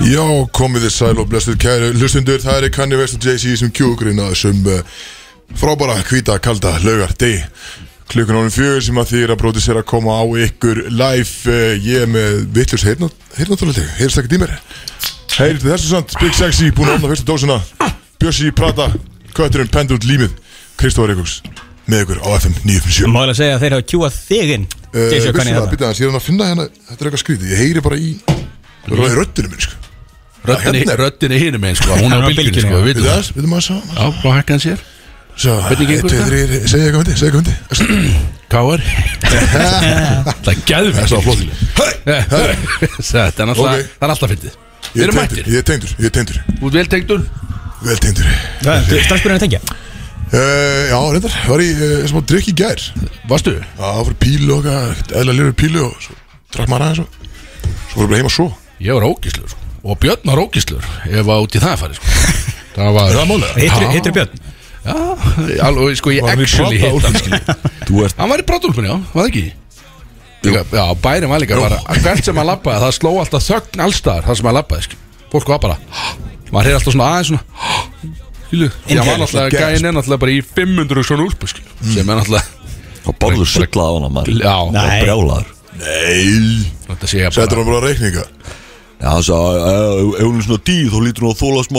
Já, komið þið sæl og blessuð kæru Hlustundur, það er kanni vest og JC sem kjúgrina sem uh, frábara, hvita, kalda, laugar, deg klukkan ánum fjögur sem að þýra bróti sér að koma á ykkur live uh, ég er með vittlurs heyrnáttúrlega heyrst ekki dýmer heyrðu þessu samt, Big Sexy, búin að ofna fyrstu dósina Bjössi, Prata, Kötturinn, Pendult, Límið Kristóður Eikóks með ykkur á FM 957 Mála segja að þeir hafa kjúað þig inn Eh, Eh, Jason Kanye það, þarna. býta hans, ég er hann að finna hérna þetta er eitthvað skrítið, ég heyri bara í röddunum minn, sko Röddinni, hérna. röddinni hinum einn sko, hún er á bylginni sko, Við við vitum það þess, við þum að sá Já, blá hækka hann sér Svo, Hvernig eitt, gengur tveir, þrír, segja eitthvað myndi, segja eitthvað myndi Káar Það er Það er gæðvikt svo flott Þetta er náttúrulega, Ok. það er alltaf fyndið Við Ég er tengdur, erum mættir, ég er tengdur, ég er tengdur út vel tengdur Vel tengdur Það Eh, er strax búin að tengja uh, Já, reyndar, var í uh, smá drikk í gær Já, Varstu? það fyrir pílu og eitthvað, eðla lirur pílu og svo drakk maður aðeins og svo voru bara heima svo Ég var ógislur sko. og Björn var ógislur ef að út í það farið sko. Það var Það er málega Já. Hittir Björn Já, alveg sko ég Var hann í actually hitt hann Brodda-úlpunni? skilur. Þú ert Hann var í brotúlpunni, já, var það ekki? Líka, já, bærin var líka Jú. bara Hvert sem hann lappaði, það sló alltaf þögn allstaðar Það sem hann lappaði, skil Fólk var bara Maður heyr alltaf svona aðeins svona Skilu Því hann var alltaf, Gasp. gæin er náttúrulega bara í 500 svona úlpu, skil Mm. Sem er náttúrulega Og borður sullað á hana maður Já, Og Nei. brjálaður Nei þetta sé ég Sættur bara hann bara að reikninga Já, hann sagði "Ef- Ef ef hún er svona dýr þá lítur hún að þóla smá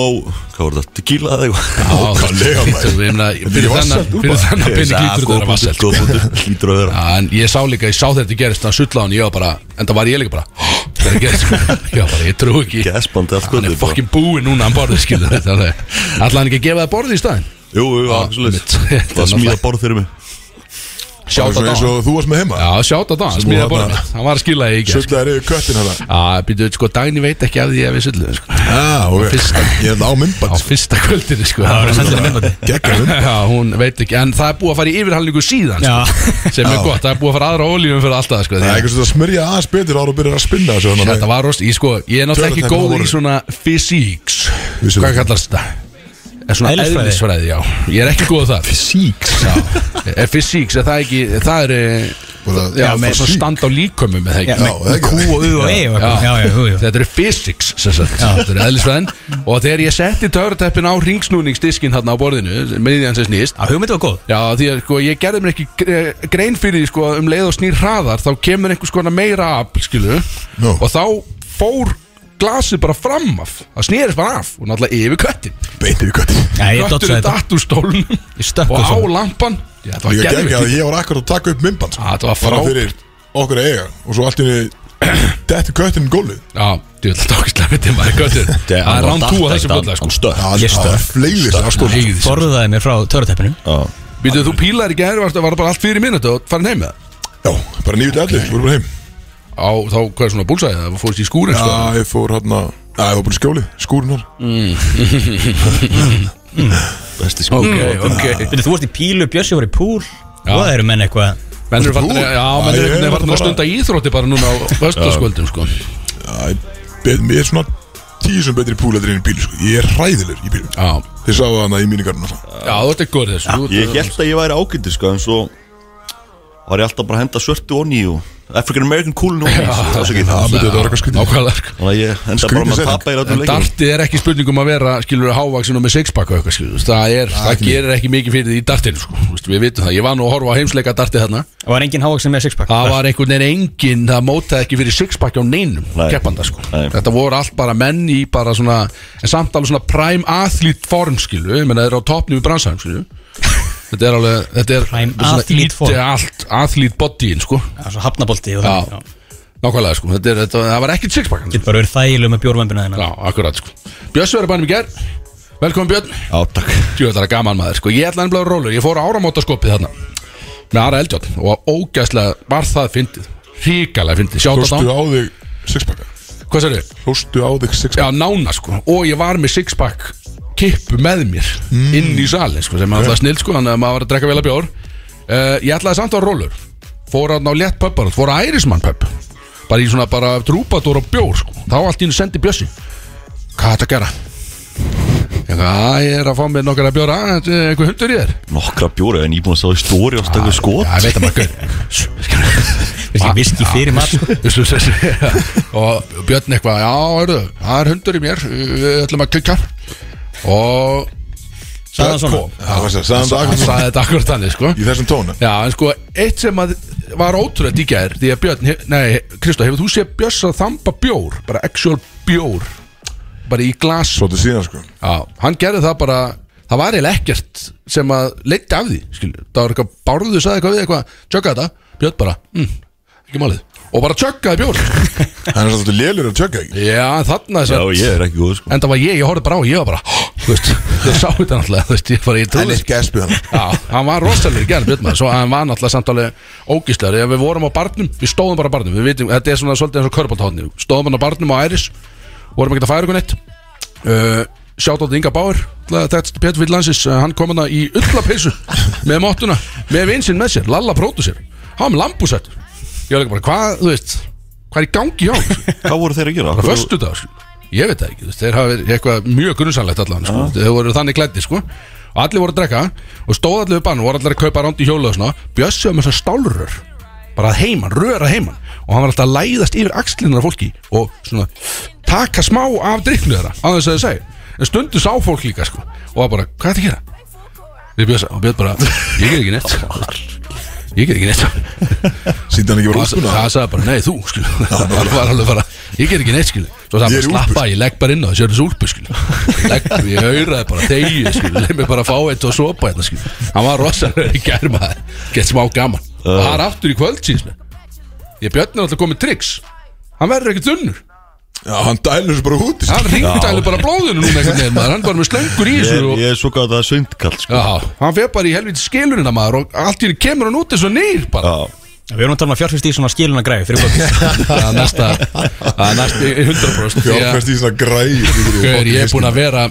Hvað var þetta? Tequila eða eitthvað Já, það Ótrúlega, er maður. fyrir þennan Fyrir þennan Fyrir þennan pening lítur þetta að vera sko. vasselt vasselt Lítur að vera Já, en ég sá líka, ég sá þetta gerist hann sulla á hann, ég var bara, en það var ég líka bara þetta gerist, sko. ég var bara, ég trú ekki Gæspandi allt hann er kvöldið, sko. bara. fokkin búinn núna hann borðið, skilur þetta alveg ætlaði hann ekki að gefa það borðið í staðin Jú, jú, absolutt einmitt. Það smíða borð fyrir mig Það er sjáta svona eins það, og þú varst með heima já, sjáta það hann Sem smíða voru borðið, þarna. mitt. hann var að skila ég ekki Söldaði reyðu köttin hana að býtu, sko, Dagni veit ekki að því að við sullum sko. Já, ok fyrsta. Ég er það á á myndband fyrsta kvöldinu, sko Það var sendinni minnbandi Gekka mynd já, hún veit ekki, en það er búið að fara í yfirhalningu síðan, Já. sko, sem er Já. gott það er búið að fara aðra ólífum fyrir alltaf, sko, Það er því- eitthvað sem það smörja aðeins betur ára og byrjar að spinna þessu þannig að- Þetta var rost, ég sko, ég er náttúrulega ekki Tölurnar góð voru. í svona fysíks Vissulega. Hvað kallast þetta? Er svona Eðlisfræði. eðlisfræði, já Ég er ekki góð á það Fysíks? Já, er fysíks, er það ekki, það er eh, Bara- Já, Já, með svona fysík. standa á líkömmum, eða Já, ekki Já, það með er Q ekki- og U og E og Já. eitthvað. Já, já, jú, jú Þetta eru physics, sem sagt Þetta eru eðlisfræðin Og þegar ég setti törteppin á ringsnúningsdiskin þarna á borðinu Miðjan sem snýst Já, hugmyndi var góð Já, því að sko, ég gerði mér ekki gre- grein fyrir því sko, um leið og snýr hraðar þá kemur einhvers konar meira afl, skilu Nú. og þá fór glasið bara fram af það snýrist bara af og náttúrulega yfir köttin Beint yfir köttin Já, ég köttur dotsaði þetta datt úr stólnum Ég stökk og og á svo lampan Já, það var Ég gekk að gerðvikt ég var akkur að taka upp myndband sko. Já, þetta var Bara frábært. fyrir okkur að eiga Og svo allt í henni Dettu köttin um gólfið Já, þú ætla tókislega með tíma köttur það er rán 2 að þessu bóla sko. Hann stökk Það Ég stökk. er fleigðist Það sko Hegði sér. Forðaði mér frá törðateppinu Já Býtu, þú pílar ekki aðeins, var það bara allt fyrir minúti og farin heim með það Já, bara nýjum til allir Voru bara heim á þá, hvað er svona búlsæði, það fórst í skúrin sko. Já, ég fór hann að Já, ég var búin í skjóli Skúrin hann Besti ok, skók ok Þú veist í pílu, Bjössi var í púl Og það eru menn eitthvað Menn eru Þú? fattin að, Já, já, menn ég eru einhvern er veginn fattin að bara- stunda íþrótti bara núna á vöstaskvöldum, sko Já, ég beð mér svona Tíu sem betri púl Þetta er einu bíl sko. Ég er hræðilegur í bílum Já, Þið sáu hann í mínigarnu Já, já þú ert ekki góður í þessu þú ert- Ég held að ég væri ágættir sko En svo var ég alltaf bara að henda svörtu onni og African American cool onni Það er ekki það betur þetta var eitthvað skrítið Nákvæmlega, sko Þannig að ég enda Skrýtin bara með að setning. tapa í En ráttum leikum dartið er ekki spurningum að vera, skilur, hávaksin og með sexpakka eitthvað, skilur, það er, það ekki gerir ekki mikið fyrir því í dartinu, sko, Þú veist, við vitum það, ég var nú að horfa á heimsleika dartið þarna, Og var engin hávaksin með sixpack það var einhvern veginn engin, það mótaði ekki fyrir sexpakka á neinum, Nei. keppanda, sko, Nei. þetta voru allt bara menn í bara svona, en samt alveg svona prime athlete form, skilur, ég menna, það er á topnum í bransanum, skilur, þetta er alveg, þetta er, Prime þetta er svona athlete form. ýti allt, athlete bodyin, sko, Það var svo hafnabolti og Já. það nákvæmlega, sko, þetta er, þetta, það var ekkit sexpakka, Getur bara verið þægileg með bjórvæmbina þina Já, akkurat sko Björns verður bænum í ger Velkomin Björn Já, takk Tjóðar að gaman maður sko Ég ætla ennbláður rólur Ég fór á áramótaskopið þarna Með Ara Eldjón Og ógæslega var það fyndið Ríkalega fyndið Sjáta þá Hlustu á þig Sixpacka Hvað sér þau? Hlustu á þig Já, sixpacka nána sko Og ég var með sixpack kippu með mér Inn í salin sko Sem alltaf snill sko Þannig að maður var að drekka vel að bjór uh, Ég ætlaði samt á rólur Fór að ná létt pöppar Fór að Ærismann pöpp Bara í svona bara trúpadur og bjór sko Þá allt í hennu sendi Bjössi Hvað er þetta að gera? Það er að fá mér nokkar að bjóra þetta er einhver hundur í þér Nokkra bjóra en ég er búin að sá í stóri á stöku skot Já, ég veit að maður gaur. Vilki Ah, viski fyrir mat sko. Þú veist, þú veist, Og Björn eitthvað Já, hörðu, það er hundur í mér Við ætlum að klikka Og Sagði hann svona? Það var sér, sagðan það Hann akkur sagði þetta akkurat þannig, sko Í þessum tóna Já, en sko, eitt sem að var ótrúlega díkjaðir Því að Björn, hef- nei, Kristó, hefur þú séð Björns að þamba bjór Bara actual bjór Bara í glas Svolítið síðan sko Já, hann gerði það bara Það var eiginlega ekkert sem að leiti af því skilur. Það var eitthvað, Bárður sagði eitthvað við eitthvað Tjökka þetta, Björn bara mm, Ekki málið, og bara tjökkaði bjór Hann er svolítið lélur að tjögga ekki Já, þarna þess Já, að ég er ekki góð sko En það var ég, ég horfði bara á, og ég var bara Þú veist, þau sá þetta náttúrulega Þú veist, ég bara, ég Hann trúði er gæspið hann Já, hann var rosalega gerð Björn maður Svo hann var náttúrulega samtalið ógíslegar Ef við vorum á barnum, við stóðum bara á barnum Við vitum, þetta er svona svolítið eins og körbóltáðni Stóðum hann á barnum á Æris Vorum ekki að færa ykkur neitt uh, Sjátt á þetta Inga Báur Þetta er Pétur Vill Lansis uh, Hann kom hann í ullapeysu Með móttuna, með vinsinn með sér Lalla prótu sér, hann var með lambúsett Ég var ekki bara, hvað, þú veist Hvað er í gangi hjá? honum?" Hvað voru þeir að gera? Hvað- Föstu dag, ég veit það ekki þú veist, Þeir hafa verið eitthvað mjög grunnsanlegt allan sko. Þeir voru þannig klæddi sko Og allir voru að drekka og stóð allir við bann og voru allir að kaupa ránd í hjóla og svona Bjössi var með þessar stálrör Bara að heiman, rör að heiman Og hann var alltaf að læðast yfir axlinar fólki Og svona taka smá af drikknu þeirra Á þess að þau segi En stundu sá fólk líka sko Og var bara, hvað er þetta að gera? Við Bjössi, og Björn bara, ég ger ekki neitt Ég ger ekki neitt Sýndi hann ekki verið Það útbúna það sagði bara, nei þú, skilu Það var alveg bara, ég get ekki neitt, skilu Svo sagði Ég hann, er í slappa, ég legg bara inn á þessu þessu úlpu, skilu legg, Ég hauraði bara þegið, skilu Leif mig bara fá eitt og sopa hérna, skilu Hann var rosalega í gærma Gett smá gaman Og það er aftur í kvöld, síðan Ég björn er alltaf komið triks Hann verður ekki þunnur Já, hann dælur þessu bara út Hann ringdæli bara blóðinu núna einhvern veginn maður Hann bara með slengur í Ég þessu er- og, Ég er svo gæt að söndkall sko Já, hann fer bara í helviti skilunina maður Og allt í henni kemur hann út eins og nýr bara Já, Við erum að tala um að fjárfyrst í svona skiluna græfi fyrir kvöld Það er næsta, það er næsta 100% því að- Fjárfest í svona græði Gauður, ég er búinn sko. að vera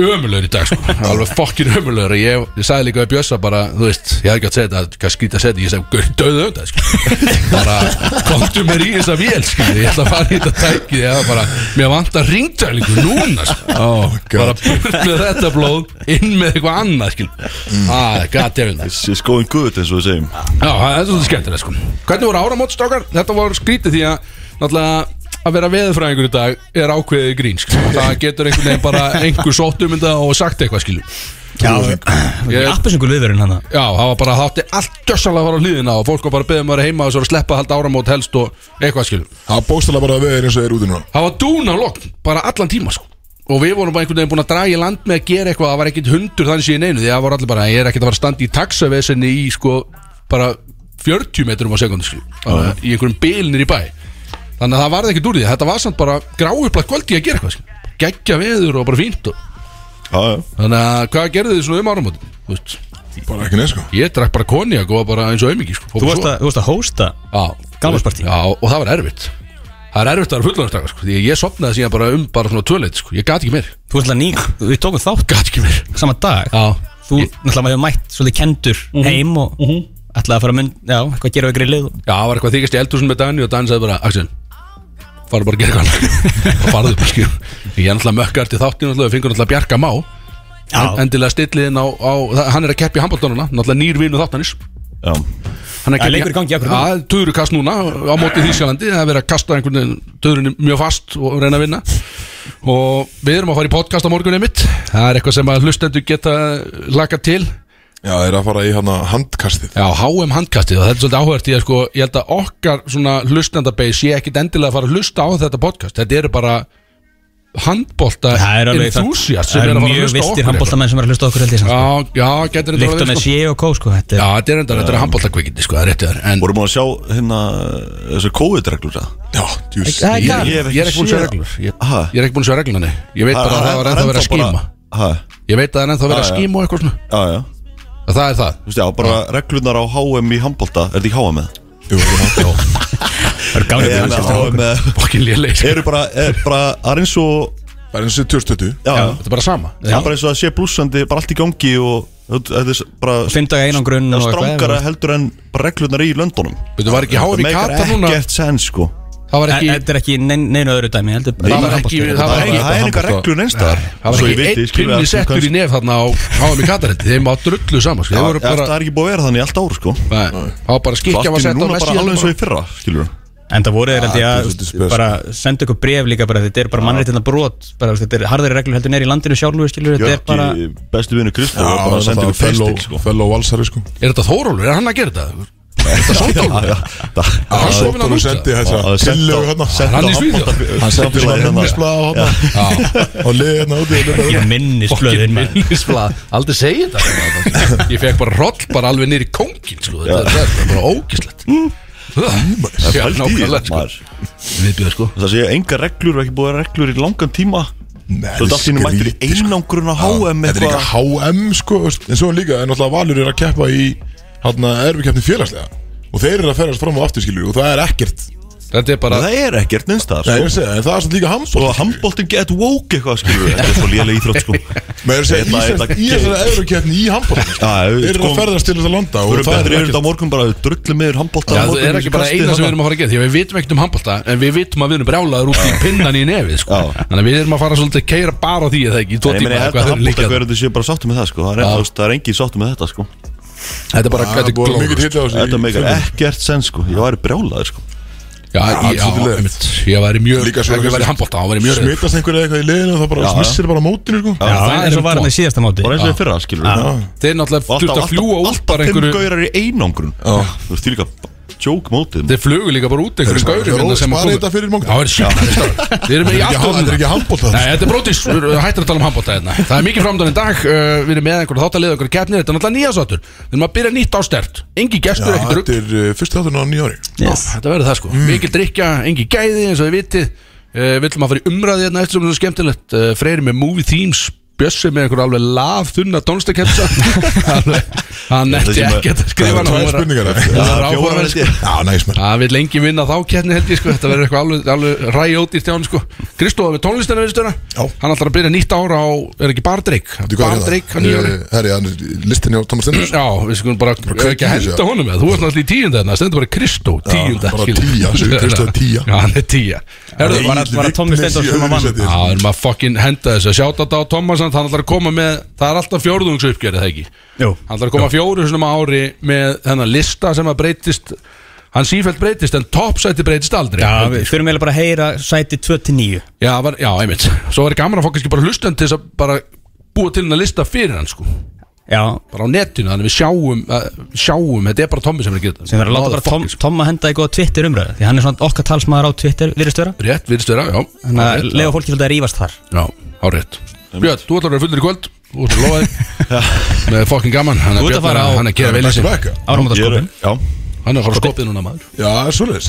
ömulegur í dag sko. Alveg fokkin ömulegur ég, ég sagði líka við Bjössa bara, þú veist Ég hafði ekki átt að segja þetta, hvað skrýta að segja þetta Ég sagði, gauður, döðu um þetta sko. Bara, komdu mér í þessa vél sko. Ég ætla að fara í þetta tæki Ég hafði bara, mér vantar ringdælingu núna sko. oh, Bara burt með þetta blóð Inn með eitthvað annað sko. mm. ah, God damn it ég er skóin guð eins og við segjum Já, það er svolítið skemmtilegt sko Hvernig voru áramót strákar? Þetta var skrítið því að Náttúrulega að vera veðurfræðingur í dag er ákveðið grín sko. Það getur einhvern veginn bara einhver sótt um þetta og sagt eitthvað skilu Já, Ég- appelsingul viðverun hann Já, það var bara þátti allt djössalega að fara á hlýðina og fólk var bara að beða maður heima og svo var að sleppa að halda áramót helst og eitthvað skilu Það bóstala bara að veður eins og er úti núna Það var dún á lokn, bara allan tíma sko Og við vorum bara einhvern veginn búin að draga í land með að gera eitthvað Það var ekkert hundur þannig síðan einu Því það var allir bara, ég er ekkert að fara að standa í taxavesinni í sko Bara 40 metrum á sekundu sko bara, Í einhverjum bilinir í bæ Þannig að það varði ekkert úr því Þetta var samt bara gráuplagt kvöldi að gera eitthvað sko Geggja veður og bara fínt og... Já, já Þannig að hvað gerðu þið svona um áramótin? Þú veist, Bara ekki neð sko Ég drakk bara konjak og var bara eins og aumingi sko Fór Þú bara varst svo. að, þú varst að hósta Já, Gamlárspartí. Já, og það var erfitt Það er erfitt að vera fullorðinstaka sko. Því að ég sopnaði síðan bara um bara svona tvöleit sko. Ég gat ekki mér Þú varst að ný, við tókum þátt Gat ekki mér sama dag Já Mhm. Þú náttúrulega maður hefur mætt svolítið kendur heim og ætlaði að fara að mynd, já, eitthvað að gera við grillið Já, það var eitthvað þykist í eldhúsin með Dani og Dani sagði bara Axel, fara bara að gera eitthvað og farðu bara skil Ég er náttúrulega mökkar til þáttin og fengur náttúrulega bjarga má Já, Endilega stillið inn á, á það- Hann er að keppi handbóltanuna, náttúrulega nýr vinu þáttanis Já, Hann er Já, leikur í gangi akkurat núna. Já, töðurukast núna á móti Þýskalandi Það er verið að kasta einhvern veginn töðurinn mjög fast og reyna að vinna Og við erum að fara í podcast á morgunni mitt Það er eitthvað sem að hlustendur geta laka til Já, það er að fara í hann handkastið Já, HM handkastið og þetta er svolítið áhverjart í að sko Ég held að okkar svona hlustendabase sé ekkit endilega að fara að hlusta á þetta podcast Þetta eru bara handbolta það er alveg enthusiast sem það eru er að fara að mjög hlusta á vistir sko. okkur eitthvað. handbóltamenn sem er að hlusta á okkur held ég samt, Já, já, getur sko. þetta Líkt og með sko. sé og kó sko, þetta Já, er þetta er enda, þetta er handbóltakveikindi sko, það er rétt hjá þér, en- vorum við að sjá hérna þessu COVID-reglur það Já, djús Það er Ég, gaman. ég hef ég, ég ekki er ekki búin að sjá séð reglur ég, Aha. ég er ekki búin að sjá reglunni Ég veit bara að það var ennþá verið að skíma Hæ, Ég veit að það er ennþá verið að Já, já. skíma og eitthvað svona já, já Að Það er það Þú veist, já, bara reglurnar á HM í handbólta Er þetta ekki HM eða? Jú, já. Það er gáðið Eða HM eða Fokkin léleg sko. Eru bara, er bara, það er eins og Það er eins og 2020 Já, já Þetta er bara sama Það er bara eins og það sé blúsandi, bara allt í gangi og þetta er bara Fimm daga einangrun og strángara eitthvað heldur en bara reglurnar í löndunum Þetta var ekki háið Það í meikar kata núna ekkert sens sko Það var ekki Þetta er ekki nein- neinu öðru dæmi heldur bara- Það var handbolti. ekki Það Það var er- það er ekki einhver reglu neinstar Það var ekki einn pinni um settur í nef þarna á HM í Katarindi Þeim var drullu saman sko. Þeir voru Það bara er ekki búið að vera þannig í allt ári sko Nei, Það var bara Svo skikja var allt í sett á núna bara Messi alveg eins og hérna. í fyrra Skilur En það voru þeir held ég þetta er að svolítið veist, spes. bara senda ykkur bref líka bara þetta er bara mannréttina brot bara, veist, þetta er harðari reglur heldur neður í landinu sjálfu skilur, þetta er bara Jörgi, bestu vinnu Kristó Já, var bara að senda það ykkur Facebook sko fellow- fellow valsari sko Er þetta Þórólfur? Er hann að gera þetta? Já, já, það- hann Hann sofinn að sóttur og lúta? sendi það þessa er sent tillögu á- hérna sent Hann á í Svíþjóð. handbolta- Hann sendi samfélagið svona þarna. minnisblað á hérna og liði hérna úti og liði Ég minnis blöðin maður. minnisblað Aldrei segi þetta Ég fekk bara roll bara alveg niður í kóngin sko. þetta, þetta er bara ógislegt Mm. Það Það er fælt í nákvæmlega þetta, sko. maður. Viðbjöð sko Það sé enga reglur, það er ekki búið að vera reglur í langan tíma Nei, Svo þetta allt í hennu mættir í skrítið, sko. einangrun á HM Þetta er líka eitthvað HM sko veist, En svo líka, en alltaf Valur er að keppa í Hanna erfikeppni félagslega Og þeir eru að ferast fram á aftur skilur Og það er ekkert Sko. Þetta er bara Það er ekkert Það er neinstar að segja, en það er samt líka Og handból að handbóltin get woke eitthvað skilur Þetta er svo lélega íþrótt sko Það Með er að Þetta- segja, þetta- í þessari erfikeppni í handból sko. Já, Þeir eru sko, að ferðast til þess að landa Og eru það betri er yfir þetta ekkert á morgun bara drullum yfir handbólta Já, það er ekki bara eina sem við erum að fara að gera Því að við vitum ekkert um handbalta En við vitum að við erum brjálaður út í pinnan í nefið sko. Já. Þannig að við erum að fara svolítið að keira bara á því eða ekki í tvo Ég tíma meina, eða þetta eitthvað, þeir eru handbólta líka- hverju þau séu bara sáttum með það sko Það er- Já. þú veist, það er engin sáttum með þetta sko Þetta er bara Það er þetta Ah, er búið að mikið glóð hitt á þessu Þetta í- meikar ekkert sen sko Ég væri brjálaður sko Já, þetta er ég- já, svolítið leiðilegt. einmitt. ég væri mjög Líka Ef svo- ég væri handbalta, þá væri ég mjög reyður. Smitast einhverja eitthvað í liðinu og það bara Já. smissir bara á mótinu sko. Já, það eins er og var hann í vont. síðasta móti Bara eins og í fyrra skilur Já. Þeir Og náttúrulega alltaf- þurft að fljúa alltaf- út bara Alltaf fimm einhverju gaurar í einangrun Þú veist, því líka Joke mótið Þeir flugu líka bara út einhverju Þeir- skaurum þeir- hérna sem að spara komu- þetta fyrir morgun. Já, það er sjálf Þeir eru með Þetta er í ekki- aftur þetta er ekki handbólta Nei, þetta er brotis, við erum hættir að tala um handbóta hérna Það er mikið framdán í dag, uh, við erum með einhverja þáttalið einhverja keppnir, þetta er náttúrulega nýja sáttur Við erum að byrja nýtt ástert, engi gestur, ekkert rugg Þetta er uh, fyrst þátturinn á nýja ári yes. Þetta verður það sko, mikil drikja, engi gæði eins og við vitið uh, Við ætlum að fara í umræði hérna eftir sem er svo skemmtilegt uh, Freyri með movie themes, Bjössi með einhverja alveg laf þunna tónstakepsa Hann Ég held að nefndi sé með- ekki að Það skrifa eru tvær spurningar eftir. Það er Já, fjórar áhugaverð held sko. ég. Já, næs menn Það vil lengi vinna þá keppni held ég sko Þetta verður eitthvað alveg, alveg ræjóti í stjánu sko Kristóð við tónlistina við stjána Já. Hann ætlar að byrja nýtt ára á, er ekki Bardreik Bardreik á nýjári Uh, Herri, hann er listin hjá Thomas Stenders Já, við skulum bara kveikja ekki þessu, henda já. honum með Þú ert náttúrulega í tíunda þarna, stendur bara Kristó tíunda bara skilur. tía, segir Kristó er tía. Já, hann er tíja Herðu, Nei. bara var- var Tommi Steindórs sem að vann? Já, við erum að fucking henda þessu Sjáta þetta á Thomas, hann ætlar að koma með Það er alltaf fjórðungs uppgjörið, það ekki Jú. Hann ætlar að koma fjóru sinum á ári með þennan lista sem að breytist Hann sífælt breytist, en toppsæti breytist aldrei Já, Held ég, við sko. fyrir meðlega bara að heyra sæti 2 til 9 Já, var, já, einmitt Svo var gaman að fá kannski bara hlustan til þess að bara búa til hann að lista fyrir hann sko Já, Bara á netinu, þannig við sjáum, uh, sjáum Þetta er bara Tommi sem er að gera þetta sem verður að láta bara Tom, Motherfuckers. Tom að henda í góða Twitter umræðu því hann er svona okkar talsmaður á Twitter, virðist vera Rétt, virðist vera, já þannig að hárrétt, lega fólki svolítið að rífast þar Já, á rétt Björn, þú ætlar að vera fullur í kvöld Þú ætlar að lofa þig Með fokkin gaman Hann Þú ert er að Björn, fara á- hann er að gera vel í sig Backa. Ég er- Árumótaskopin Já Hann er að fara að skopið núna maður Já, svoleiðis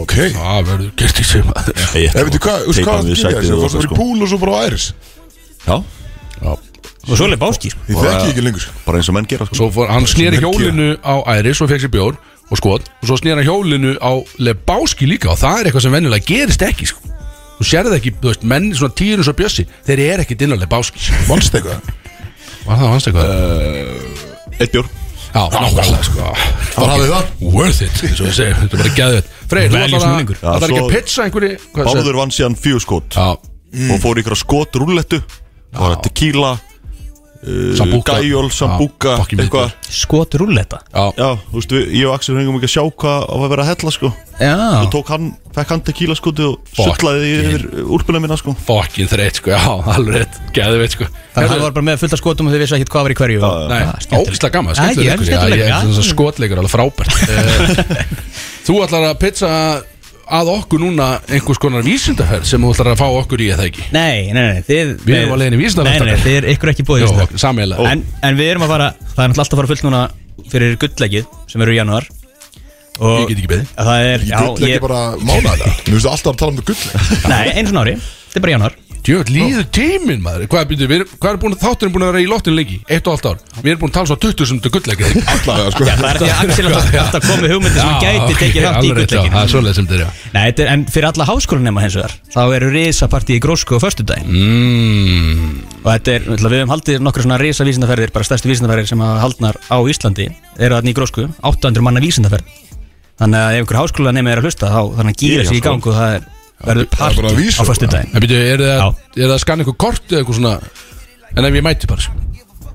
Ok Já, verður gert í sig maður Ég veit hvað, þú veist hvað það er Það fórst bara í púl og sko. svo bara á æris Já, og svo leið báskýr Ég þekki ekki lengur sko. bara eins og menn gera sko Svo fór, hann snýri hjólinu á Æris og fekk sér bjór og skot og svo snýri hann hjólinu á Lebowski líka og það er eitthvað sem venjulega gerist ekki sko. Þú sérði ekki, þú veist, menn svona tíur eins og bjössi, þeir eru ekkit inn á Lebowski sko. Manstu eitthvað Var það hans eitthvað? Eitt bjór Já, nákvæmlega sko Það hafði það Worth it, eins og ég segi, þetta er bara gæðið Freyr, þú Value ætlar að, snúningur. ætlar ekki að Já, svo- pizza einhverju hvað segir- Báður vann síðan fjögur skot Já, Og fór ykkur að skot rúllettu Það var tequila eh, Sambuca Gæjól, sambuka Já, fucking Eitthvað mikið. skot rúlleta Já, Já, þú veist, við- ég og Axel hengum ekki að sjá hvað var að vera að hella sko Já, Og tók hann, fekk hann tequila skoti og Fuck. sullaði því yfir úlpuna mína sko fokkin þreitt sko, já, alveg rétt, gæðið sko þannig að Herðu, hann var bara með fullt af skotum og þau vissi ekkert hvað var í hverju og- Nei, Ah, skemmtilegt. ógislega gaman, Já, skemmtileg ég er leikur skemmtileg, Já, ég er já. svona skotleikur, alveg frábært Eh, Þú ætlar að pizza að okkur núna einhvers konar vísindaferð sem þú ætlar að fá okkur í eða ekki Nei, nei, nei, þið Við erum á leiðinni í vísindaverktakar. Nei, nei, nei, þið er ykkur ekki búið Jó, vísindaverktakar. sameiginlega. en, en við erum að fara, það er náttúrulega alltaf að fara fullt núna fyrir gullleggið sem eru í janúar og Ég get ekki beðið. Það er, já, Gull ekki ég, bara mánaða það Mér finnst alltaf að tala um það gull nei, eins og nári Þetta er bara í janúar Djöfn, líður tíminn maður Hvað er, byrju, við, erum- hvað er búin, þátturinn búin að vera í lottinu lengi? Eitt og allt ár Við erum búin að tala svo 20 sem þetta gullleikir Alla sko Það er því að Axel alltaf, alltaf komið hugmyndi sem gæti tekið þátt í Það er gulllegginu svoleið sem þetta er já. Nei, þetta er, en fyrir alla háskólanema hins vegar þá eru risapartí í grósku og föstudaginn mm, og þetta er, náttúrulega, við höfum haldið nokkru svona risa vísindaferðir, bara stærstu vísindaferðir sem að haldnar á Íslandi eru þarna í grósku, 800 manna vísindaferð Þannig að ef einhver háskóla er að hlusta þá þannig að gýra Ég er sig í gang og það er, verður er bara að partí vísu, á föstu daginn En byrju, er það, Já. er það að skanna ykkur kort eða eitthvað svona En ef ég mæti bara sko.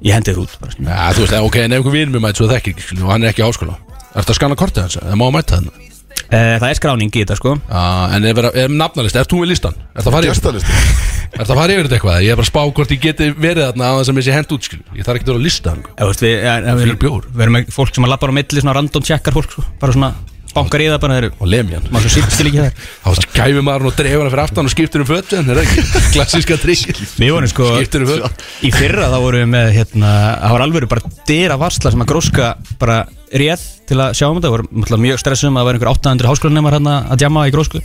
Ég hendi þér út bara, skilur. Já, þú veist, ok, en ef einhver vinur mér mæti svo þekkir ekki, skilur, og hann er ekki í háskóla Er það að skanna kortið hans, það má að mæta þannig Eh, Það er skráning í þetta sko ah, En ef er, er nafnalist, ert þú í listan? Er það að fara yfir, Gestalisti er það að fara yfir þetta eitthvað? Ég er bara að spá hvort ég geti verið þarna á þess að mér sé hend út, skilur Ég þarf ekki að vera að lista hann Ef, þú veist, við, ja, við, Fyrir bjór. við erum með fólk sem að labbar á milli svona random checkar fólk sko. bara svona bankar í það bara þeir eru og lemja hann maður svo sýrt til ekki það Þá gæfi maður hann og dreifur hann fyrir aftan og skiptir um fötin, er það ekki? Klassíska trikk Við vorum sko Skiptir um fötin í fyrra þá vorum við með hérna það var alveg bara dyra varsla sem að gróska bara réð til að sjá um þetta vorum náttúrulega mjög stressum að það var einhver 800 háskólanemar hérna að djama í grósku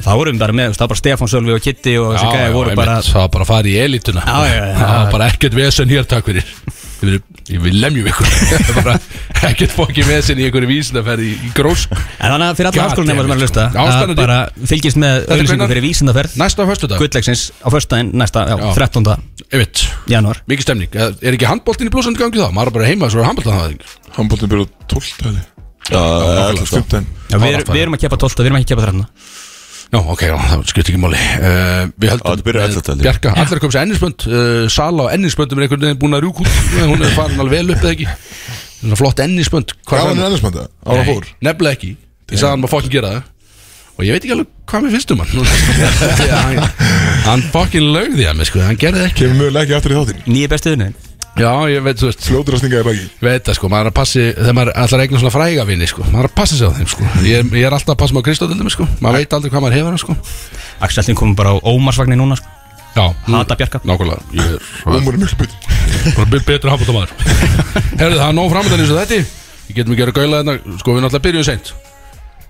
þá vorum við bara með þú veist, það var bara Stefán Sölvi og Kitty og þessi gæði voru einmitt. bara Það var bara að fara í elituna Já, já, já. Það var bara ekkert vesen hér, takk fyrir Ég vil, ég vil lemju ykkur Það var bara ekkert fokkin vesen í einhverju vísindaferð í, í grósk en þannig að fyrir alla God háskólanemar sem damn er að it, hlusta sko. Já, að spennandi. bara fylgist með er hvenær? auðlýsingu fyrir vísindaferð Næsta föstudag gulllegsins á föstudaginn næsta já, Já. 13. Einmitt, janúar mikið stemning Er er ekki handbóltin í blósandi gangi þá? Maður er bara heima þess að handbóltin það ekki Handbóltin byrja á 12 tæli Já, Alltaf stumt en Já, við, er, Áfram. við erum að keppa 12, við erum ekki að keppa 13 Já, ok, já, það skipt ekki máli uh, Við Já, höldum þetta byrjar með 11 held ég. Bjarka, allir að koma sér ennisbönd uh, Sala á ennisböndum er einhvern veginn búin að rjúk út Hún er farin alveg vel upp eða ekki Svona Flott ennisbönd Hvað var hann ennismanda? Ára fór Nei, nefnilega ekki Ég sagði hann maður fokkin gera það Og ég veit ekki alveg hvað mér finnst um hann Því að hann, hann fokkin lögði að mig sko Hann gerði það ekki Kemur mögulega ekki aftur í þáttin Nýja bestiðinu Já, ég veit, þú veist Fljótur að stinga í baki Veit það sko, maður er að passi Þegar maður ætlar að eigna svona fræga vini sko Maður er að passa sig á þeim sko Ég, er- ég er alltaf að passa mig á Kristóðildum sko Maður veit aldrei hvað maður hefur hann sko Axeltin komum bara á Ómarsvagnir núna sko. Já, Hata Bjarka nákvæmlega Ég er Úmur er miklu bytt bara bet- betur að hafa þetta maður Herðu, það er nóg framöndan eins og þetta Við getum ekki verið að gaula þetta Sko, við náttúrulega byrjuðum seint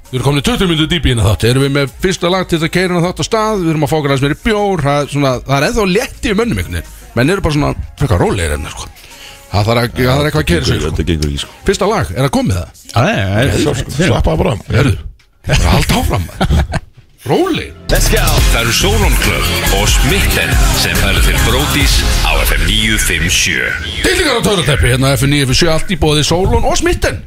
Við erum komin í 20 minnum dýpi hérna þátt Erum við með fyrsta lag til þess að keira hérna þátt á stað Við erum að fá okkur aðeins meiri bjór Það er, svona, það er eða létti í mönnum einhvern veginn Menn eru bara svona frekar rólegir hérna sko. Það þarf að- það þarf eitthvað að keira sig sko. Þetta gengur ekki sko Fyrsta lag, er að komið það? Slappa sko. bara af. Herðu, bara halda áfram Rólegir Það eru Sólon Club og Smitten sem færðu til Bródís á FM 957 Dillingar á töruteppi hérna F9 F7 allt í bóði Sólun og Smitten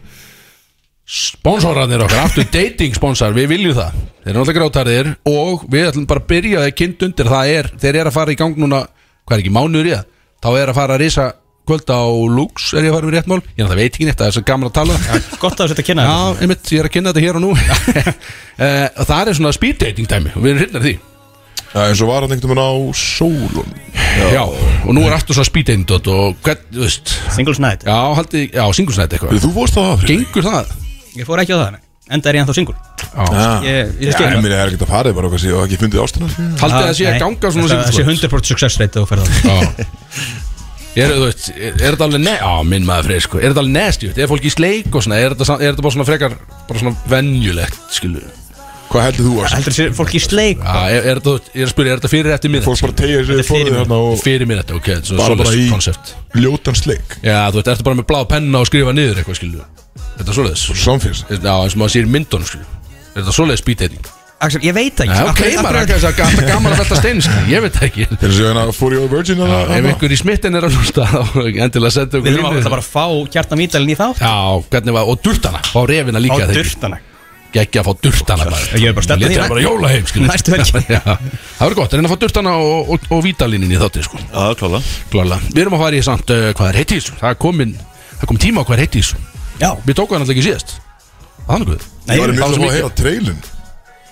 Sponsorarnir okkar, aftur dating sponsor, við viljum það Þeir eru náttúrulega grátarðir og við ætlum bara að byrja þeir kynnt undir Það er, þeir eru að fara í gang núna, hvað er ekki, mánuður í það Þá er að fara að risa kvöld á Lux, er ég að fara með rétt mál Ég náttúrulega veit ekki neitt, það er svo gaman að tala Gott að þú setja að kynna Já, einmitt, ég er að kynna þetta hér og nú Eh, og Það er svona speed dating dæmi og við erum hrifnar því Já, eins og var hann einhvern veginn á sólun Já, og nú er aftur svona speed dating dot og hvern, þú veist þetta Singles night Já, haldi, já, singulsnætt eitthvað Þú fórst það af Gengur það? Ég fór ekki á það nei. Enda er ég ennþá single Já. Ég, Ég- ég skil það. mér er ekkert að fara bara okkar síðan og ekki fundið ástina Haldið þið að Nei, sé að ganga svona þetta- Það sé sem 100% success rate þegar þú ferð á það. Já Er þú veist, er er þetta alveg ne... Já, minn maður freyr, sko Er þetta alveg nesti, er fólk í sleik og svona Er þetta, sa- er þetta bara svona frekar, bara svona venjulegt, skilu Já, Hvað heldur þú að Heldur þessi fólk í sleik er, er þetta, þú veist, ég er að spyrja, er þetta fyrir eftir minnett? Fólk bara tegja sér Þetta er í fórið fyrir þarna og Fyrir minnett, ok, þetta er bara svona bara svoleiðis í koncept ljótan sleik Já, þú veist, ertu bara með blá penna og skrifa niður eitthvað, skilu Er þetta svoleiðis? Samférs Já, eins og maður sér í myndunum, skilu Er þetta svoleiðis speeddating? Axel, ég veit það Já, ekki Af ok, hverju- af maður hverju- er ekki að það gaman að velta stein, skilu Ég veit það ekki Þeir séu hérna fórið á Virgin Já, þarna- Ef þarna. einhver í smitten er að hlusta þá endilega senda Við þurfum að okkur línu. alltaf bara að fá kjartan vítalinn í þá Já, hvernig var, og durtana Fá refina líka Á þegar ekki. durtana Gekki að fá durtana Ég bara er bara stefnir Létt því er bara jóla heim Næstu helgi. Það verður gott, reyna að fá durtana og, og, og vítalínin í þátti sko. Já, klála Klála Við erum að fara í samt uh, hvað er heitt í þessu Það er komin, það kom tíma á hvað er heitt í þessu Já Við tókum hann alltaf ekki síðast Þannig guð Nei, Ég var Það mjög var svo svo að mikið. heyra trailin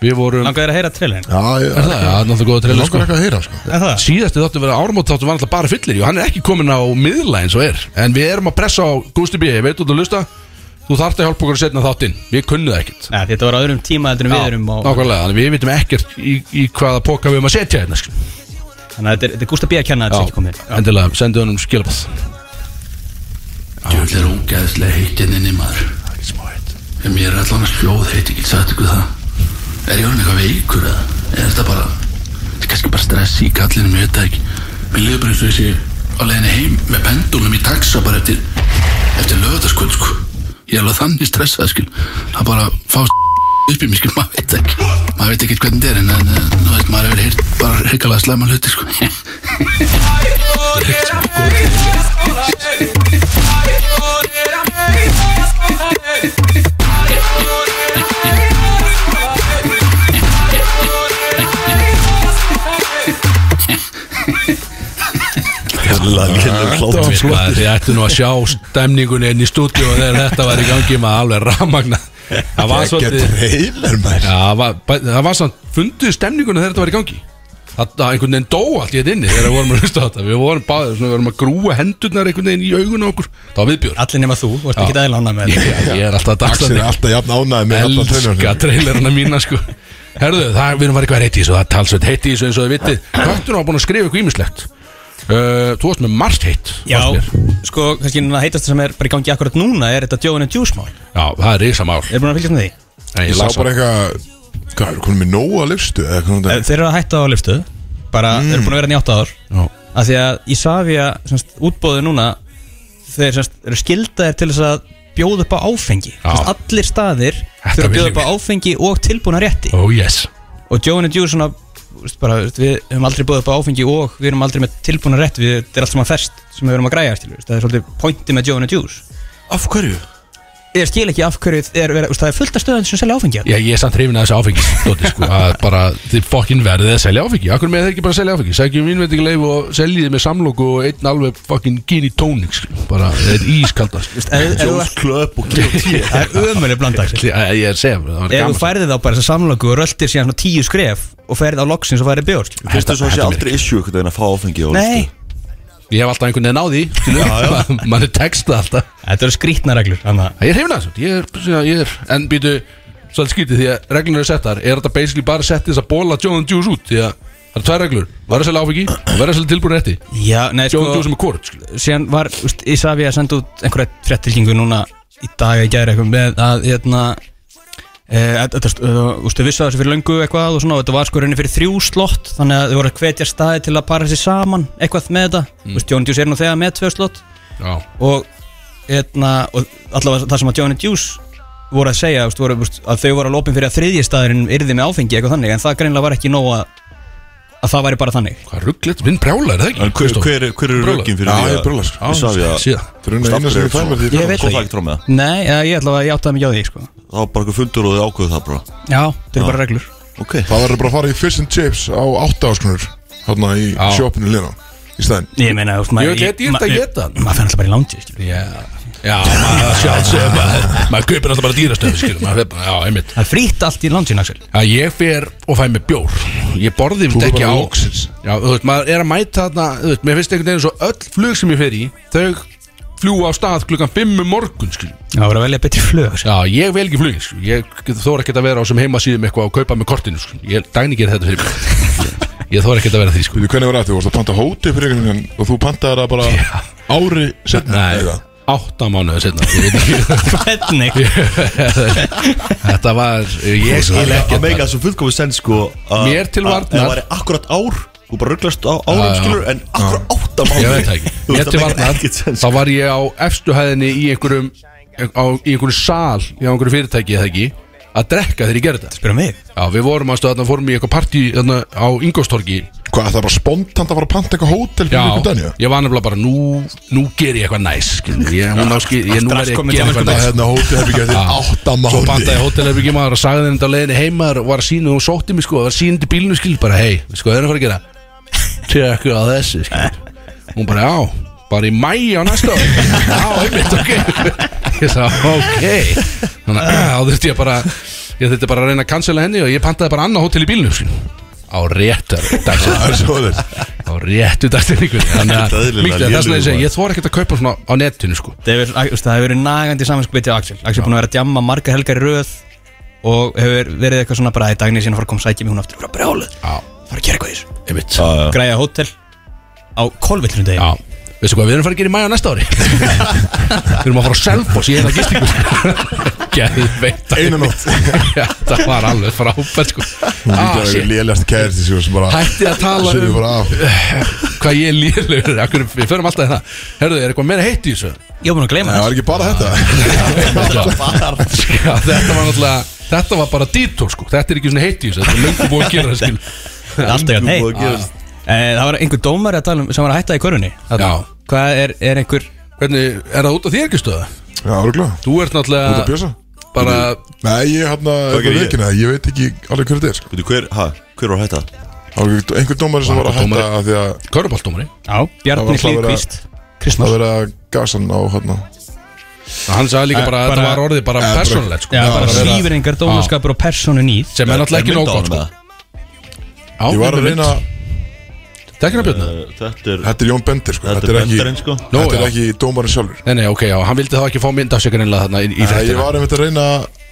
Við vorum Langaði þér að heyra trillin Já, ég Er það, já, náttúrulega góða treyla Langar sko. ekki að heyra sko Er það? Síðasti þáttu verið áramót þáttu var alltaf bara fyllir Jú, hann er ekki komin á miðla eins og er En við erum að pressa á Gusti B Ég veit út að lusta Þú þarft að hjálpa okkur að setna þáttinn Við kunnum það ekkert Nei, Þetta var á öðrum tíma heldur en við erum og- Nákvæmlega, þannig við vitum ekkert í, í hvaða póka við erum að setja hérna sko. Þannig að þetta er- þetta er Gústa B. að kenna þetta sem ekki komið inn. endilega, sendu hann um skilabáð Djöld er ógeðslega heittinn inn í maður Það er ekki smá heitt En mér er allan að fljóð heitt, ég get sagt ykkur það Er ég orðin eitthvað veikur eða? Er þetta bara, þetta er kannski bara stress í kallinu, mér veit það ekki Mér liður bara eins og ég sé á leiðinni heim með pendulum í taxa bara eftir Eftir lögðaskvöld sko Ég er alveg þannig stressað skil Það bara fá upp í mig skil, maður veit það ekki Maður veit ekki hvernig þetta er en, en, en þú veist, maður hefur heyrt bara hrikalega slæma hluti sko Hella lélum Þetta var hlátur flott. Maður, Þið ættu nú að sjá stemningunni inn í stúdíu og þegar þetta var í gangi maður alveg ramagna Það var Gekkja svolítið trailer Já, maður það var- bæ- það var samt, funduðu stemningunni þegar þetta var í gangi Það það einhvern veginn dó allt í þetta inni þegar við vorum að hlusta á þetta Við vorum báðir, svona, við vorum að grúa hendurnar einhvern veginn í augun á okkur Það var viðbjörn Allir nema þú, þú ert ekki aðeins ánað með þetta Ég er alltaf að Axel er dagsla alltaf jafn ánæði með alla Elska trailerna trailerina mína sko Herðu, það við erum var eitthvað heitt í þessu Það er talsveit heitt í þessu eins og þið vitið Köttur var búin að skrifa eitthvað ímislegt uh, Þú varst með margt heitt fannst Já, mér. sko, kannski það heitast sem er bara í gangi akkurat núna er þetta Joe and the Juice mál Já, það er risamál Er búin að fylgjast með því? Nei, Ég sá bara eitthvað Hvað er konum í nóa lifstu eða hvað er þetta? Eh, Þeir eru að hætta á liftu Mm. bara, þeir eru búin að vera nýjátt áður Já. af því að Isavia, semst, útbóðu núna þeir semst, eru skildaðir til þess að bjóða upp á áfengi semst, allir staðir Þetta þurfa að viljum bjóða upp á áfengi og tilbúna rétti Oh yes og Joe and the Juice svona, veist, bara, veist, við höfum aldrei bjóða upp á áfengi og við erum aldrei með tilbúna rétt við, þetta er allt saman ferskt sem við erum að græja til, það er svolítið pointi með Joe and the Juice Af hverju? ég skil ekki af hverju er, er, veist, það er fullt af stöðan sem selja áfengi hérna. Já, ég er samt hrifin að þessu áfengi Dóti, sko, að bara þið fokkin verðið að selja áfengi Akkur með þeir ekki bara að selja áfengi Sækjum vínveitinguleif og seljiði með samlóku og einn alveg fokkin gini tóning sko. bara, þetta er ískalda sko. Veist, ef- ef þú Jones ert- Club og K.O.T. það er ömuleg blandags Ég ég er að segja, það var Ef þú gaman sko. færði þá bara þess að samlöku og röltir síðan svona tíu skref og færði á loksins og færði bjór skilur. Finnst þess að það sé Þetta er aldrei issue einhvern veginn að fá áfengi á Nei, listu? Ég hef alltaf einhvern veginn á því skilur. Man er textað alltaf þetta eru skrítna reglur Þannig Ég er hrifin að þessu ég er, svona, ég er, En býtu, svolítið skýtið Því að reglunum er settar Er þetta basically bara að setja þess að bóla John Juice út Því að það er tvær reglur Var að selja áfengi og var að selja tilbúin rétti að Já, nei, sko John Juice með kort skilur. Síðan var, úst, ég sagði að senda út einhverja fréttilkingu núna í dag að gera eitthvað með að, hérna e, að- Þetta, þú veist, þau vissu að þessu fyrir löngu eitthvað og svona og þetta var sko rauninni fyrir þrjú slott þannig að þau voru að hvetja staði til að para sér saman eitthvað með þetta Þú veist, Jón Djús er nú þegar með tvö slott Já, og, hérna, og allavega það sem að Johnny Juice voru að segja veist, voru, veist, að þau voru að lópin fyrir að þriðji staðurinn yrði með áfengi eitthvað þannig en það greinlega var ekki nóg að, að það væri bara þannig hvað rugglit, minn brjála er það ekki En hver, hver, hver eru Brjólar. röggin fyrir Já, því ég að- brjólar, sko. Ég sá því að Síðan Þetta er einu eina sem ég fær með því Ég veit Kom það það ekki. ekki frá með það Nei, eða, ég ætla að ég áttaði mig á því sko. Það var bara eitthvað fundur og þið ákveðu það bara Já, þetta eru bara reglur Ok Það verður bara að fara í Fish and Chips á 8 áskonur Hérna í Já. sjópinu lina Í stæðin Ég meina, þú veist, Ég veit, ég er þetta að geta hann. Maður fann alltaf bara í lánti Það Já, já, maður sjálfsög maður, maður kaupir alltaf bara dýrastöðu skilur, maður fer bara, já, einmitt er frítt allt í lántin, Axel Já, ég fer og fæ mér bjór Ég borði Þú þetta er ekki bara á loksins. Já, þú veist, maður er að mæta þarna þú veist, Mér finnst einhvern veginn svo öll flug sem ég fer í Þau fljú á stað klukkan 5 um morgun skilur. Það voru að velja betri flög sko. Já, ég vel ekki flugin skilur. Ég þóra ekki að vera á sem heimasíðum eitthvað og kaupa með kortinu skilur. Ég dæni gera þetta fyrir mig Ég þóra ekki að vera því sko. Þú veitir hvernig var þetta? Þú varst að panta hóti fyrir einhvern veginn og þú pantaði það bara ári setna Nei, eða? átta mánuðu setna Ég veit ekki Hvernig? Þetta var, ég skil ekki Að meika þessu fullkomu send sko að- Mér til að- varnar. Ef það væri akkurat ár Þú bara rugglast á árum Já, já. skilur En akkurat átta mánuði Ég veit það ekki Þú Mér veist til það meikar ekkert sko, varnar, sens þá var ég á efstu hæðinni í einhverjum á, í einhverjum sal í einhverjum fyrirtæki eða ekki að drekka þegar ég gerði þetta Spyrum mig Já, við vorum aðstöða þarna fórum í eitthvað partí þarna á Ingolstorgi Hvað, það er bara spontant að fara að panta eitthvað hótel fyrir Já, einhvern daginn? ég var nefnilega bara nú, nú ger ég eitthvað næs skilurðu. ég, hún á skil, ég, nú er ég að gera Það eitthvað er næs hérna hótel hefði ekki eftir átta Svo pantaði mánuði hótelherbyggjum maður og sagði henni þetta á leiðinni heima og var að sína og sótti mig sko og var sínandi bílinu skil bara hei, sko það er að fara að gera tjekku á þessu skil hún bara já, bara í mæ á næsta ári já, einmitt, ok ég sagði ok þannig að þá þurfti ég bara ég þurfti bara að reyna að cancela henni og ég pantaði bara annað hótel í bílinu skil á réttar Það er svo þess á réttu dagstæningu þannig Þetta að eðlilega miklu þess að ég segi lélegur ég þóra ekkert að kaupa svona á netinu sko Það hefur, þú veist, það hefur verið nagandi samanskviti á Axel Axel er búin að vera að djamma margar helgar í röð og hefur verið eitthvað svona bara að dagni síðan fara að koma sækja mig hún aftur bara brjáluð, já, fara að gera eitthvað í þessu einmitt græja hótel á kolvillinu degi Já, veistu hvað, við erum að fara að gera í mæja næsta ári Við erum að fara á Selfoss í eina gistingu Geðveit Einu nótt Já, Það var alveg frábært sko Það ah, er shit. eitthvað lélæst kærti sem bara Hætti að tala Sér ég um bara af hvað ég er lélegur af hverju- Við förum alltaf í það Herðu, er eitthvað meira heitt í þessu? Ég var búin að gleyma Það það var ekki bara þetta Já, Sko, þetta var náttúrulega Þetta var bara dítor sko Þetta er ekki svona heitt í þessu Þetta er löngu búið að gera það skil Það er alltaf Þú búið hérna að gerast. Nei, það var einhver dómari að tala um sem var að hætta í körfunni Þarna. Já. Hvað er, er einhver Hvernig, er það út af þér ekki stöða? Já, örgulega Þú ert Þú ert að náttúrulega bjösa? bara Nei, ég hérna Hvað er gerði ég? veikina Ég veit ekki alveg hver þetta er sko. Veitu, hver, ha, hver var hætta? Það var einhver- einhver dómari sem Var var að einhver hætta af því að Köruboltómari Það Já, var Bjarni alltaf verið að- Hlýðkvist það Kristnár verið að gasa hann á hérna Hann sagði líka Eh, bara að bara- þetta var orðið bara Eh, bara- persónulegt sko. Já, Já, bara það verið að- svífringar, dónaskapur og persónu nýð Sem er náttúrulega ekki Er nóg mynd á gott honum sko. eða? Á, Ég var að reyna, Tekna björna Eh, Þetta er þetta er Jón Bender sko Þetta er bendarinn sko Nú, Þetta er já. ekki dómarinn sjálfur Nei, nei, ok, já, hann vildi þá ekki fá mynd af sig greinlega þarna í, í Nei, Ég þrættina var einmitt að reyna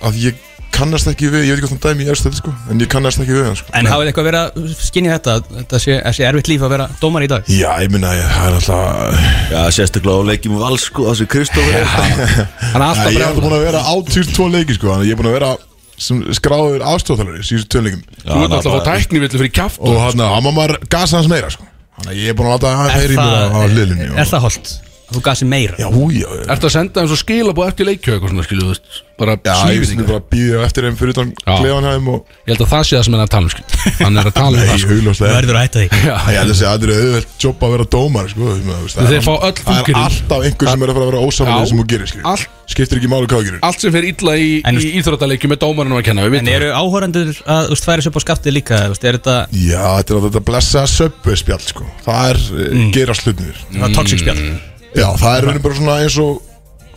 að ég kannast ekki við Ég veit ekki hvort hann dæmi í efstu þetta sko En ég kannast ekki við hann sko En hafið eitthvað verið að skinja þetta að Þetta sé, að sé erfitt líf að vera dómar í dag Já, ég minna, það er alltaf Já, sérstaklega á leikjum við alls sko Það sem Kristóf Nei, ég er Hann er alltaf alltaf brjálur búin að vera á 22 leiki sko Þannig að ég er búin að vera sem skráður aðstofþalari síðustu tölningum Þú ert alltaf að fá tækni villu fyrir kjaft Og hann að hann maður gasa hans meira sko Þannig að ég er búin að láta hann heyri mér á- á liðlinni er, er og- það holdt? Þú gaf sér meira Já, húi, já, já Ertu að senda þeim svo skilabóð eftir leikju eitthvað svona skilju, þú veist Bara Já, ég finnst slífið bara að býða eftir þeim fyrir utan Já. klefanheim og Ég held að það sé það sem hann er að tala um skilju Hann er að tala um Nei, það sko Þú hugljóslega verður að hætta því Já, Ég held að segja að það er auðvelt jobb að vera dómar sko, þú veist, það Þeir er- fá öll Það er fúkirin. alltaf einhver sem er að fara að vera Já. ósamlega sem þú gerir skilur. Allt- Skiptir ekki máli hvað þú gerir Allt sem fer illa í, En- í íþróttaleikju með dómarinn var að kenna við En vitum eru áhórandur að þú veist, færa sér upp á skaftið líka þú veist, Er þetta Já, þetta er alltaf þetta blessa söpvespjall sko. Það er mm. gera slutnir mm. toxic spjall? Já, það er raunum bara svona eins og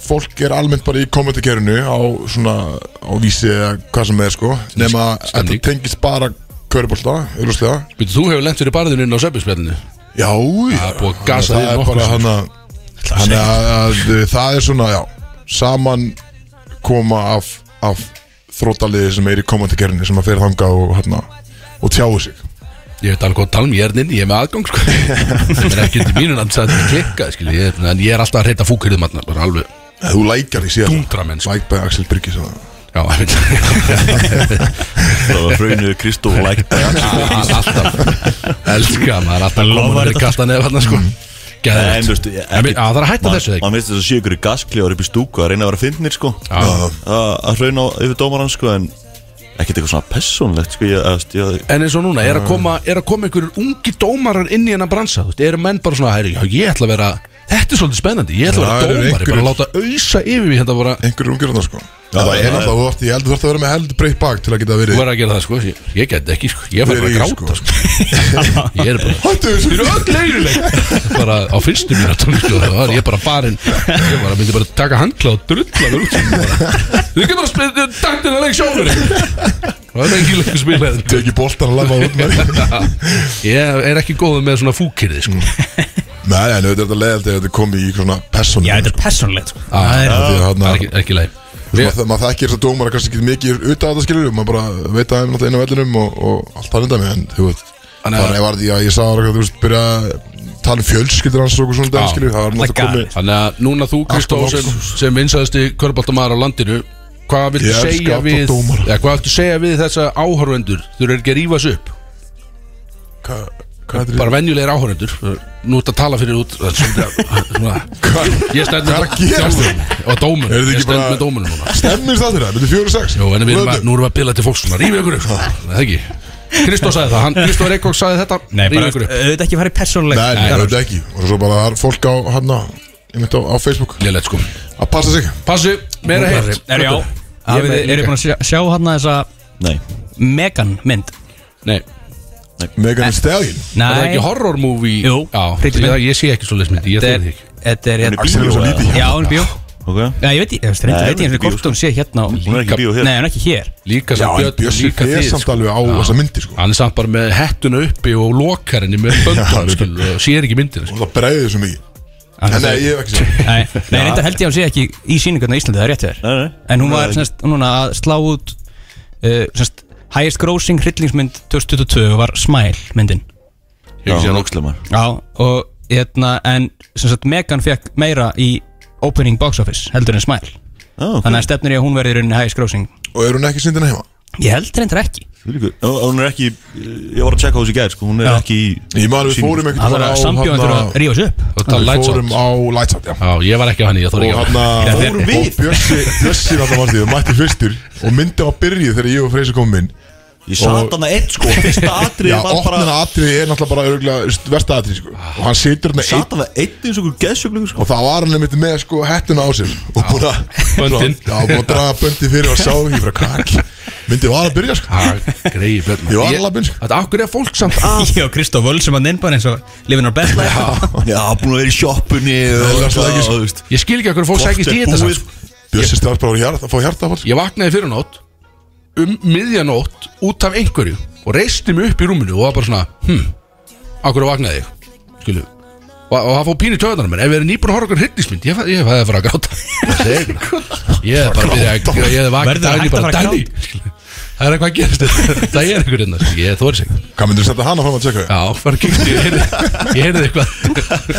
fólk er almennt bara í kommentarkerinu á svona, á vísi eða hvað sem er sko, nema að þetta Stemning. tengist bara körubolta, auðvitað það. Veitu, Þú hefur lent fyrir barðinu inn á söpjuspjallinu Já, já, er búið að gasa það þig er nokkuð sko. bara sem- hann að Þannig að, að það er svona, já Saman koma af, af þrótaliði sem er í komandakerni sem að fyrir þangað og hérna og tjáu sig Ég veit alveg hvað að tala um, ég er inn, ég er með aðgang sko. Það er ekki undir mínu nafn að klikka skilju, ég, En ég er alltaf að reyta fúkirðum þarna, bara alveg Eða Þú lækjar því síðan Dundramenn, sko. Læk bæði Axel Byrgis að það Já, ég veit Það var fröinu Kristóf Læk Alltaf Elska, maður er alltaf Hann komin lofar fyrir þetta. kattan eða þarna sko En Geðvegt. veistu, ég- En við- Já, Það er að hætta Man- þessu þegar Man veist þess að séu ykkur gaskljóður upp í stúku að reyna að vera fyndnir sko Ah. Já. Að að hrauna á- yfir dómarann sko En ekkert eitthvað svona persónlegt sko Ég, að, ég, En eins og núna, er að koma, er að koma einhverjur ungi dómarar inn í hennar bransa, þú veist, eru menn bara svona, herri, já, ég ætla að vera, þetta er svolítið spennandi, ég ætla Það að vera eru dómari, bara einhverjir- að láta auðsa yfir mig hérna bara, Einhverjum umgjörðan sko Það já, er já. alltaf, þú ætti, ég held að þú ætti að vera með held breytt bak til að geta þú verið verður að gera það, sko, ég, ég get ekki, sko, ég Hver fær bara er að ég, gráta, sko, ég er bara, Hættu Þið þessu eru öll leiðileg Bara á fyrstu mínutum sko, Það var ég bara farin Ég bara myndi bara taka handkla og drulla mér út bara. Þið getur bara spilt Takk til það leik sjálfur Það er ekki leikur spilaðið Teki boltan að lafa út með því Ég er ekki góð með svona fúkirði sko. Nei, nei, þetta er þetta leiðalt eða þetta komið í svona persónu Já, þetta er persónlegt sko. Það er- Því að Það hérna er ekki, ekki Sko, leik Við... Maður, maður þekkir þess að dómar kannski ekki mikið út af þetta skilur maður bara veit að þeim náttúrulega inn á vellinum og, og allt það undan mig en þú veist Þannig að- þannig var því að ég sagði hann að þú veist byrja að tala um fjölskyldur hans og okkur svona dag skilur það var náttúrulega galið. komið Þannig að núna þú Kristó Aftur sem, sem vinsæðasti körbáltamæður á landinu Hvað viltu Ég elska segja alla við dómara. ja, Hvað viltu segja við þessa áhörvendur Þú eru ekki að rífa þessu upp Hva, hvað er Bara venjulegir áhörvendur Nú ert að tala fyrir út það er svolítið- svona- þetta? Ég stend Hvað með er að gera dómunum Og dómunum, Eru þið ég ekki stend bara- með dómunum núna Stemmist það þeirra? Þetta er fjóru og sex Jó, en við erum að, Löndum. nú erum við að bila til fólks svona, rífið ykkur upp svona, það ekki Kristó sagði það, hann, Kristó Reykjavík sagði þetta, Nei, rífið bara ykkur upp auðvitað ekki farið persónlegt Nei, nei, þetta ekki og svo bara það er fólk á hann á ég myndi á, á Facebook Lillet sko að passa sig Passu, meira heitt Er já, Ég hafið með þið- líka. eru búin að sjá, sjá hann þessa nei Megan mynd? Nei, Megan Thee Stallion það er Nei, ekki horror movie Jú, Já, hryllingsmynd. ég, ég sé ekki svo lesmyndi, ég þetta þurfið er- ekki þetta er Hún er hérna í Axel er svo bíó, lítið Já, hún er bjó Ok Já, ég veit, ég veist, reyndi Nei, veit ég hún ekki er ekki í hvort bíó, hún sé hérna á- Hún er ekki í bíó hér. Nei, hún er ekki hér Líka Já, sem en Björn, Bjössi líka er þið samt sko. alveg á þessa myndi sko Hann er samt bara með hettuna uppi og lokarinni með Já, böndum, þetta- skil, og sér ekki myndina sko. og það bregði þessu mikið En Nei, ég hef ekki séð Nei, nei, reyndar held ég að hún sé ekki í síningarna í Íslandi, það er rétt Nei, þér nei. En hún var Nei. semst, núna að slá út uh, semst, Highest grossing hryllingsmynd 2022 var Smile myndin Já, sé hún hann. er ókslega maður Já Og hérna, en sem sagt Megan fekk meira í opening box office heldur en Smile Já, Þannig að stefnir ég að hún verði í rauninni highest grossing Og er hún ekki sindin heima? Ég held reyndar ekki Þvílíkur. Já, Hún er ekki, ég var að tjekka á þessu í gær sko, hún er Já. ekki í Ég man við sýningu. fórum einhvern Það var að sambjóðan þurfa hérna að þarna- rífa sig upp Og það er Við lights hérna, fórum out á Lightsat, já Já, ég var ekki á henni, ég þorði Og ekki á hann að Fórum og við? Bjössi, Bjössi var það varst ég, mætti fyrstur Og myndi á byrju þegar ég og Freysi komum inn Ég sat hann að eitt sko, fyrsta atrið Já, var bara opnana atriði er náttúrulega bara örgulega versta atriði sko Og hann situr hann Sat einn hann að eitt eins og einhver geðsjöflingur sko Og það var hann einmitt með sko hettuna á sér Og búin að Böndin. Já, búin að draga böndin fyrir og sá ekki um frá kak Myndið var að byrja sko Greiði blöð Ég var alveg sko Þetta akkur er fólk samt að Ég og Kristóf Völsum að nefn bara eins og Living our best life Já, búin að vera í sjoppunni Nei, það er og eitthvað, ekki svo- þú veist. Ég skil ekki akkur fólk Hvort sækist í er þetta búið? samt sko. Bjössi starf bara að hjarta- fá hjarta að fara Ég vaknaði fyrir nótt Um miðjanótt Út af einhverju Og reisti mig upp í rúminu Og var bara svona Hm Akkur vaknaði ég Skilu Og, og það fóð pínu töðanar mér Ef við erum nýbúin að horfa okkur hryllismynd Ég fæði að fara að gráta Það er eiginlega. Ég er bara að byrja að gráta Ég er vaknaði Verður að daginn, hætta ég að bara fara að Dagný skilu. Það er eitthvað að gerast þetta. Það er eitthvað hérna skilu. Ég þóri sig Hvað myndir setja hana fram að tjekka þig? Já, bara kíkti, ég heyrði, ég heyrði eitthvað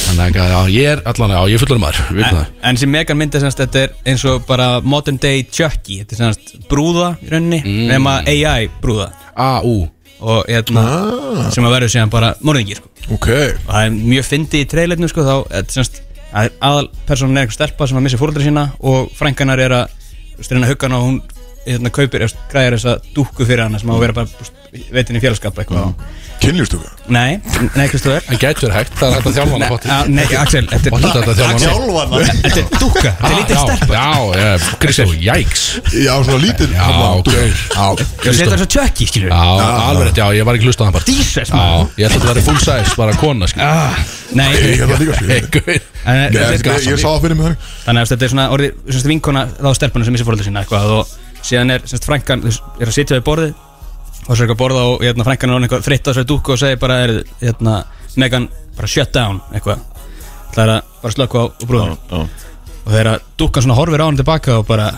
Þannig að já, ég er allan, já, ég er fullur maður við En, það. en sem Megan myndi semst, þetta er eins og bara modern day Chucky, þetta er semst brúða í rauninni, Mm. nema AI brúða A, U, og hérna, Ah. sem að verður síðan bara morðingir, sko. Ok og það er mjög fyndi í treyleirinu, sko, þá þetta er semst, að aðal personan er einhver stelpa sem að missa fóröldra sína og frænkanar er að þú veist, reyna að hugga hana og hún hérna, kaupir, eftir, græðir þessa dúkku fyrir hana sem á að vera bara veitin í félagskap Mm. eitthvað Kynlýfstúka Nei, nei Kristóður en gætur hægt, það er hægt að þjálfa hana pottir Nei, Axel, þetta Pottir er þetta að þjálfa hana Ah, Sjálfan þetta er dúkka, þetta er lítil stelpa Já, já, Kristó, jæks Já, svona lítil Já, hérna, ok. dúkka. Þetta er eins og Chucky, skilur Já, alveg, rétt, já, ég var ekki hlustað hann bara Jesus, Já, ég ætla að þetta væri full size, bara kona, skil Ah, nei, Ég er en, það líka sko Ég- Einhver en, Ég þetta er- ég- ég sá það fyrir mig þannig þannig að þetta er svona orðið svona vinkona þá stelpunum sem missa fóröldur sína eitthvað og síðan er svona frænkan þú veist, er að sitja við borðið og svo er eitthvað að borða og hérna, frænkan er orðin eitthvað þreytt á þessari dúku og segir bara er, hérna, Megan bara shut down eitthvað það er að bara slökka á brúðan já. og þegar að dúkan svona horfir á hann tilbaka og bara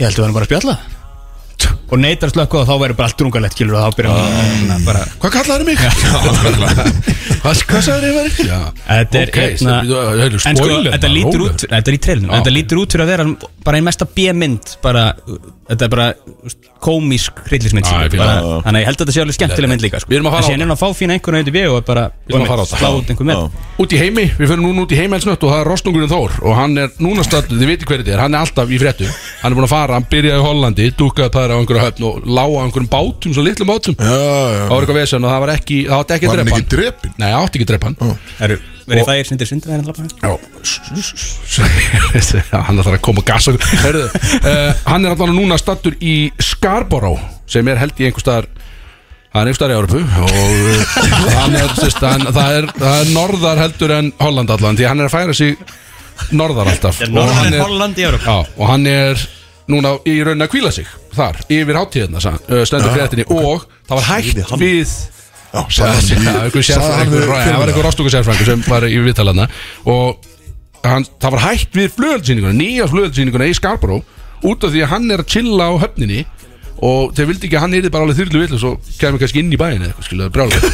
ég held að hann bara að spjalla og neytar að slökka og þá verður bara allt drungalegt kilur og þá byrjar hann Ah. að bara Hvað kallaði mig? Hvað hvað sagði þið verið? Já, Þetta er ok, hérna þetta- þetta er En sko, spoiler, þetta maður, lítur rólegur. út Þetta er í treilinu Já. Þetta lítur út fyrir að vera bara einn mesta B-mynd bara, Þetta er bara úst, komisk hryllismynd Já, ég skilur, fíla bara- það, já. Þannig að ég held að þetta sé alveg skemmtileg mynd líka sko. Við erum að fara á En síðan er hann að fá fína einhvern veit í vegu og er bara Við erum að fara á það. slá út einhver með Út í heimi, við fyrir núna út í heimi elsnött og það er Rostungurinn Þór og hann er núna stöldur, þið veitir hverju þetta er, hann er alltaf í fréttu hann er búin að fara, hann byrjaði í Hollandi dúkkaði pæra á einhverju höfn og lága á einhverjum bátum, svo litlum bátum það Já, já var eitthvað vesen og það var ekki, það átti Var ekki að hann drepa ekki hann drepin? Nei, það átti ekki að drepa hann Herru, verið það ég sindir sindur Það er hann Já, hann ætlar að koma og gasa okkur. Heyrðu, uh, Hann er alltaf núna stattur í Scarborough sem er held í einhver staðar Það er einhver staðar í Európu og eh, hann er, sérst, hann, það, er, það er norðar heldur en Holland allan því hann er að færa sig norðar alltaf og hann er, Holland í Európa já, og hann er núna í raunin að kvíla sig þar yfir hátíðina sa- eh, stendur fréttinni og það var hægt við Já, Já, sagði hann já, einhver við- sagði hann sérfræðingur við Það var einhver fyrir rostúku sérfræðingur sem var í viðtalana Og hann, það var hægt við flugöldsýninguna Nýja flugöldsýninguna í Scarborough Út af því að hann er að chilla á höfninni Og þeir vildi ekki að hann yrði bara alveg þyrlu vill Og svo kemur kannski inn í bæinu eitthvað skilur brjálega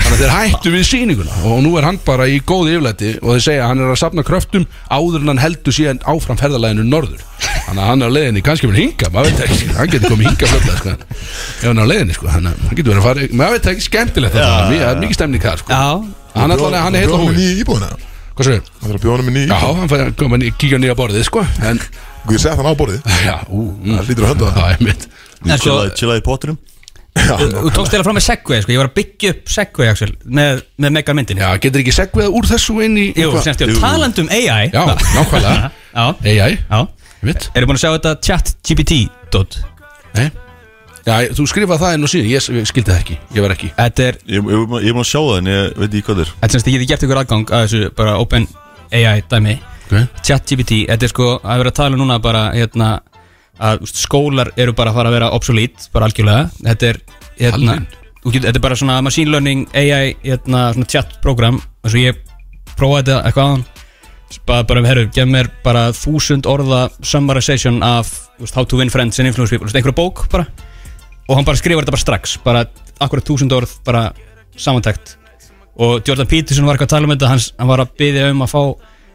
Þannig að þeir hættu við sýninguna Og nú er hann bara í góði yfirlæti Og þeir segja að hann er að safna kröftum Áður en hann heldur síðan áfram ferðalæginu norður Þannig að hann er á leiðinni kannski verið hinga Maður veit ekki, hann getur komið hinga flöfla sko. Ef hann er á leiðinni, sko, hann, hann getur verið að fara Maður veit ekki, skemmtilegt þetta ja, Mjög mikið stemning þar sko. Já, Hann allan hann er heila Bjóðum hófi í íbúðina Hvað svo er? Það þarf að bjóðum í Já, íbúðina hann fær að koma að kíkja nýja borðið sko En, Ég sett hann á borðið já, ú, mm, Það lítur að hönda það það er mitt En svo- Chillaði- Chillaði í pottinum þú tókst eða fram með Segway sko. Ég var að byggja upp Segway Axel með, með mega myndin Já, getur ekki segveða úr þessu inn í Jú, semst, jú, talandum AI Já, nákvæmlega. um Já, AI, já mitt Eru búin að sjá þetta chat GPT dot? Nei Já, ég- þú skrifað það inn og síðan, ég, ég skildi það ekki, ég var ekki Þetta er, Ég ég er búin að sjá það en ég veit ekki hvað það er þetta semst, ég geti gert ykkur aðgang að þessu bara open AI dæmi okay. chat GPT, þetta er sko að vera að tala um núna bara hérna að úst, skólar eru bara að fara að vera obsolete bara algjörlega, þetta er hérna, Alveg? þú getur- þetta er bara svona machine learning AI, hérna, svona chat program eins og ég prófaði þetta eitthvað áðan bara, bara herru, gef mér bara þúsund orða summarization af úst, how to win friends and influence people, Þú veist, einhverja bók bara og hann bara skrifar þetta bara strax bara akkurat þúsund orð bara samantækt og Jordan Peterson var eitthvað að tala um þetta hans, hann var að byggja um að fá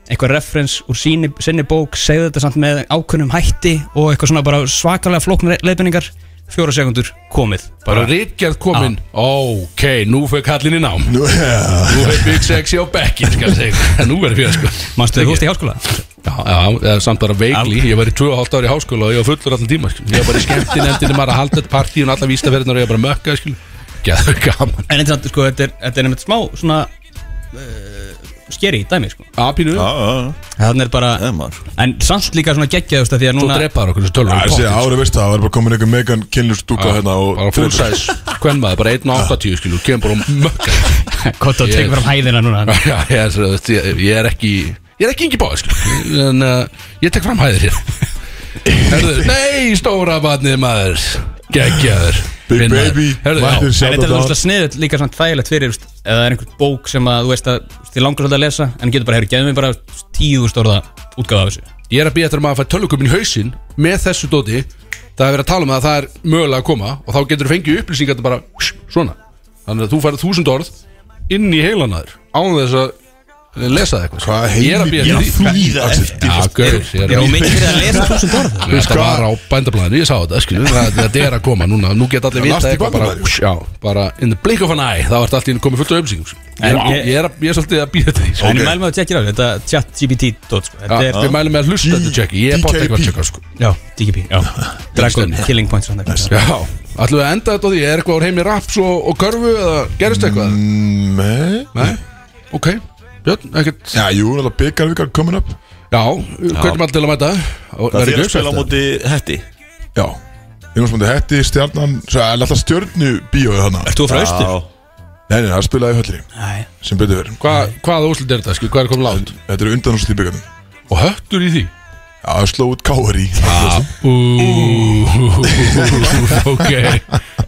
eitthvað reference úr síni, sinni bók segði þetta samt með ákveðnum hætti og eitthvað svona bara svakalega flókn leifinningar fjóra sekundur komið Bara rítgerð komin Ok, nú fyrir kallin í nám Nú, fyrir Big Sexy á bekkin, skal ég segja Nú verður fyrir, sko mannstu þið húst í háskóla Já, já, eða samt bara veikli Ég var í 2,5 ári í háskóla og ég var fullur allan tíma skil. Ég var bara í skemmtinefndinu, maður að halda þetta partí og allar vístaferðin og ég var bara að mökka skil. Gæður gaman en einnig samt sko þetta er, þetta er einmitt smá svona uh, skeri í dæmi sko. Apinu Já, já, já, Þannig er bara það er maður En samt líka svona geggjaðust að því að Svo núna drepaður okkur þessu Já, tölvun þessi ári veist það, það er bara komin einhver megan kynlust stúka hérna og Bara full size Hvern maður, bara 1.80 skilu Kemur bara og mökkar Kotto Ég- tekur fram hæðina núna Já, já, ég, er, svo- veist, ég, ég er ekki Ég er ekki yngi báð En uh, ég tek fram hæðir hér Herðu, nei, stóra barnið maður Geggjaður Big Minn maður. baby, Herðu, mættur já. En þetta er sjálf það sniðut líka svona þægilegt fyrir veist, Ef það er einhver bók sem að þú veist að Þið langar svolítið að lesa En getur bara, heyrðu, gefðu mér bara tíu stórða útgáfa af þessu Ég er að býja eftir um að maður fær tölvuköpun í hausinn Með þessu dóti Það er verið að tala um það að það er mögulega að koma Og þá getur þú fengið upplýsingar bara svona Þannig að þú færið þúsund orð Inn í heilanæður Án þess að eh, lesa það Hvað eitthvað Ég er að heimil býja er eftir þú því í það? Axel? Já, gaur, ég er Er að þú mikið fyrir að lesa þúsund orð? Þetta var á bændablaðinu, ég sá þetta, skiljum Það þetta er að koma núna, nú get allir Last vita í eitthvað bara Bændablaðinu? Já, bara in the blink of an eye, þá ert allt í einu komið fullt af umsýkjum En Ég, ég- ég, er að- ég er svolítið að býða þetta í En ég mælum að þú tjekkir á þessu, þetta chat GPT dot, sko. Þetta sko. Já, er, Við mælum með að hlusta þetta tjekki, ég er bátt eitthvað að tjekka sko. já, DGP já. Dragon Stemmi. Killing Points svona eitthvað. Já, ætlum við að enda þetta á því, er eitthvað úr heimi raps og, og körfu eða gerist eitthvað? Mm. Nei Nei, ok, Björn, ekkert Já, jú, náttúrulega byggarvíkar komin upp Já, hvernig maður til að mæta? Og- Það er verður að uppselt, spila á móti hætti Já Jónsmundi Hetti, Stjarnan Svo er alltaf stjörnu bíóið hana Ert þú frá austur? Nei, nei, það spilaði í höllinni Nei Sem betur verið eða? Hvað- Hvaða úslit er þetta, sko, hvað er komið látt? Þetta eru undanúslit í byggarnum Og höttur í því? Já, það sló út káari Ú, ok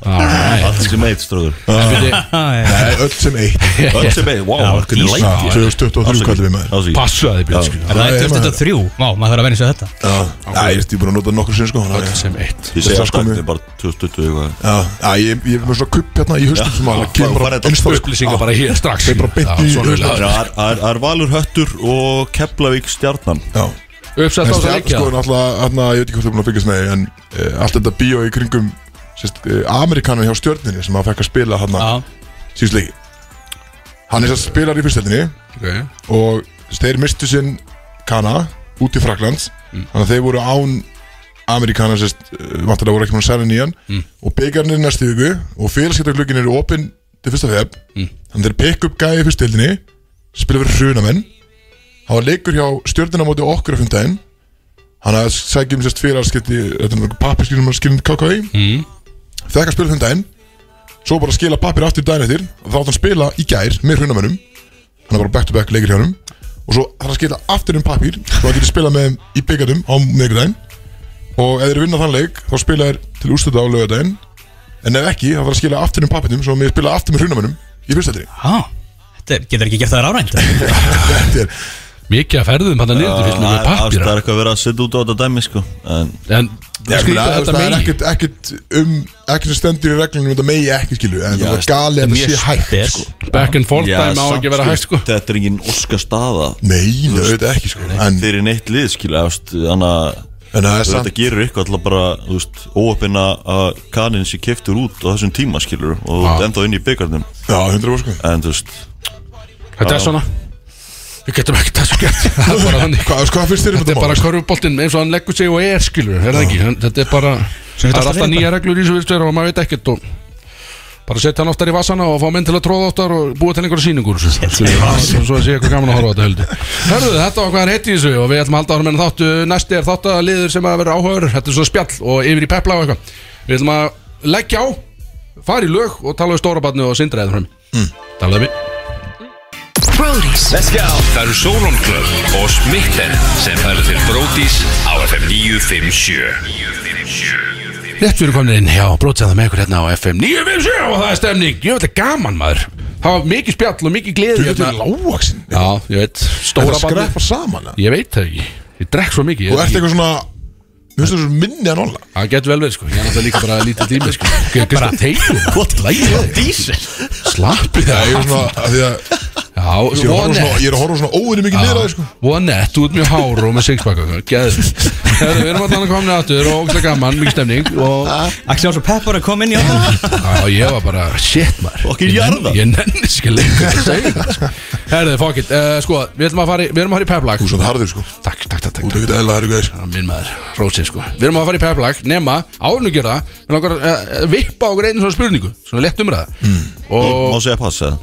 Alright Allt sem eitt stróður Nei, öll sem eitt Öll sem eitt, wow, hvernig Já, læti 2023 kallum við maður Ásaki Passaði Björn Er það Nei, eftir maður. þetta þrjú? Vá, maður þarf að venja sig að þetta Já, Já, ég er búin að nota nokkur sinn sko þannig að- sem eitt Ég segi Þetta er alltaf sko þetta mjög- er bara 2020 eitthvað Já, já, ég ég er með svona kupp hérna í haustum sem að Já, kemur bara bara þetta innstofn Upplýsingar bara hér strax Þeir bara beint Já, í svona hausinn. vilja. Það er- Það er- það er Valur Höttur og Keflavík Stjarnan Já, Uppsett á en þess að stjarn leikja sko náttúrulega, hérna, ég veit ekki hvort það er búin að fylgjast með því, en uh, allt þetta bíó í kringum sérst, uh, Amerikanin hjá stjörninni sem að fekk að spila hérna Já, síðust leiki Hann er sérst spilar í fyrstöldinni Ok. og þeir mistu sinn Kana út í Fraklands þannig að þeir voru án Amerikanar sérst, uh, vantarlega voru ekki með særin í hann og byggarnir næstu viku og félagskiptarklukkin eru opinn til fyrsta feb þannig að þeir pikk upp gæði fyrst deildinni spila fyrir hrunamenn það var leikur hjá stjórnina móti okkur af fundaginn hann að um, sækjum sérst félagskipti þetta er pappirskipti sem að skilja KKI mm. þekka spila fundaginn svo bara skila pappir aftur daginn eftir og þá átt hann að spila í gær með hrunamennum hann er bara back to back leikur hjá hann og svo þarf að skila aftur um pappir svo hann getur spilað með þeim í byggandum á miðgudaginn og ef þeir vinna þann leik þá spila þeir til úrstöta á lögadaginn en ef ekki þá þarf að skila aftur um pappirnum svo með spila aftur með hrunamennum í fyrstöldri já Þetta er- getur ekki gert það rárænt þetta er Mikið að ferðum hann að niður fyrst með Það pappir er eitthvað að vera að setja út á þetta dæmi sko En En Já, ég meina, þú skrýta veist, þetta það er megi ekkert, ekkert um ekkert sem stendur í reglunum þetta megi ekki skilu en það er gali að það sé hægt sko. Back and forth Já, dæmi á samt, ekki að vera sko, hægt sko Þetta er engin oska staða nei, það veit ekki sko. en, Þeir eru neitt lið skilja Þannig að en það er þetta samt gerir eitthvað alltaf bara þú veist, óöppina að kanin sé keftur út á þessum tíma skilur og ah. enda inn í byggarnum já, 100% sko. en þú veist Þetta er svona Við getum ekki þessu gert Það er bara þannig hvað, hvað finnst þér um Þetta er bara körfuboltinn eins og hann leggur sig og er skilur Er það ekki? En Þetta er bara Það þetta er alltaf alltaf verið nýja reglur í þessu virðstöður og maður veit ekkert og bara setja hann oftar í vassana og fá menn til að tróða oftar og búa til einhverja sýningur Svo svo að sé eitthvað gaman að horfa á þetta höldu Hörðu, þetta var hvað hann heiti í þessu og við ætlum að halda ára með þáttu Næsti er þátt að liður sem að vera áhugaður Þetta er svona spjall og yfir í pepla og eitthvað Við ætlum að leggja á, fara í lög og tala við stóra barnu og sindra eða fram mm. Talaðu við Brody's Það eru Solon Club og Smitten sem færðu til Brótis á FM 957 Rétt fyrir komin inn, já, brótsaða með ykkur hérna á FM 957 og það er stemning, ég veit að gaman maður Það var mikið spjall og mikið gleði hérna. þetta er lágvaksin Já, ég veit, það stóra bandi skrepa saman eða? Ég veit það ekki, ég drekk svo og mikið ert ég- eitthvað svona Þú veist þessu minni en olla Það getur vel verið sko, ég er náttúrulega líka bara lítið tími sko Ég er bara tegur, Hvað lægir það? Dísel slappið Já, það ég er svona, af því að Já, ég er að horfa svona, vonett ég er að horfa svona óinni mikið niður að þér sko Vonett, út mjög hár og með sixpack og Gæður, við erum allan að komin aftur og ógæslega gaman, mikið stemning og Axel Jónsson Peppar er komin í átta Já, ég var Ah, bara, shit maður Fucking Ég nenni- jarðar. Ég nenni skil lengur að segja það sko. Herðið, fuck it, uh, sko, við erum að fara í, við erum að fara í peplag Þú er svona harður sko Takk, takk, takk, Þú takk, takk. er ekkert eðla herru gæðis Það er Minn maður, rósin sko Við erum að fara í peplag, nema, áfnum gera það Við langar eh, að uh, vippa okkur einu svona spurningu Svona lett umræða mm. Má Og segja pass eða?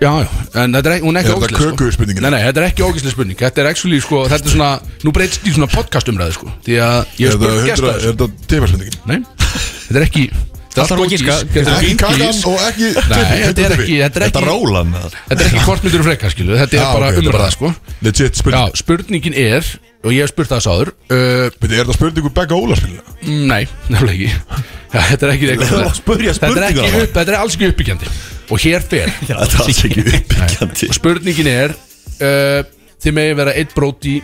Já, já, en þetta er, ekki- hún er Er ekki þetta ógeðsleg, sko. kökuspurningin? Nei, nei, þetta er ekki ógæslega spurning Þetta er actually, sko, þetta er svona Nú breytist í svona podcast umræði, sko Því að ég Er hef þetta spurt 100 er gesta þessu þetta tífarspendingin? Nei, þetta er ekki Þetta er Alltaf allt að giska. ógís Þetta er Ekki ekki kakan ógís og ekki Nei, þetta er ekki Þetta er Þetta ekki, rólan með það þetta er ekki kortmyndur og frekar, skilu Þetta er Já, bara ok, þetta er umræða, bara- sko Legit Já, spurning spurningin er Og ég hef spurt það sáður uh, Beti, Er þetta spurningu begga ólarspilina? mm, Nei, nefnilega ekki Já, Þetta er ekki Það er að spurja Þetta er ekki spurningar upp, þetta er alls ekki uppbyggjandi Og hér fer Þetta er alls ekki uppbyggjandi Og spurningin er uh, Þið megi vera eitt bróti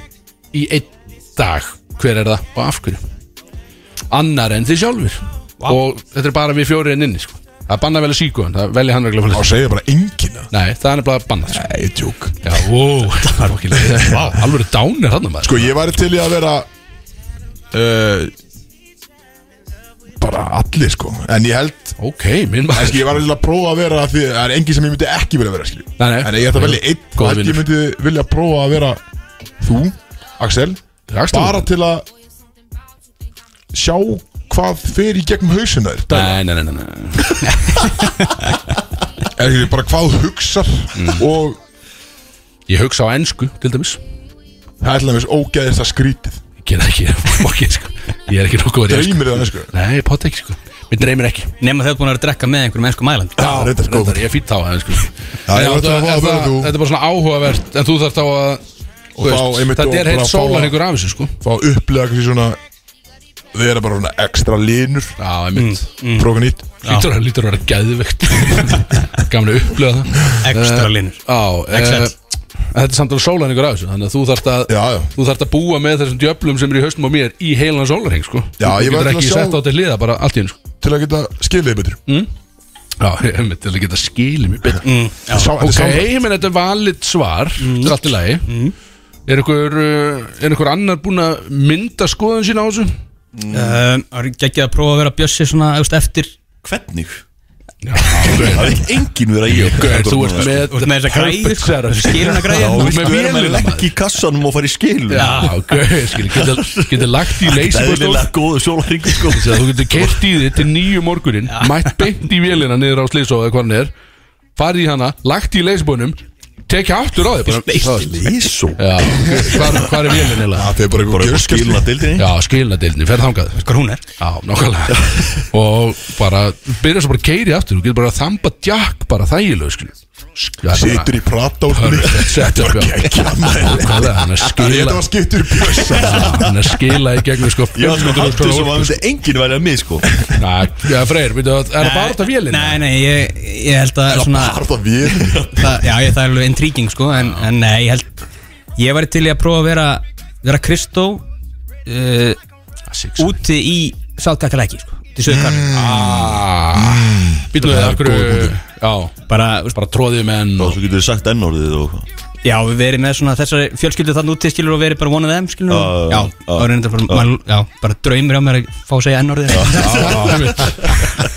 í einn dag Hver er það og af hverju Annar en þið sjálfur Og þetta er bara við fjóri en inni sko. Það banna vel að síku en það velja hann regla Á flest segja bara engina Nei, það er nefnilega bannað sko. Nei, tjók Já, ó, það er okkilega Vá, alveg dánir hann maður Sko, ég væri til í að vera uh, Bara allir, sko En ég held Ok, minn En maður sko, ég var alveg að prófa að vera því Það er engin sem ég myndi ekki vilja vera, skilju Nei, nei. En ég ætla að velja einn Góður Og held ég vinur. myndi vilja prófa að vera Þú, Axel Axel. Bara til að Sjá hvað fer í gegnum hausina þér Nei, nei, nei, nei, nei. Er ekki bara hvað þú hugsar Og Ég hugsa á ennsku, til dæmis það er til dæmis ógeðist að skrítið Ég gera ekki, fokkin, sko Ég er ekki nokkuð að reyna Dreymir það, sko Nei, pát ekki, sko Mér dreymir ekki Nefn að þau búin að vera að drekka með einhverjum ennsku mæland Já, reyndar, sko. Reyndar, Ég fýtt þá aðeins sko. ég En var þetta- að fá að en vera það- þú. Þetta er bara svona áhugavert En þú þarf þá að þú þá veist, einmitt Þetta og er bara heilt fá að- sólan ykkur af þessu sko Mm. Fá að upplega kannski svona Vera bara svona ekstra linur Já, einmitt Próka nýtt Lítur að lítur að vera gæðvegt Gamlega upplega það Eh, Ekstra linur Já, Excel. eh, þetta er samt alveg sólan ykkur af þessu Þannig að þú þarft að Já, já. Þú þarft að búa með þessum djöflum sem er í haustum á mér Í heilan sólarheng sko Já, Þú ég var getur til að ekki sjá- sett á þetta hliða bara allt í hennu sko Til að geta skilið betur Já, einmitt, til að geta skilið mér betur Sá, Mm. Ok, þetta er ég menn þetta er valið svar Mm. Þetta er allt í lagi Er einhver, uh, er einhver annar búinn að mynda skoðun sína á þessu? Eh. Það Eh, er ekki að prófa að vera bjössi svona þú veist, eftir Hvernig? Já, Það er engin vera ég Gaur, þú ert sko. með Þú ert með þessa græður, sko. Skiluna græður. Já, Þú ert við með verðum að vélina, maður. leggja í kassanum og fara í skilun Já, gauð, skilur, getur geta lagt í Eðlilega leysibúrstól góðu sjólarringu sko Þú getur kert í þið til nýju morgunin Mætt beint í vélina niður á slýsóðu eða hvað hann er Farið í hana, lagt í leysibúrnum Tekja aftur á þig bara Lísó Já, hvað, hvað er vélina eiginlega? Það er bara eitthvað Bara upp á gjörskil skiluna dildinni Já, skilnadeildin, fer þangað Hvað hún er Já, nákvæmlega Og bara, byrja svo bara að keiri aftur Þú getur bara að þamba djakk bara þægilega skilur. Sk- Situr í prata og skilið Þetta er bara Gekja maður Nákvæmlega, hann er Þetta skila var skiptur bjössa Hann er skila í gegnum sko Ég var sko 500 hattur sem krónur. að myndi engin væri að mig sko Nei, Já, Freyr, veitu, er það bara þetta vélina? Nei, nei, ég, ég held að svona, Harða við það, Já, ég, það er alveg intriguing sko en, en nei, ég held Ég væri til í að prófa að vera Vera Kristó uh, Six. Mm. Úti í Saltkakalegi sko Til söðkarri Býtum Ah, við er okkur góður punktur. Já, Bara, þú veist, bara tróðið með enn Og og svo getur við sagt ennordið og eitthvað. já, við verið með svona Þessari fjölskyldu þannig úti skilur og verið bara one of them skilur Já, uh, já, Já, já. það er reyndar bara, maður, já, bara draumir á mér að fá að segja ennorðið Já, já, einmitt.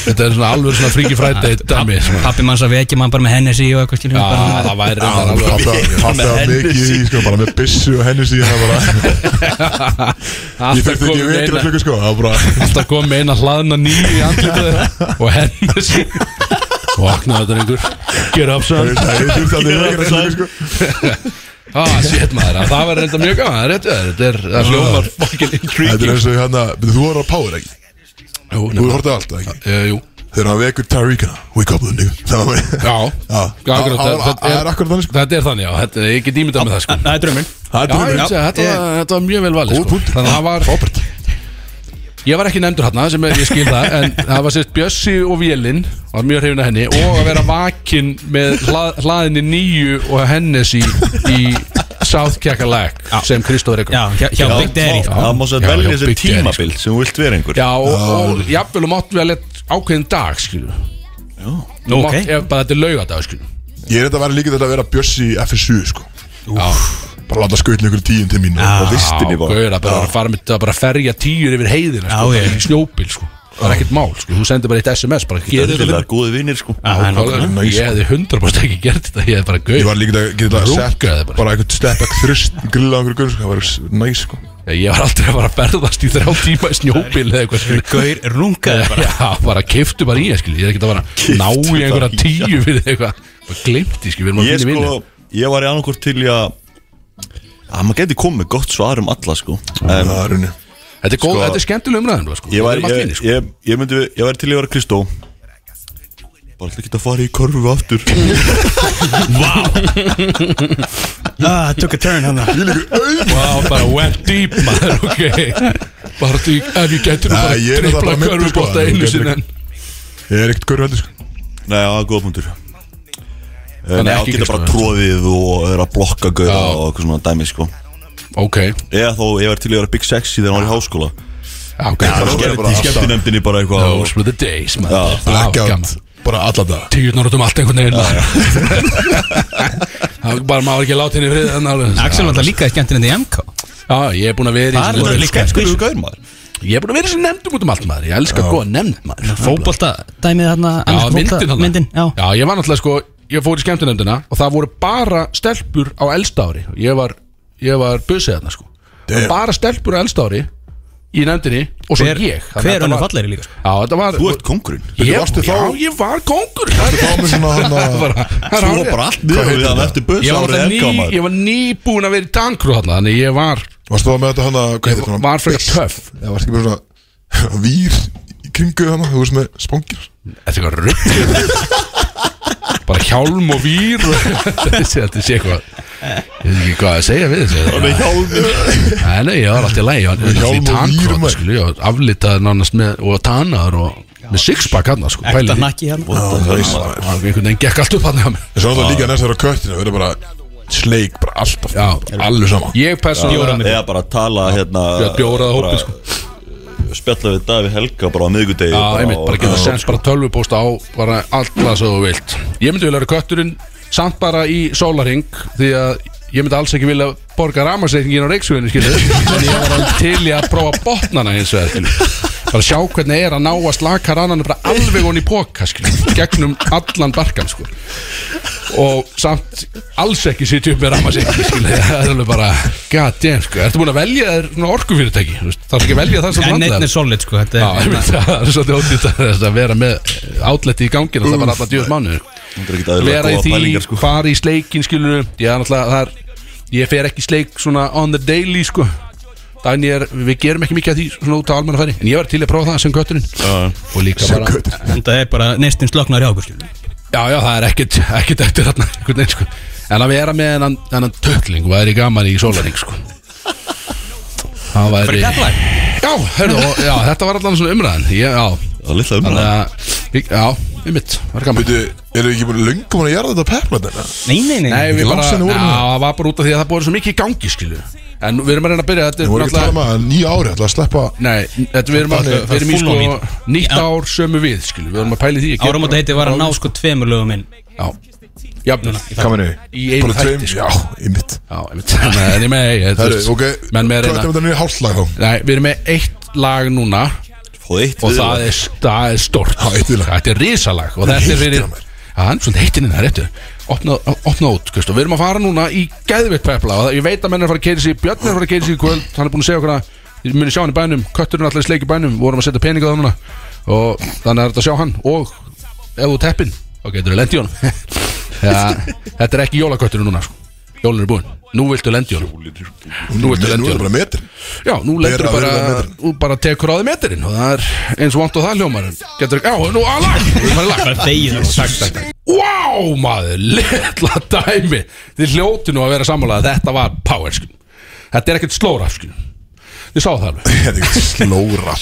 Þetta er svona alveg svona fríki fræti dæmi svona. Pappi manns að vekja mann bara með henni og eitthvað skilur Já, bara- það væri reyndar alveg Passa mikið í því, sko Bara með byssu og henni síðan Það bara Ég Alltaf þurfti ekki komið vekir eina- að klukka sko Það var bara Alltaf kom með eina hlaðna nýju í andlitaði og henni sig Vaknaði þetta einhver Get up son Ég þurfti aldrei vekir að klukka sko ah, Shit maður, það var reynda mjög gaman Það er réttu það, þetta er það hljómar fokkin Þetta er intriguing eins og hérna Þú var á power ekki Jú, Þú nefnilega. horfði allt ekki Eh, Jú, Þegar hann vekur Taríkana Wake up the nigga Það var já Já, Akkurat, það- það- það er akkurat þannig sko Þetta er þannig, já, þetta, ég get ímyndað með það sko Það er draumir Það er Já, ég draumurinn. myndi segja, þetta, var, þetta var mjög vel valið Góð sko. punktur. Þannig að það var Frábært. Ég var ekki nefndur hérna sem er- ég skil það En það var sérst Bjössi og Vélin Var mjög hrifin að henni Og að vera vakinn með hlað, hlaðinni nýju Og hennes í, í South Kakalag Sem Kristóður Já, ekkur hjá, hjá Big Daddy Það má svo Já, já, velja sko. þessi Big Daddy, tímabil sem þú vilt vera einhver Já, og, og jafnvel og máttum við að leta ákveðin dag Skilju Nú, ok Ef bara þetta er laugardag skilju Ég er þetta að vera líka til að vera Bjössi í FSU sko Bara láta skautin ykkur tíum til mín Á og- vistinni bara Gauður að bara fara með að bara ferja tíur yfir heiðina sko, Já, ég- bara Í snjóbíl sko Það er ekkert mál sko, þú sendir bara eitt SMS bara gerir þetta Eðlilega góði vinnir sko það er Nákvæmlega. nákvæmlega. Ég hefði 100% ekki gert þetta Ég hefði bara Ég gauð var líka að geta að setja Rúkaði bara. bara eitthvað steppa þrist grilla á einhverju gunn sko, það var næs sko Ég var aldrei að fara að ferðast í þrjá tíma í snjóbíl eða eitthvað skilur. Gaur rungaði bara Já, bara keftu bara í ég skilur. Ég er ekkert að fara að ná Keyptu í einhverja bara í, tíu fyrir eitthvað Bara glimt því, sko, við erum að Ég finna vinna sko, ég var í annarkort til í að að maður geti komið með gott svar um alla sko en Það er henni Þetta er góð, sko- þetta er skemmtileg umræðin, sko ég var, Við erum að ég, finna, sko ég, ég myndi, ég var til í að vera Kristó bara alltaf geta að fara í korfu aftur Ah, took a turn hann Vá, bara went deep, maður, ok Bara því, ef ég getur nú Nei, bara ég er trippla það bara meiddur, sko, en körfubóta ég einu get sinni ekki- Ég en er ekkert körfaldur sko Nei, já, góða punktur Eh, Þannig Nei, ekki það geta bara Kristó. sko. tróðið og er að blokka gauða Já. og eitthvað svona dæmi sko Ok, Eða þó, ég var til í að vera Big Sexy þegar hann var í háskóla já, ok Það bara- gerði bara í skemmtinefndinni bara eitthvað Those were the days, Já, maður Blackout Bara alla dag Tíunar út um allt einhvern veginn Það var bara, maður ekki að láta henni frið þannig Axel var alveg. alltaf líka í skemmtinn í MK Já, ég er búin að vera Þar í voru svona- líka Skurðu gaur maður Ég er búin að vera í þessum nefndum út um allt maður Ég elska góða nefnd maður Fóbolta dæmið þarna Já, enska myndin fótbolta- hann Myndin, já Já, ég var náttúrulega sko Ég fór í skemmtunefndina Og það voru bara stelpur á eldstári Ég var, ég var busið þarna sko Damn. Bara stelpur á eldstári Í nefndinni Og svo Hver- ég Þannig að Hver þetta önnu var- fallegri líka sko. Já, þetta var Þú ert kongurinn Ég, Varstu já, þá- ég var kongur Það Þá með svona hann að bara- það er Þú var hárrétt. bara allt niður við hann eftir buss Ég var, árið náttúrulega enga ný, maður ég var nýbúin að vera í tankrú þarna Þannig ég var, Varstu það með þetta hann að Hvað heitir þetta? var frekar töff Það varst ekki bara svona Vír í kringu hann Þú veist með spangir Þetta er eitthvað rugg Bara hjálm og vír og- Þessi- Þetta sé eitthvað Ég veit ekki hvað að segja við þessu Nei, nei, ég var alltaf í lægi Ég var alltaf í Hjálm og vír, tankrot, maður. skilju Ég var aflitaður nánast með Og tanaður og Með sixpack hann, sko Ekta pælið því. nakki hérna Ég Og Einhvern veginn gekk allt upp hann hjá mér En svo er það líka næst þegar á köttinu Það verður bara sleik bara alltaf Já. Allu sama Ég persónulega Eða bara tala hérna Já, bjóraða hópinn, bara- eh, sko. Spjalla við Davi Helga bara á miðgudegi Já, sko. einmitt, bara geta sens bara tölvupósta á bara allt það sem þú vilt Ég myndi vilja vera kötturinn samt bara í sólaring því að ég myndi alls ekki vilja borga ramasegningin á reiksuginni skilu en ég var alveg til í að prófa botnana hins vegar skilu bara sjá hvernig er að ná að slaka rannanum bara alveg hon í póka skilu gegnum allan barkan sko og samt alls ekki sitja upp með ramasegningin skilu það er alveg bara god damn sko ertu búin að velja þér svona orkufyrirtæki þú veist? þarf ekki að velja það sem En blandaðar? einn er solid sko Þetta Já, er ég veit, það er svolítið ódýrt að þess að vera með átleti í gangin það er bara alltaf djöðs mánu Þetta er ekki aðeins vera í góða því, pælingar sko fara í sleikin skilur ég er náttúrulega það er, ég fer ekki í sleik svona on the daily sko Dæni er, við gerum ekki mikið af því svona út á almannafæri en ég var til að prófa það sem kötturinn og líka bara, Þetta er bara neistinn sloknar hjá okkur skilur við. já já það er ekkert ekkert eftir þarna, einhvern veginn sko en að vera með hennan, hennan tökling og væri gaman í sólaring sko það væri Fyrir kallar já, hörðu, og, já, þetta var allan svona umræðan ég, já, Það er litla Þannig umræða að, við- já, við mitt, var gaman Veitu, eru ekki búin löngum búin að gera þetta perlatina? Nei, nei, nei Nei, við Langt bara, já, síðan við vorum hérna. með. það var bara út af því að það búið svo mikið í gangi, skilu En við erum að reyna að byrja, þetta Þú er voru ekki um að tala náttúrulega með að nýja ári ætla að sleppa Nei, þetta við erum að, Það er- við erum í full sko on í. nýtt Já. ár sömu við, skilu Við erum að pæli því að gera- Áramóta heiti var að ná sko tveimur lögum inn Já, jafnum Kaminu Í einu þætti, sko. Já, í mitt Já, einmitt, Nei, en ég með, ég, þú Herru, veist, ok menn með Hvað að er reyna þetta nýja hálflag þá? Nei, við erum með eitt lag núna Fóð eitt Og við það er, það er stort Já, eitt lag. Þetta er risalag Og þetta er heitir fyrir hann mér. Já, hann er svolítið heittinn hérna, réttu Opna, opna út, Kristof Við erum að fara núna í geðvitt pepla Og það- ég veit að menn er að fara að keiri sig Björn er að fara að keiri sig í kvöld Hann er búin að segja okkur að Við munum sjá hann í bænum Kötturinn er alltaf í sleik í bænum Við vorum að setja peninga á það núna Og þannig er þetta að sjá hann Og ef þú teppin Þá getur þú lendi í honum Já, Þetta er ekki jólakötturinn núna sko. Jólin er búin Nú viltu lendi í honum Nú viltu Nú lendi í er honum bara metir Já, nú lendur Bera þú bara, virða metrinn. þú bara tekur á því metrinn og það er eins vant og það hljómar en Getur, já, nú að lag, við erum að lag Bara þegið og sagt þetta Vá, maður, litla dæmi Þið hljóti nú að vera sammála að þetta var power, skil Þetta er ekkert slóra, skil Þið sá það alveg Þetta er ekki slóra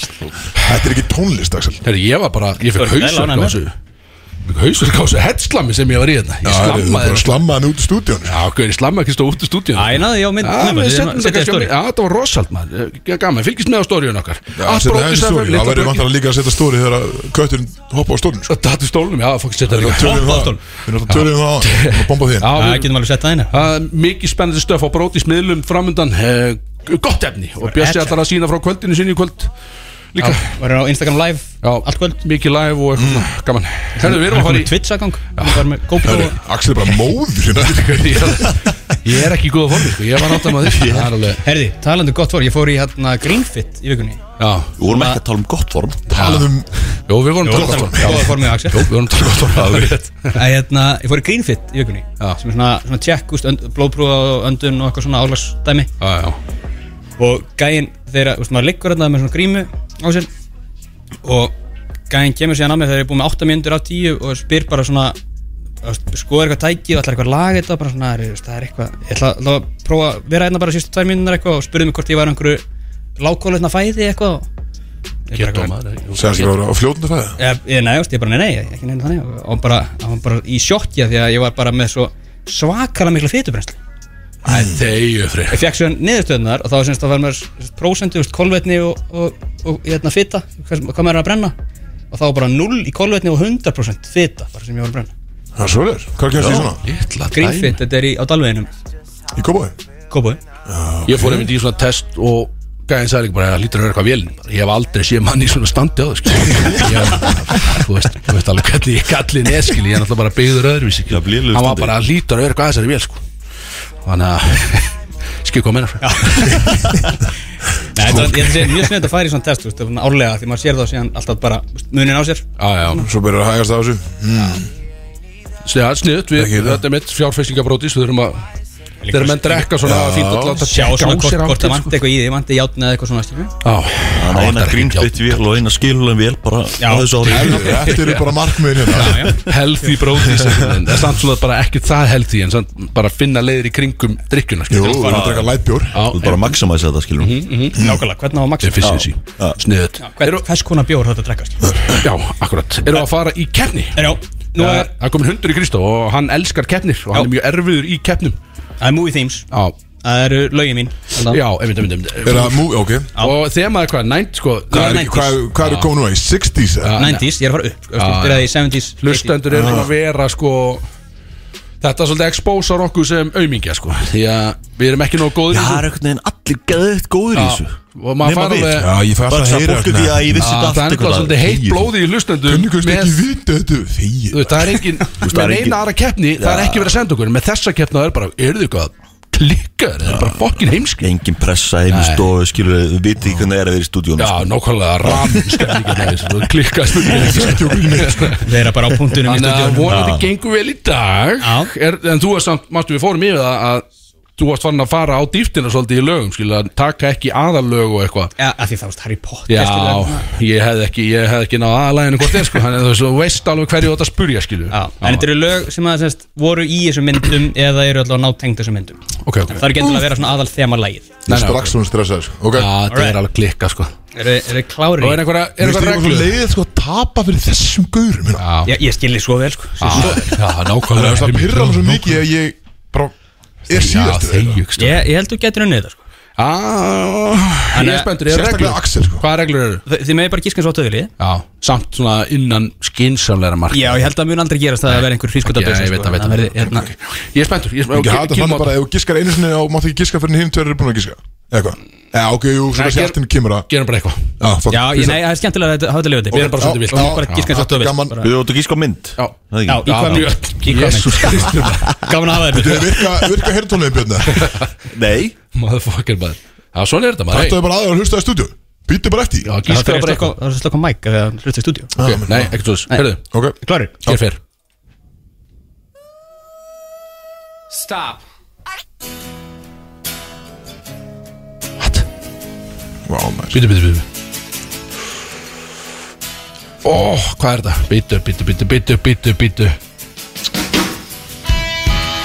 Þetta er ekki tónlist, Axel Herri, ég var bara, ég Þú ert fekk vel hausverk á ánægður með þessu Ég fekk hausverk á þessu headslami sem ég var í þetta Ég Já, þú slammaði bara þetta slammaði hann út í stúdíónu sko. Já, ok, ég slammaði ekki stóð út í stúdíu Æ, náði, já, mynd- Já, mynd- við við setjum setjum þetta þetta í story. kannski á mig. Já, þetta var rosalt maður Eh, Gaman, fylgist með á stóriun okkar Allt Þetta er bara út í aðeins Stefán, stóri litla Það verður böggin. vantar að líka að setja stóri þegar kötturinn hoppa á stólinn sko. Þetta hattu stólnum, já, fólk setja Við það erum Hoppa á náttúrulega stólinn. tölum það á hann Við erum að bomba því Já, inn Það við- getum alveg sett það inn Það er mikið spennandi stöf á bróti smiðlum framundan eh, Gott efni Og Björnsi ætlar að sína frá kvöldinu sinni í kvöld Líka Varum á Instagram live Já. Allt kvöld Mikið live og eitthvað mm. gaman Herðu, við erum að Hann fara er í Twitch aðgang Hann var með GoPro Herru, Axel er bara móður hérna. Ég er ekki í góða formi, sko Ég var átt að maður því Það er alveg Herði, talandi um gott fór Ég fór í hérna Greenfit í vikunni Já Við vorum ekki að tala um gott form Talað um Jó, við vorum Góða tölvast Jó, formið Axel við vorum tölvast Æ, hérna, Ég fór í Greenfit í vikunni Já. sem er svona, svona tjekk, úst, önd, blóðprúða og öndun og eitthvað svona álagsdæmi Já, já og gæinn þegar, þú veist, maður liggur hérna með svona grímu á sér og gæinn kemur síðan að mér þegar ég er búið með 8 mínútur af 10 og spyr bara svona þú veist, skoðar eitthvað tæki og ætlar eitthvað að laga þetta bara svona, er, þú veist, það er eitthvað ég ætla, ætla að prófa að vera hérna bara sístu 2 mínútur eitthvað og spurði mig hvort ég var einhverju lágkóluðna fæði eitthvað og ég bara eitthvað Sæðast ekki að vera á fljótandi fæða ég, ég, nei, veist, ég bara, nei, nei, ekki neina þannig og hann bara, hann var bara í sjokkja því að ég var bara með svo svakala mikla fytubrennslu Þegju frið ég fekk sér niðurstöðunar og þá semst að var maður semst, prósentu, veist, kolvetni og, og, og hérna fita, hvað, hvað maður er að brenna og þá var bara 0 í kolvetni og 100% fita, bara sem ég var að brenna Það er svolítið, hvað kemst því svona? Ítla dæmi grínfitt, þetta er í, á dalveginum Í kópaði? kópúi, Ég fór einmitt í svona test og gæðin sagði líka bara að lítur að vera eitthvað vélinn bara, ég hef aldrei séð manni í svona standi á þau skil. Ég- þú, veist- þú veist alveg hvernig ég gallin er skil, ég er náttúrulega bara byggður öðruvísi skil. Já, lélegur hann var standi. bara að lítur að vera eitthvað að þessari vél sko. þannig að skil hvað meina Nei, þetta var- ég held að segja mjög snöð að fara í svona test, þú veist, svona árlega því maður sér þá síðan alltaf bara þú veist, munin á sér já, Svo byrjar að hægast á þessu já, sniðut við, Ekki það. þetta er mitt fjárfæstingabrótis við þurfum að þegar menn drekka svona fínt að láta sjá tjekka svona á hvort, sér sko. hvort það andlitið, vanti eitthvað í því, vanti játni eða eitthvað svona skilur. sko. Já, Þannig það vantar að ekki eina járn. grínfitt vél og eina skilulegum vél bara á þessu ári Helviti, Þetta eru bara markmiðin hérna healthy brótis en það er samt svona bara ekki það healthy en samt bara finna leiðir í kringum Jú, drikkjuna skilur. þú er að drekka lætbjór Þú ert bara að maximæsa þetta skilum Mhm. nákvæmlega, hvernig á að maksa efficiency Já. sniðut Hvern, hvers konar bjór þetta drekkast já, akkurat erum við að fara í keppni já, nú það er, er komin hundur í Kristó og hann elskar keppnir og hann Eh. Já. er mjög erfiður í keppnum það er movie themes já, það eru lögin mín held að. já, einmitt, einmitt, Er einmitt það mú, ok og þemað er hvað, nænt sko Hvað er- 90s. Hvað hvað eru komin núna í 60s? eða? 90s, ég er að fara upp sko, ah, byrjaði í 70s 80s. hlustendur eru að vera sko þetta er svolítið expósar okkur sem aumingja sko því að við erum ekki nóg góður Já, í það er einhvern veginn allir gæðið góður í þessu þessu og maður Nema fara við. alveg Já, ég fæ Bara alltaf þess að að heyra fólk er því að ég vissi Já, þetta það er allt eitthvað svolítið heitt Þegi þú. blóði í hlustendum Hvernig kannski með- ekki vita þetta? Þegi Þú veist, það er engin það með er engin- eina aðra keppni, það er Já. ekki verið að senda okkur en með þessa keppna það er bara, eru þið eitthvað klikkaður, það er bara fokkin heimski Engin pressa heim í Nei. stofu skilur Þú viti ekki hvernig það er að vera í sko. stúdíónu Já, nákvæmlega ramin stemningar klikkað stemningar Þeir eru bara á punktunum í sko. Þannig að stúdíunum vonandi gengur vel í dag Já. er, en þú er samt, mástu við fórum yfir það að þú varst farin að fara á dýftina svolítið í lögum, skilja, að taka ekki aðalög og eitthvað Já, af því það varst Harry Potter Já, skilur. ég hef ekki, ég hef ekki náð aðalæginu hvort er sko, þannig að þú veist alveg hverju þú átt að spurja, skilju Já, en þetta eru lög sem að semst, voru í þessum myndum eða eru alltaf nátengd þessum myndum Ok, ok Það er ekki endilega að vera svona aðal þema lægið Ég er strax svona stressaður sko. Ok Já, þetta Alright. er alveg klikka, sko Eru er klárir Og í? er einhverja, er Mér finnst einhverja þetta svo reglu? leiðið sko að tapa fyrir þessum gaurum hérna. Já, Ég, ég skilði svo vel sko Ah, Já, já, Það nákvæmlega er það pyrra mig svo mikið að ég bara er síðast þegjugst Ah. Ég, ég held þú getur unnið þetta sko Ég er spenntur, ég er Sérstaklega reglur Axel sko eh, Hvaða reglur eru? Þi- Þið megi bara gíska svo töðvilið Já, samt svona innan skinsamleira mark Já, ég held að mun aldrei gerast það að vera einhver frískotabösa Já, ég veit það, veit það. hérna, Ég er spenntur, ég er Ég hata þannig spenntur bara ef þú giskar einu sinni og mátt ekki giska fyrir hinn tverjir eru búin að giska Eða hvað? Já, ok, jú, svona Nei, sé ger- allt henni kemur að Gerum bara eitthvað Já, fuck, Já, ég, finnst nei, það er skemmtilega að þetta- hafa þetta lifandi Við erum bara bara svolítið svolítið vilt vilt. Við erum bara Já, gíska svo þetta er gaman. töðvilið Við áttu að gíska á mynd Já. Já, Það í ekki? hvað já, mynd? Í hvað Jesus mynd? Gaman að hafa það. þetta Eh, Virka, virka herrtónlegin björna Nei, Motherfucker maður Já, svona er þetta maður Þetta er bara aðeins að hlusta í stúdíu Býtti bara eftir í. Já, Það gíska er bara slökka- eitthvað það er að slökka á mæk að það hlusta í stúdíu Ok, Nei, ekkert svo þess Hörðu, Ok, Klarir? hér fyrr Stop. vá maður Býtu, býtu, býtu Ó, Oh, hvað er þetta? Býtu, býtu, býtu, býtu, býtu, býtu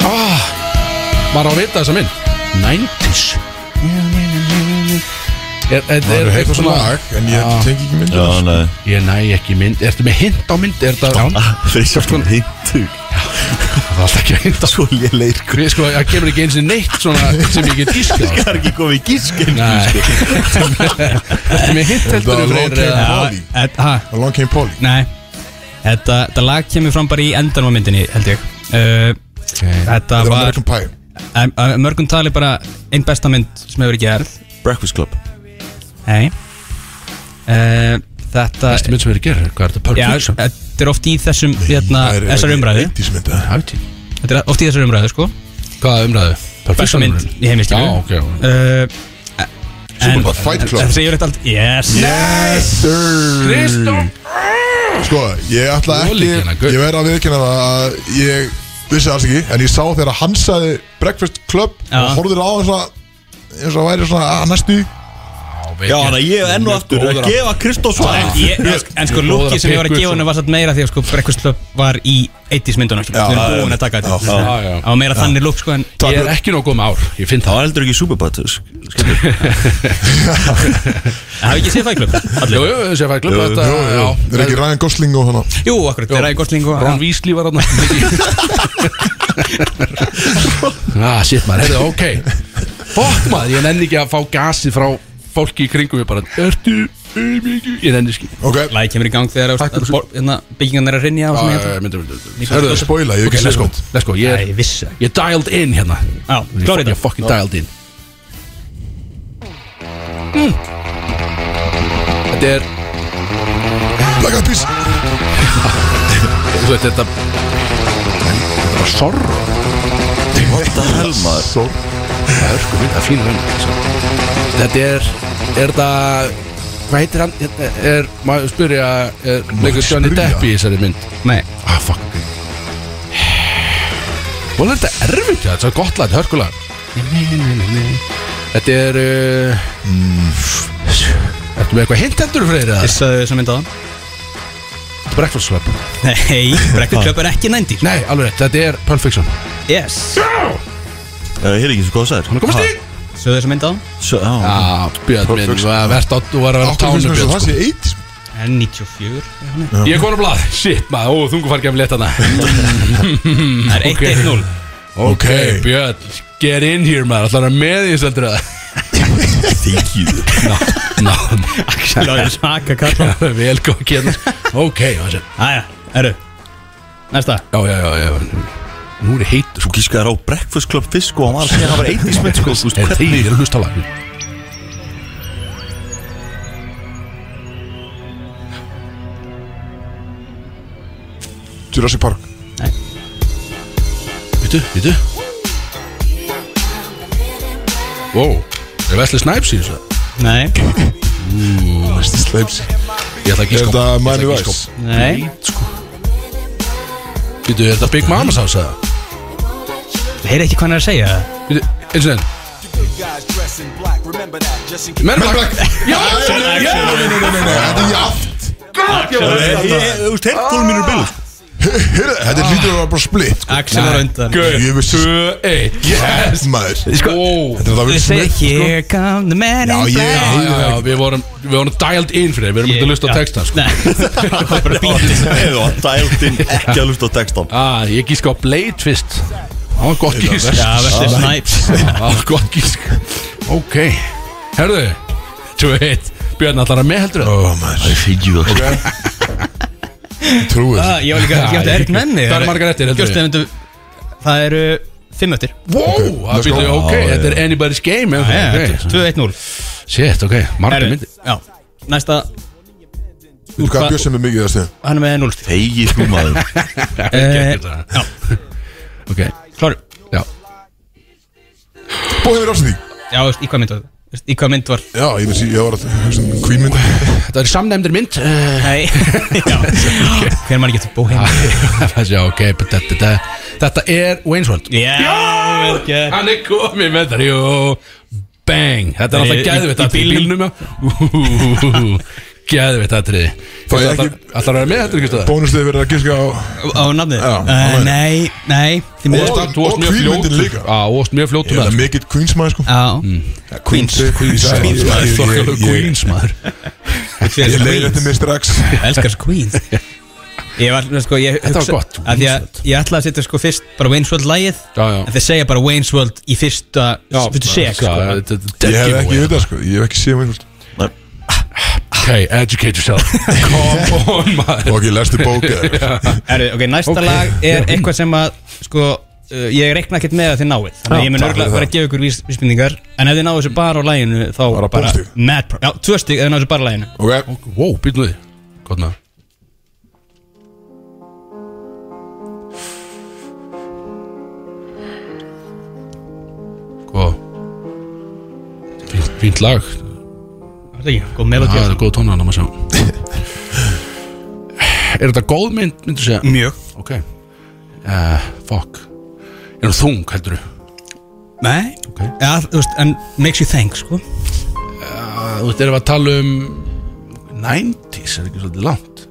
Ah, maður á að vita þessa minn 90s Er, er, Það er, eru er heilt svona lag En ég tengi ekki myndið já, nei Ég næ ekki mynd, ertu með hint á mynd? Er þetta, já, Þeir sjáttu hann heimtug það er alltaf ekki að hinta Svo léleir Ég sko, það kemur ekki eins og neitt svona sem ég get gískað Það er ekki komið í gískin Nei Ertu með hint Þetta heldur er Long Came Polly Þetta, ha, Long Came Polly nei Þetta, þetta lag kemur fram bara í endan á myndinni, held ég uh, Þetta Þetta er var American Pie að- að mörgum tali bara einn besta mynd sem hefur verið gerð Breakfast Club Nei uh, Þetta Næstu mynd sem er að gera, hvað er þetta? Já, eh, Perfection þetta er oft í þessum hérna, þessar umræðu Þetta er Hætti Þetta er oft í þessar umræðu, sko Hvaða umræðu? Besta Perfection mynd í heimi, skilur Já, ok, ok. uh, en- Superbad Fight Club. En það segir þetta aldrei Yes Yes sir Kristó Sko, ég ætla Þú ekki líka hérna, Gaur. Ég verð að viðkynna það að ég vissi alls ekki En ég sá þegar hann sagði Breakfast Club Já. Og horfður á þess að eins og væri svona að næstu í. Já, þannig að ég er enn og aftur að gefa Kristóf svar En, ég, en sko lúkið sem ég var að gefa hennu var satt meira því að sko Breakfast Club var í 80s myndunum sko. Já, Við já, erum búin já. að taka þetta Já, já, já. Það var meira þannig lúk sko en Ég er ekki nokkuð um ár, ég finn Það það var heldur ekki Superbad Það hafði ekki séð það í klub Jú, jú, þessi að fæða glöfna þetta Jú, jú, Það er já. ekki Ryan Gosling og þannig Jú, akkurat, Jú. þeirra í Gosling og Ron Weasley var hann Ah, shit maður, heyrðu, ok Fokk maður, ég nenni ekki að fá gasið frá fólki í kringum Ég bara, ertu, auðmikið Ég nenni ekki Ok, Læði kemur í gang þegar Takk fyrir sig. bor- hérna, byggingan er að rinja og svona hérna. Hörðu, spoila, ég hef ok, ekki let's séð go, neitt. let's go Ég Æ, er- vissi ég er dialed in hérna Já, Ég klárið er þetta fucking dialed in Mm. Þetta er Black Eyed Peas Þú veit þetta Þetta var sorg What the hell maður Svo, Það er sko mynd að fína hund Þetta er Er þetta Hvað heitir hann? Hérna Er Maður spyrja Er leikur Johnny spyrja? Depp í þessari mynd Nei, Ah fuck Hvað er þetta erfitt? Þetta er svo gott lag Þetta er hörkulag Nei, nei, nei, nei, nei Þetta er uh, Ertu með eitthvað hint heldur fyrir það? vissaðu þess að mynda það Breakfast Club Nei, Breakfast Club er ekki nændi Nei, alveg rétt Þetta er Pulp Fiction Yes, Ég er Eh, ekki svo góð sæður Hún er komast í sögðu þess að mynda það Já, Já, Ah, Björn minn Þú var verðt á Þú var að vera á áttur tánu finnst mér Björn svo sko. það sé eitt Er 94 er hann ekki? Ég er konum blað Shit maður, ó, þungu fargefn létt hana Það er 1-1-0 Ok, Hey Björn, get in here maður Alltaf er með því seldur það thank you Ná, Axel á þér svaka kalla ná Vel góð kérna Ok, það sé Æja, eru Næsta Já, já, já, já Nú er ég heitur Þú gískaðir á Breakfast Club fisk og hann var að segja að hann var 80s mynd sko Þú veist Er því, hvernig ég er að hlusta á lag Jurassic Park Vitu, vitu Wow, er Vesli Snipes í þessu? Nei, Sleips Ég ætla ekki Er sko þetta Miami Vice? nei Vitu, er þetta Big Mama's house eða? Það heyri ekki hvað hann er að segja Vitu, eins og enn Men in Black Já, já, Nei, nei, nei, nei, nei, þetta er jaft Þú veist, heyrðtólum mínu bil sko. Heyrðu, Þetta er lítur að vera bara sko. splitt Axel er undan Ég vissi eitt Yes, maður Þetta Wow er það Þú við segir smitt Here come the man Já, in ég black Já, já, já, við vorum, við vorum dialed in fyrir þér, við erum ekki að lusta á textan sko. Nei, það var bara bílið Eða hann dælt inn ekki að hlusta á textan ah, Ég gísk á Blade fyrst Það var gott gísk Já, verður snæps Það var gott gísk Ok, herðu Þú veit, Björn allar að með heldur Ó, maður Figjú Ég trúi Ah, þessu Ég var líka, ég átti erfitt með mig Það eru margar eftir, heldur Gjóstu þið myndu- Það eru fimm öttir Wow, það byrjuðu, go. ok, þetta er anybody's game ennþá, ok. 2-1-0 Shit, ok, margar Erfitt. myndir Já, næsta Þú hvað bjöð sem er mikið þessu Hann er með Eh, 0 stík Þegi þú maður Já, Ok, kláru já Bóðið mér ástæði Já, veist, í hvað mynd var það? Veist, Í hvað mynd var Já, ég vissi, ég var að hugsa um Queen mynd Þetta er samnefndir mynd eh, Nei Já Hver mann getur bóheim Já, ok, þetta- þetta- þetta er Wayne's World Já vel gert. Hann er komið með það, jú Bang, þetta er Nei, alltaf í- í gæðvitt Þetta er bílnum. bílnum Gæðvitt aðtriði Fá ég Alltaf ekki- alltaf að vera með þetta, ekki stöða Bónustið verið að giska á Á nafnið Já, á Eh, nafnið. Nei, nei Því miður Og- Þú varst mjög kvíðmyndin fljótur líka. Já, þú varst mjög fljótur Ég með er þetta. mikill Queens maður sko Já Queens Queens Queens, maður, þokkalega Queens Queens, maður Ég leiði þetta mér strax Elskar þessu Queens Ég var, sko, ég Þetta var gott, að Því að ég ætlaði að setja sko fyrst bara Wayne's World lagið Já, já. En þeir segja bara Wayne's World í fyrsta Fyrstu seg, sko Já, þetta- þetta Ég hef ekki er giveaway. auðvitað sko Ég hef ekki séð mér Hey, educate yourself Come on, maður Ok, lestu bókið Herru, ok, næsta Ok. lag er eitthvað sem að sko, uh, ég reikna ekkert með að þið náið þannig að ég mun takk örgulega fyrir bara að gefa ykkur vís, vísmyndingar en ef þið náðu þessu bara á læginu þá Bara bara bókstig. mad pro Já, tvö stig ef þið náðu þessu bara á læginu Ok Wow, býtum við Góðna Sko Fínt- Fínt lag Var þetta ekki? Góð melodí Já, það er góð tónan að maður sjá Er þetta góð mynd, myndu segja? Mjög Ok uh, Fuck Er hún þung, heldur Eh, Nei Ok. ja, þú veist, En makes you think sko Þú veist, erum við að tala um 90s, er ekki svolítið langt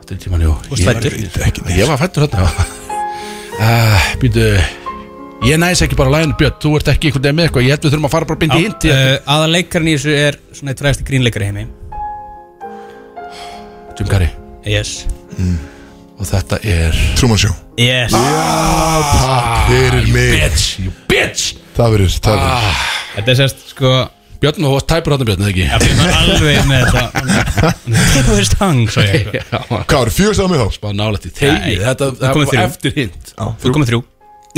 Þetta er tíman, jú varst Ég- fæddur? Ég var fættur þarna uh, Býtu Ah, Ég næs ekki bara læginu, Björn Þú ert ekki einhvern veginn með eitthvað Ég held við þurfum að fara bara að bindi hint í uh, Aða leikarinn í þessu er Svona eitt fræðasti grínleikari í heimi Eh. Jim Carrey Yes Og þetta er Truman Show Yes Fyrir mig Bitch, you bitch Það verður, það verður Þetta er sérst sko Björn, þú varst tæpur þarna, Björn, eða ekki? Það fyrir maður alveg með þetta Tip of his tongue svo ég eitthvað. Já, Hvað eru fjögst að mig þá? bara nálægt í tegið Nei, Þetta það það komið var þrjú. eftir hint Þú komið þrjú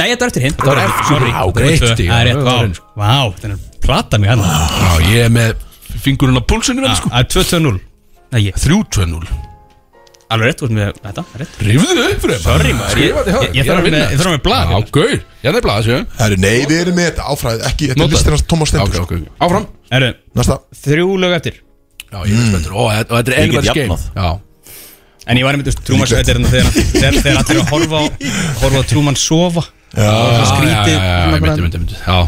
Nei, þetta var eftir hinn var eftir- Sorry, Vá, þú komið greitt tvö. stig. Það er Það var rétt, eins. vá Vá, þannig að plata mig hann Já, ég er með fingurinn á púlsinu vel, sko Það er 2-2-0 Nei, ég 3-2-0 Alveg rétt, þú ert með þetta, það er rétt Rifðu þau upp fyrir Sorry, maður, ég- Skrifa þetta hjá ég- ég þarf að með- ég þarf að með blað. Já, gaur Ég þarf blað, séu Það eru, nei, við erum með þetta áfræðið ekki Þetta er Notaðu. listir hans Thomas Ok, Stendur ok, ok. áfram Erðu, Næsta þrjú lög eftir Já, ég veist betur Ó, þetta- og þetta er Ég get elvar skeim jafnað. Já En ég var einmitt, þú veist, Trúmann sveitir hérna þegar, þegar, þegar allir eru að horfa á, horfa á Trúmann sofa Já, Það Já, Ah, já, skrítið já, já, ég myndi, myndi, myndi Já,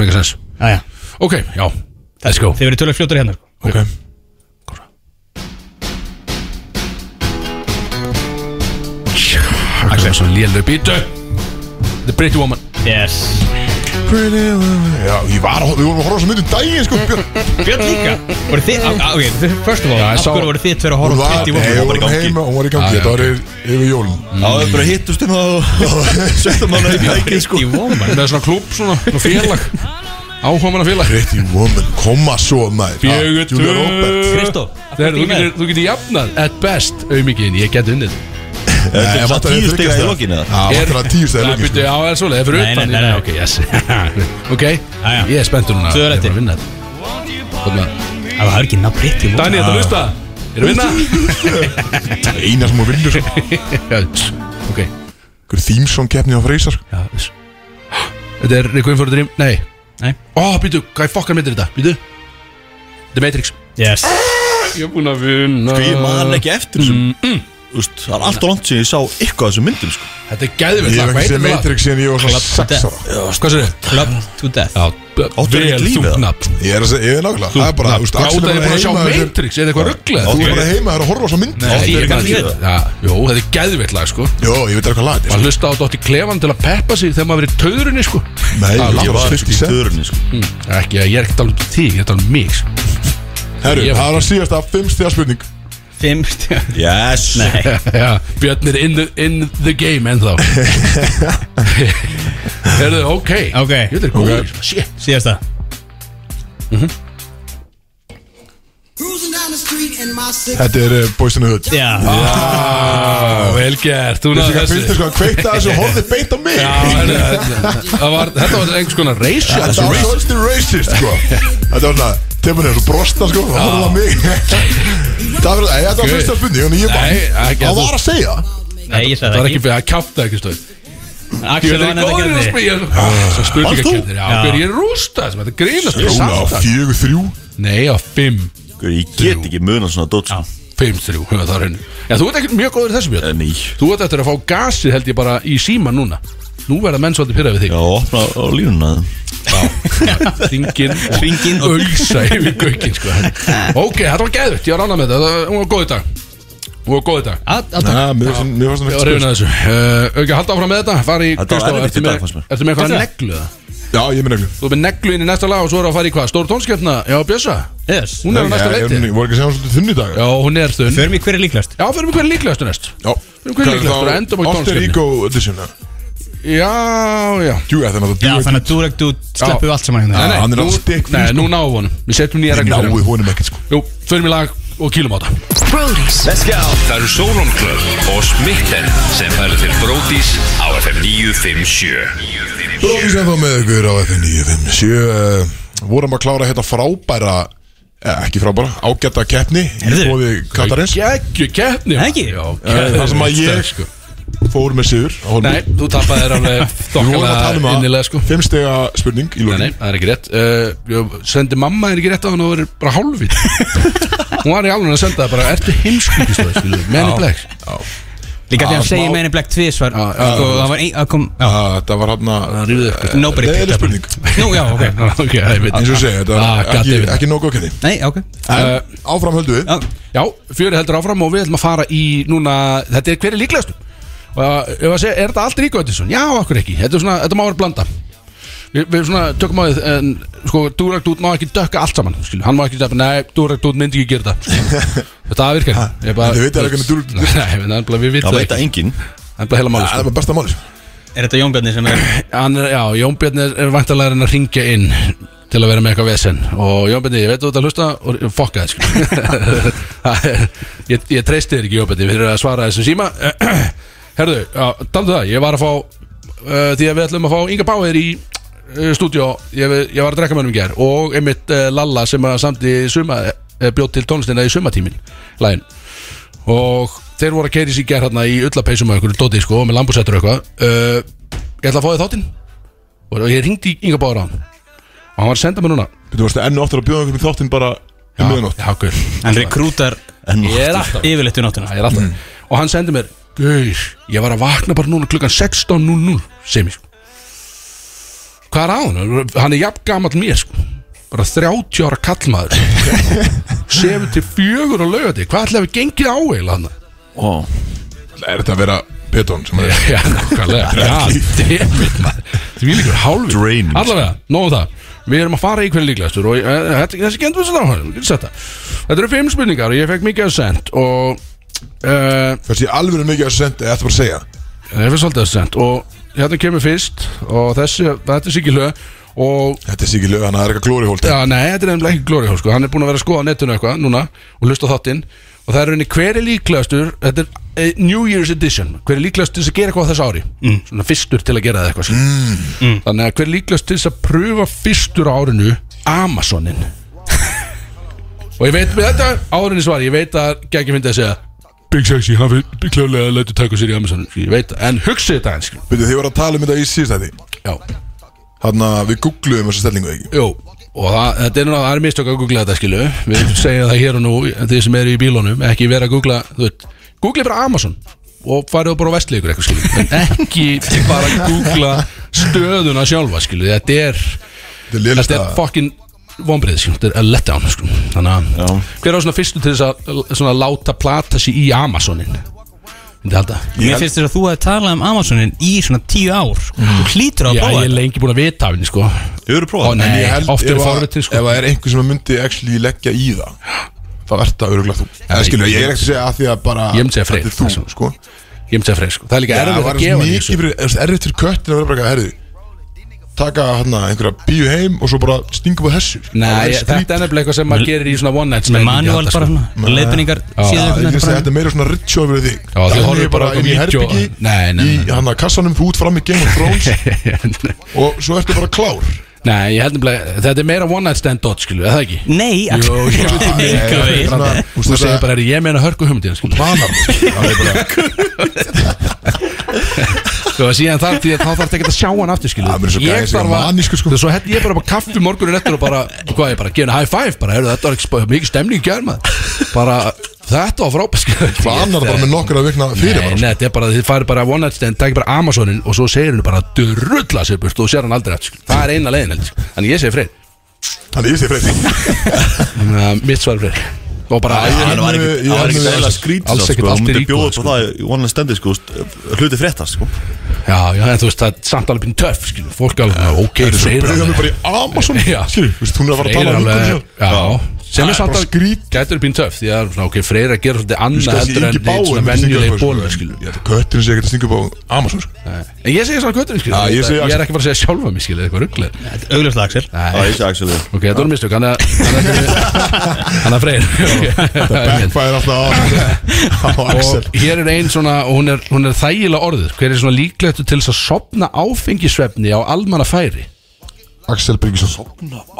mega sens Jæja, Ok, já, let's go Þið verið tölvöld fljótur hérna sko. ok Það er svo lélu bítu The Pretty Woman Yes Pretty woman. Já, ég var að, við vorum að horfa á svo myndum daginn, sko Björn Björn líka Voru þið, á- á- ok, þið- first of all, Já, ég af sá- hverju voru þið tveir að Hún horfa á var, nei, Pretty Woman hún var í gangi. heima, hún var í Já, gangi já, Þetta var yfir jólun Já, við bara hittust inn á Settum hann upp í hækinn sko Pretty Woman Með svona klúb, svona svona félag Áhugamanna félag Pretty woman, koma svo maður Fjögur, Ah, Julia tvö. Roberts Kristó, Þeir, þú, getur, þú getur jafnað at best auðmikið Ég get unnið Nei, Þetta er vantar þig það tíu þriggja stiga í stiga. lokin eða? Já, Er- vantar það tíu stæði Það lokin sko. byrja á eða svoleið, það fyrir Nei, utan nei, nei, nei. Ok, yes Ok, já. ég er spenntur núna Tvö Ég er réttir. bara að vinna þetta Þarna. það var ekki ná Pretty Woman Dani, þetta lusta Er að vinna? sko. Einar sem hún vinnur Já, tss, Ok Hver þýmsson keppni á sko. Freysar Já, þess. Þetta er Requiem for a Dream Nei Nei. Ó, býtu, hvað fokkar myndir þetta? Býtu The Matrix Yes Ég er búin að vinna Sko ég Uh, man ekki mm, eftir þessum Þú veist, það er alltaf langt sem ég sá eitthvað af þessum myndum sko Þetta er gæðvill Ég hef ekki séð Matrix síðan ég var svona Club to sex ára sko. Hvað sér þið? Club to Death Já, Áttu ekki lífið, eða? nafn Ég er að segja, ég er nákvæmlega Það er bara, þú veist, Hvað Axel út að ég er búin að sjá bara heima Matrix Eða eitthvað rugglega Þú er bara heima þér að horfa á svo mynd Nei, ég ég kann kann ekki ekki þetta. Já, Jú, þetta er gæðvill lag sko Jó, ég veit eitthvað lag þetta Maður hlusta á Dótti Klefan til að peppa sig þegar maður verið í töðurinni sko er. Nei, ég Ég var var ekki 50 í cent stöðurinn sko Ekki, ég er ekki talað um þig, ég er talað um mig sko. Herru, Ég- það var að síðast að fimm stiga spurning Fimm stjá Yes Nei Já, Björn er in the, in the game ennþá Er þau ok? Ok. Ég veit er góður, okay. shit Síðasta Þetta er uh, Boys in the Hood Já ah, Vel gert, þú Þessi náðu hvað finnst þessu þér sko að kveikta þessu og horfið beint á mig Já, heyrðu, þetta það var- þetta var einhvers konar racial Þetta var racist. svolítið racist sko Þetta var svona, tefnir þessu brosta sko og horfið á mig Það var, nei, þetta var Guð. fyrsta spurning Þannig ég Nei, bara, ekki að það þú- var að segja Nei, ég Það sagði var það ekki ekki fyrir að kjáta ekki stöð Axel Ég veit vann ekki þetta góður að gerði spila Ah, Svo spurningakendir, já, Já. Björn, ég er rústa Þetta er grínast, ég er Jóla á samt að- fjögur þrjú Nei, á fimm Guð, Ég get ekki muna svona dót sko 5-3, höfða það reynu Já, þú ert ekkert mjög góður í þessu Eh, björn Nei Þú ert eftir að fá gasið held ég bara í síma núna Nú verða menn svolítið pyrrað við Já, opna á línuna þig Ringin Ringin og Ölsa yfir gaukin sko. Ok, þetta var geðvitt, ég var ánað með þetta Hún var góð í dag Hún var góð í dag Alltaf Nei, mér fannst- mér fannst Ég það var reyfin að þessu uh, Auki, halda áfram með þetta Fari í Þetta var Kristó, erfitt ertu í dag, með fannst mér. Ertu með eitthvað Þetta? neglu það? Já, ég minna ekki Þú er með neglu inn í næsta lag og svo er að fara í hvað? Stór tónskjöfna? Já, Bjössa Yes Hún er á næsta Ég leiti ég voru ekki að segja hún svolítið þunni í dag Já, hún er þunn Förum í hver er líklast Já, fyrir mig hvernig líklegastu næst Já, Nú, hvað er líklegt? Bara endum á Alter tónskefni. Ego Edition eða? Já, já Jú, þetta er Já, náttúrulega þannig að Durek Dude sleppu Já. allt saman hérna Nei, nei. hann er nú- alls dick free, Nei, sko. nú náðu honum Við setjum nýja Ég reglur náði honum ekkert sko Jú, förum í lag og kýlum á þetta Brody's. Það eru Solon Club og Smitten sem fælu til Brótis á FM 957 Bróðis ennþá með ykkur á FN 957 uh, Vorum að klára hérna frábæra eh, Ekki frábæra, ágæta keppni Í Heyrðu. bóði Katarins Gekkju keppni Nei, ekki? Já, Eh, Það sem að geðveikt, ég sko. fór með sigur á honum. Nei, þú tapaði þér alveg Við vorum að tala um þokkala innilega sko það Fimm stega spurning í Nei, nei, lókin það er ekki rétt uh, ég Sendi mamma þér ekki rétt á hann og það verið bara hálfvít Hún var í alveg að senda það bara Ertu heimskvíkistóð, menn í blegs Líka því að Já, hann segi smá- meðin í Black Tvísvar Já, já, og það var ein, að kom já, Það var hann að Rífið upp Nobody Nei, er picked up on spurning it. Nú, já, ok Eh, Ok, það Eins og ég er veit segi, þetta Ah, var gat ekki, yfir. ekki nógu okkenni Nei, já, ok En áfram höldum við Já, Já, fjöri heldur áfram og við ætlum að fara í núna Þetta er hver er líklegast uh, segja, Er þetta allt Ríkvæðinsson? Já, okkur ekki Þetta, er svona, þetta má vera blanda Við, við svona tökum á því en, sko, Dúrakt út má ekki dökka allt saman skilu. Hann má ekki dökka, nei, Dúrakt út myndi ekki gera þetta Þetta virkar Ég bara- en þið vitið alveg hvernig Durek- Nei, en það er bara- við Það vitum veit að enginn Það er bara heila máli Það sko. var besta máli er þetta Jón Bjarni sem er Hann er, já, Jón Björn er, er vantalega en að ringja inn til að vera með eitthvað vesen og Jón Björn, ég veit að þú ert að hlusta og fokka það sko. Það er- ég, ég treysti þér ekki Jón Björn fyrir að svara þessu síma Herðu, já, taldu um það, ég var að fá uh, því að við ætlum að fá Inga Báir í uh, stúdíó, ég, ég var að drekka mönnum í ger og einmitt uh, Lalla sem að samt í suma, uh, bjótt til tónlistina í sumatímin, lægin og þeir voru að keiri sér gerð hérna í ullapeysum og einhverju dóti sko og með lambúsettur og eitthvað uh, ég ætla að fá þið þáttinn og ég ringdi í Inga Bára á hann og hann var að senda mér núna Þú veist, ennu aftur að bjóða einhvern í þáttinn bara um miðanótt já, gaur. Hann rekrútar En ég er alltaf, yfirleitt við náttuna Já, ég er alltaf. og hann sendi mér Gaur, ég var að vakna bara núna klukkan 16.00 sem ég sko hvað er á hann? hann er jafn gamall mér sko bara 30 ára kallmaður 7 til 4 á laugati hvað ætlaði við gengið á eiginlega hann? Ó, Er þetta að vera Petón sem er Já, nákvæmlega Já, demmit maður Því líkur hálfur Draining. Allavega, nóg um það Við erum að fara í hvernig líklegastur og eh, þetta- þessi gendur við sér áhæðum Þetta eru fimm spurningar og ég fekk mikið að send og uh, Þessi alveg mikið að senda, ég ætti bara að segja ég finn svolítið að send og hérna kemur fyrst og þessi, þetta er sikið hlöð og Þetta er sikið lög, hann er eitthvað glóri hólt Já, nei, þetta er nefnilega ekki glóri sko. Hann er búin að vera að skoða á netinu eitthvað núna og hlusta á þáttinn og það er henni hver er líklegastur þetta er eh, New Year's Edition hver er líklegastur til þess að gera eitthvað á þess ári svona fyrstur til að gera það eitthvað sko. þannig að hver er líklegastur til þess að pröfa fyrstur á árinu Amazonin og ég veit með þetta árinu svar ég veit að geggjum hindi að segja Big Sexy, hann fyrir kljóðlega að leita taka sér í Amazonin ég veit það, en hugsið þetta eins sko. Þið voru að tala um þetta í síðstæði já, Þannig að við googluðum þessa stellingu ekki Jú, og það, þetta er náttúrulega, það er mistök að googla þetta skilu Við segja það hér og nú, þið sem eru í bílunum Ekki vera að googla, þú veit Google bara Amazon og farið bara á vestlið ykkur eitthvað skilu En ekki bara að googla stöðuna sjálfa skilu Þetta er, Þetta er lélega þetta er fucking vonbreið skilu Þetta er a letdown skilu Þannig að, Já. hver á svona fyrstu til þess að Svona láta plata sig í Amazonin Þetta halda Mér finnst þess að þú hefði talað um Amazonin í svona tíu ár sko. Þú hlýtur að Já, prófa ég er þetta lengi búin að vita af henni sko þau eru Ó, prófað nei. Ég held oft eru ef að- forvitin, sko. Ef það er einhver sem myndi actually leggja í það Það verður það öruglega þú Það skilur, ég er ekki að segja að því að bara Ég myndi segja Freyr, Þetta er þessum. þú, sko Ég myndi að freyð sko Það er líka Já, erfið var að gefa henni mikið fyrir- þú veist, Erfitt fyrir köttin að vera bara eitthvað herði Taka hérna einhverja bíu heim og svo bara stinga upp á þessu Nei, ég, þetta er nefnilega eitthvað sem maður gerir í svona one night sko. Með stand manual bara svona Leiðbendingar síðan Ég finnst einhvern að veginn Þetta er meira svona ritual fyrir þig Já, þið Þannig horfir bara á inn í eitthvað vídeó. herbyggi Nei, nei, Í nei. hann að kassanum þú út fram í Game of Thrones Og svo ertu bara klár Nei, ég held nefnilega, þetta er meira one night stand dot, skilu, eða ekki? Nei, Jú, ég veit ekki Enga Þetta er veginn. svona, þú Þú veist, segir þetta- bara, "Herri, ég meina hörku humdina, skilu planar Það er bara Þú veist, Sko, síðan þar, því að þá þarf þetta ekki að sjá hann aftur, skilu Það er bara svo gæði sig að manísku, sko. Þú veist, svo held ég bara bara kaffi morgunin eftir og bara, hvað ég bara, gefa henni high five, bara, heyrðu, þetta var ekki spá- mikið stemning í gær, maður Bara, þetta var frábæð, skilu planar bara með nokkra vikna sko. fyrir Nei, bara nei, þetta er bara, þið farið bara one night stand, takir bara Amazonin og svo segir henni bara drulla sér burt og sér hann aldrei eftir, skilu. Það er eina leiðin, held, ég, skilu. Þannig ég segi freyr, Þannig ég sé freyði uh, mitt svar er freyr Og bara, Það var hefði- ekki ég Það var hefði- ekki dæla alls skrýtis ekkert Það allt er myndi íbúð, bjóða sko. upp á það í One Night Standi sko, st- Hluti fréttast sko Já, já, en þú veist, það er samt alveg pínu töff, skilur, fólk er alveg, ok, freyr Byrjaðum við bara í Amazon Já. Skilur, þú veist, hún er að fara að Freyr tala um alveg, þetta já, sem er samt bara alveg, gætur pínu töff, því að, svona, ok, freyr að gera svolítið annað Þessi heldur en yngi neitt svona báin venjuleg bóla, skilur. Kötturinn sé ekki sko. að stinga upp á Amazon sko. En ég segi svona kvöturinn, skilur, Já, ég segi ég er ekki bara að segja sjálfa mig, skilur, eitthvað rugglega. Augljóslega Axel Það er ekki Axel ég. Ok, þetta voru mistök, hann að, hann að, hann að freyr. Ok. Backfire alltaf á á Axel Og hér er einn svona, og hún er, hún er þægilega orðið, hver er svona líklegt til þess að sopna áfengisvefni á almanna færi? Axel Bryggjesson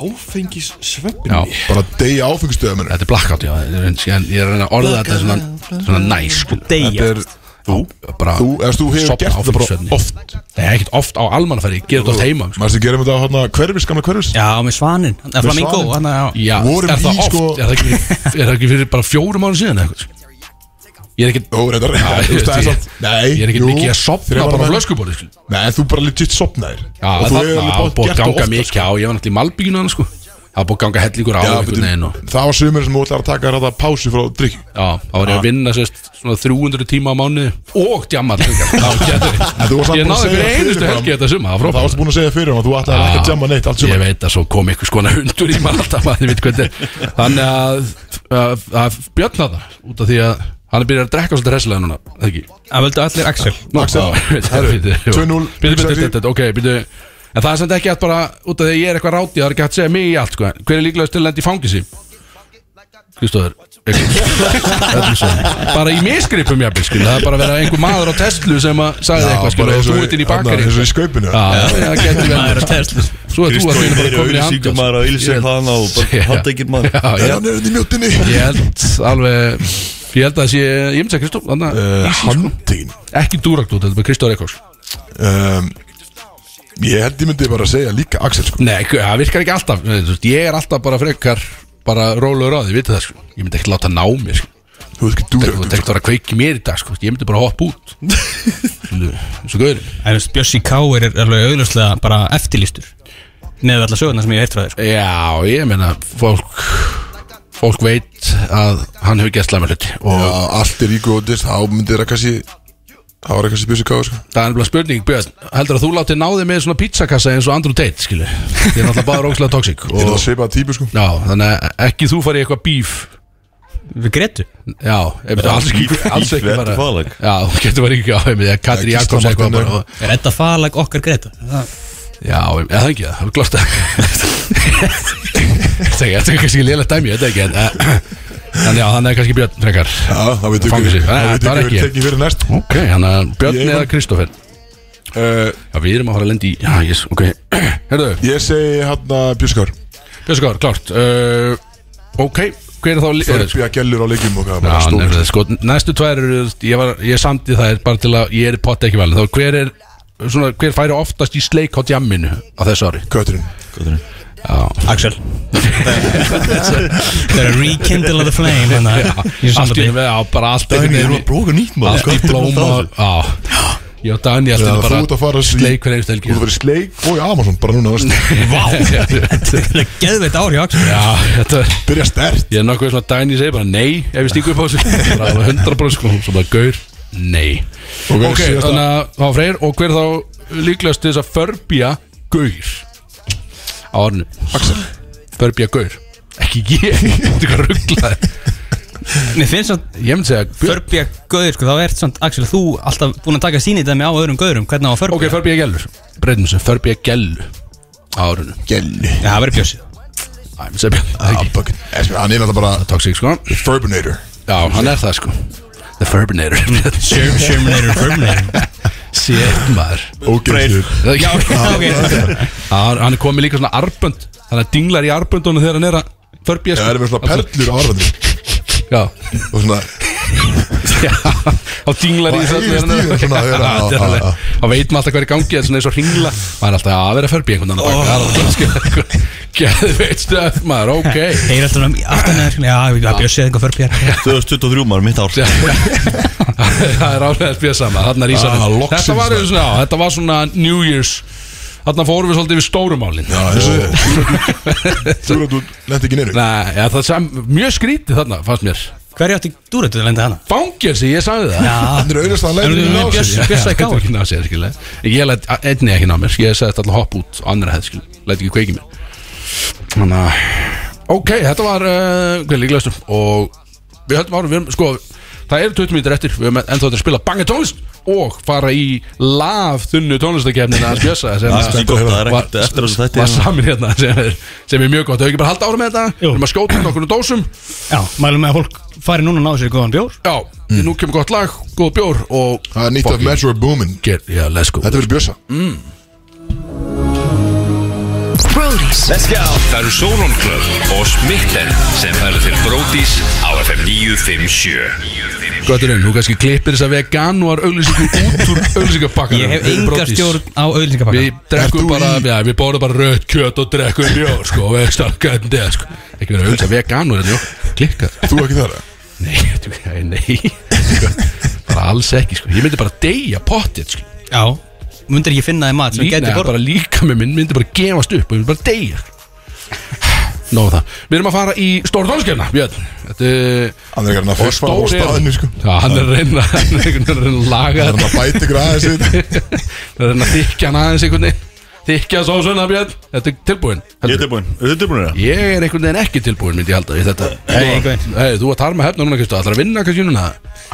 Áfengis svepp Já, Bara degi áfengistöðum þetta er blackout, já, en ég er að reyna að orða þetta svona, svona næs, skilur. Deyja Þetta er Þú? Bara Þú, eða þú hefur sofna gert á þetta bara fylgsvefni. oft. Nei, ekkert oft á almannafæri, ég ger þetta oft heima sko. Mæstu að gera þetta á hérna hverfis, gamla hverfis? Já, með svanin, eða flamingo svaninn. hann að- já. Já, Vorum er í, það oft? sko- Er, það ekki, fyrir- er það ekki fyrir bara fjórum árum síðan eitthvað? sko? Ég er ekkert Ó, reyndar, þú veist það er ég- samt Nei, Ég er ekkert mikið að sopna bara á menn- flöskubóri sko. Nei, þú bara legit sopnaðir Já, Og það þú er hefur alveg búið að gert það ganga oft, sko. mikið á Ég var náttúrulega í malbygginu hann sko Það var búið að ganga hellingur á Já, einhvern veginn og betur, það var sömur sem þú ætlar að taka þetta pásu frá drikk Já, þá var ég að vinna sérst svona 300 tíma á mánu og djamma helgar. Það var En þú varst samt getur Ég búin að náði segja fyrir einustu fyrirfram. helgi þetta suma Það varst búin að segja fyrir hann að þú ætlar ekki að jamma neitt allt Ég sömur veit að svo kom einhvers konar hundur í mann alltaf maður veit hvernig er. Þannig að, að, að björna það út af því að hann er byrjað að drekka svolítið hressilega núna eða ekki? Það völdu allir Axel Nú, Axel, já, veit það, herru, veit það, jú. 2-0, Bíddu, bíddu, Chelsea. bíddu, bíddu, Ok, byrju En það er samt ekki hægt bara út af því að ég er eitthvað ráti Það er ekki hægt að segja mig í allt sko. Hver er líklegast til að lenda í fangisi? Kristóður Bara í misgripum jafnir skil Það er bara að vera einhver maður á Tesla sem að sagði eitthvað skil og þú ert inn í bakari Þess að í skaupinu Já, það getur vel Maður að tesla Svo er þú að finna bara komin í Kristóður sko. auðlýsingar maður að auðlýsa Ég- hana og bara Já. hatt ekkert maður Já, Hérna Er já, hann auðvitað í mjóttinni? Ég held alveg Ég held að það sé, ég myndi að Kristó Þannig Eh, að Handtíkin ekki dúrakt út, þetta er bara Kristó Reykjós Ehm, Ég held ég myndi bara að segja líka Axel sko Nei, gu- það virkar ekki alltaf Nei, þú veist, Ég er alltaf bara frekar Bara rólegur á því, vitið það sko Ég myndi ekki láta ná mér sko Þú veist ekki Þú veist dúrögt ekki að kveiki mér í dag sko Ég myndi bara hoppa út Svo gauður En veist, Bjössi Káir er alveg auðvitað bara eftirlýstur Með alla sögurnar sem ég heilt frá þér sko. Já, ég meina fólk Fólk veit að hann hefur gert slæma hluti Og Já, allt er í góðist Þá myndir það kannski Það var kannski bjössi káð sko það er nefnilega spurning Björn, heldur að þú látið náði með svona pizzakassa eins og Andrew Tate skilu Ég er náttúrulega bara ógslag toxic Ég er það og, að seipa típu sko Já, þannig að ekki þú farið í eitthvað bíf Við gretu Já, ef þú alls ekki beef- alls beef ekki eftir falag. Já, þú getur verið ekki á þeim eða Katri Já, Jakobs Gísla eitthvað Marteinu. bara, og- Er þetta falag okkar greta? Já, eða það ekki, það er glósta Þetta er þetta er kannski lélega dæmi, þetta er ekki en, eh, En já, þannig er kannski Björn frekar Já, það veit ekki Fangasi. Nei, Það veit það var ekki ekki verið tekið fyrir næst Ok, hann að Björn Ég- eða Kristoffer Eh, Já, við erum að fara að lendi í Já, yes, ok Herðu, Ég segi hann að bjössi káð Björnskóður, klárt uh, Ok, hver er þá li- Það er bjöja gellur á leikjum og hvað Já, bara stór. nefnilega, sko, næstu tvær eru ég, var, ég samdi það bara til að ég er pott ekki valin þá hver er svona, hver færi oftast í sleik á djamminu á þessu ári Kötturinn Axel Það er að rekindle of the flame hérna. Þannig að ég allt í samla einu með, já, bara allt Það er einhvern ekki veginn að bróka nýtt í- allt maður í blóma já, ég og Þannig Dani allt í einu að þú ert að bara fara í- sleik Þú hvernig ert að einstaklega vera í sleik og í Amazon Bara núna veist. já, því Geðveitt ár hjá Axel þetta er Byrja stert ég er nokkuð svona Dani segir bara nei ef við stíkum upp á þessu bara alveg 100% sko, svo bara gaur, nei Og ok, þannig að þá freyr og hver þá líklegast til þess að förbja gaur á orðinu Axel förbja gaur ekki ég, þetta er hvað rugglaði Mér finnst að ég myndi segja Björn Förbja gauður, sko, þá ert samt, Axel, þú alltaf búin að taka síni dæmi á öðrum gauðurum, hvernig á að förbja? ok, förbja gælur breytum þessu, förbja gælu á orðinu Gelli Já, það verður bjössið. Ah. Æ, ég myndi segja Björn, það er ekki Ah, Fucking- Esmi, Hann er alltaf bara toxic sko já, Furbinator hann er það sko the förbinator Shermanator, Ferminator. sér maður Ógeðslu já, já, ok. já, hann er komið líka svona arbönd þannig að dinglar í arböndunum þegar hann er að sko. förbja Það er með svona perlur á arðanum já Og svona Já, á dinglar í Og þessu heyrist öllu í hérna. þeim svona, Já, þeirra, þetta á, er á, alveg- á. Þá veit maður alltaf hver er í gangi Það er svona eins og hringla Maður er alltaf að vera að förbi einhvern annan Geðveit stöð maður, ok Heyr alltaf um aftan eða, já, við að bjössið eitthvað förbja. 2023 maður, mitt ár Það er ánægðast bjössama Þarna er ísar Ah, loksins, Þetta var, svona, já, þetta var svona New Year's Þarna fórum við svolítið við stórumálin Já, þessu Þú er að þú lendi ekki neyru Nei, já, það sem mjög skrítið þarna fannst mér Hverju átti dúrættu að lenda hana? Fangelsi, ég sagði það Þannig Já, er auðvitað að læra Erum við í með nási Bjössi? Bjössa í Getur káir. ekki náð sér, skilja eh? Ég læt einni ekki ná mér Ég sagði þetta alltaf hopp út á Annara hefð, skilja Læt ekki kveiki mér Þannig að Ok, þetta var uh, Hver líklegastur Og Við höldum árum Við erum, sko Það eru 20 mínútur eftir Við erum ennþá til að spila Banga tónlist Og fara í Laf þunnu tónlistakefnin Að spjösa sem Það er ekki gott, það er ekkert Var- eftir þessu þætti Var hérna. samin hérna sem er, sem er mjög gott Þau ekki bara halda ára með þetta Jú. Við erum að skjóta okkur úr dósum já, mælum með að fólk fari núna og náðu sér góðan bjór. Já, Mm. nú kemur gott lag Góð bjór og Það er nýtt af Fucking Metro Boomin get- Já, let's go Þetta verður Bjössa Brodies. Það eru Solon Club og Smitten sem færa til Brótis á FM 957 Götturinn, þú kannski klippir þessa veganuar auglýsingu út úr auglýsingapakkanum Ég hef enga stjórn á Við auðlýsingapakka drekkum Ert þú bara, í- já, við borðum bara rautt kjöt og drekkum bjór, sko, og veist að gændi það, sko Ekki verið að auglýsa veganur, en jú, hérna, klikkað Þú ekki þar Nei, þú, nei, nei sko, Bara alls ekki, sko, ég myndi bara deyja pottið, sko Já Mundir ekki finna þið mat sem Líka, getur borð bara líka með minn myndi bara gefast upp og ég myndi bara deyja Nóð það Við erum að fara í stórtónskefna, Björn Þetta er Hann er ekki hann að Og fyrfa á stór er- staðinu sko Já, hann er að reyna hann er einhvern veginn að reyna að laga Hann er hann þetta að bæta ykkur aðeins við þetta. Það er hann að þykja hann aðeins einhvern veginn Þykja svo svona Björn Þetta er tilbúin Ég er tilbúin, er þið tilbúin eða? Ég er einhvern veginn ekki tilbúin myndi ég halda í þetta Nei, einhvern veginn. Hey, Þú að tarma hefna núna Kristof Það er að vinna kannski núna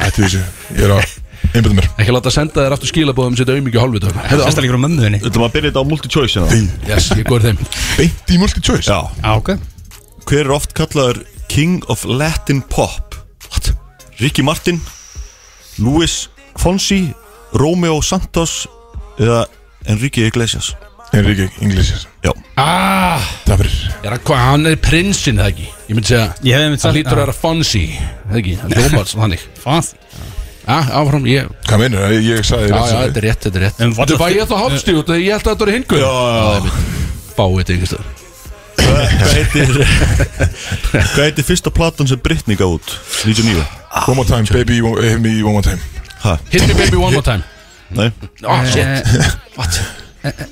Ættu þessu Ég er að einbæta mér Ekki láta senda þér aftur skilabóðum Sitt auðmikið hálfvita Hefðu á Sérstaklega úr mömmuðinni Þetta maður að byrja þetta á multi-choice hérna Yes, ég góður þeim Beint í multi-choice Já Já, ok Hver er oft kallaður King of Latin Pop? What? Ricky Martin Louis Fonsi Romeo Santos eða Enrique Iglesias Enrique Iglesias Já Ah, Það fyrir er hann, hvað, hann er prinsinn það ekki Ég myndi segja Ég hef einmitt Það sagt- lítur að já. vera Fonsi Það ekki Það ljómar svo þannig Fanns Ah, áfram, ég Hvað meinur það? Ég sagði rétt Já, já, sem- þetta er rétt, þetta er rétt En var Þetta það var þi- ég þá hálfstíð út af því Ég held að þetta voru hingur Já, já Fáið þetta einhvers staðar. Hvað heitir Hvað heitir fyrsta platan sem Britney gaf út? 99 One more time baby you won't- Hit me one more time Hæ? Hit me baby one more time Nei Ah, shit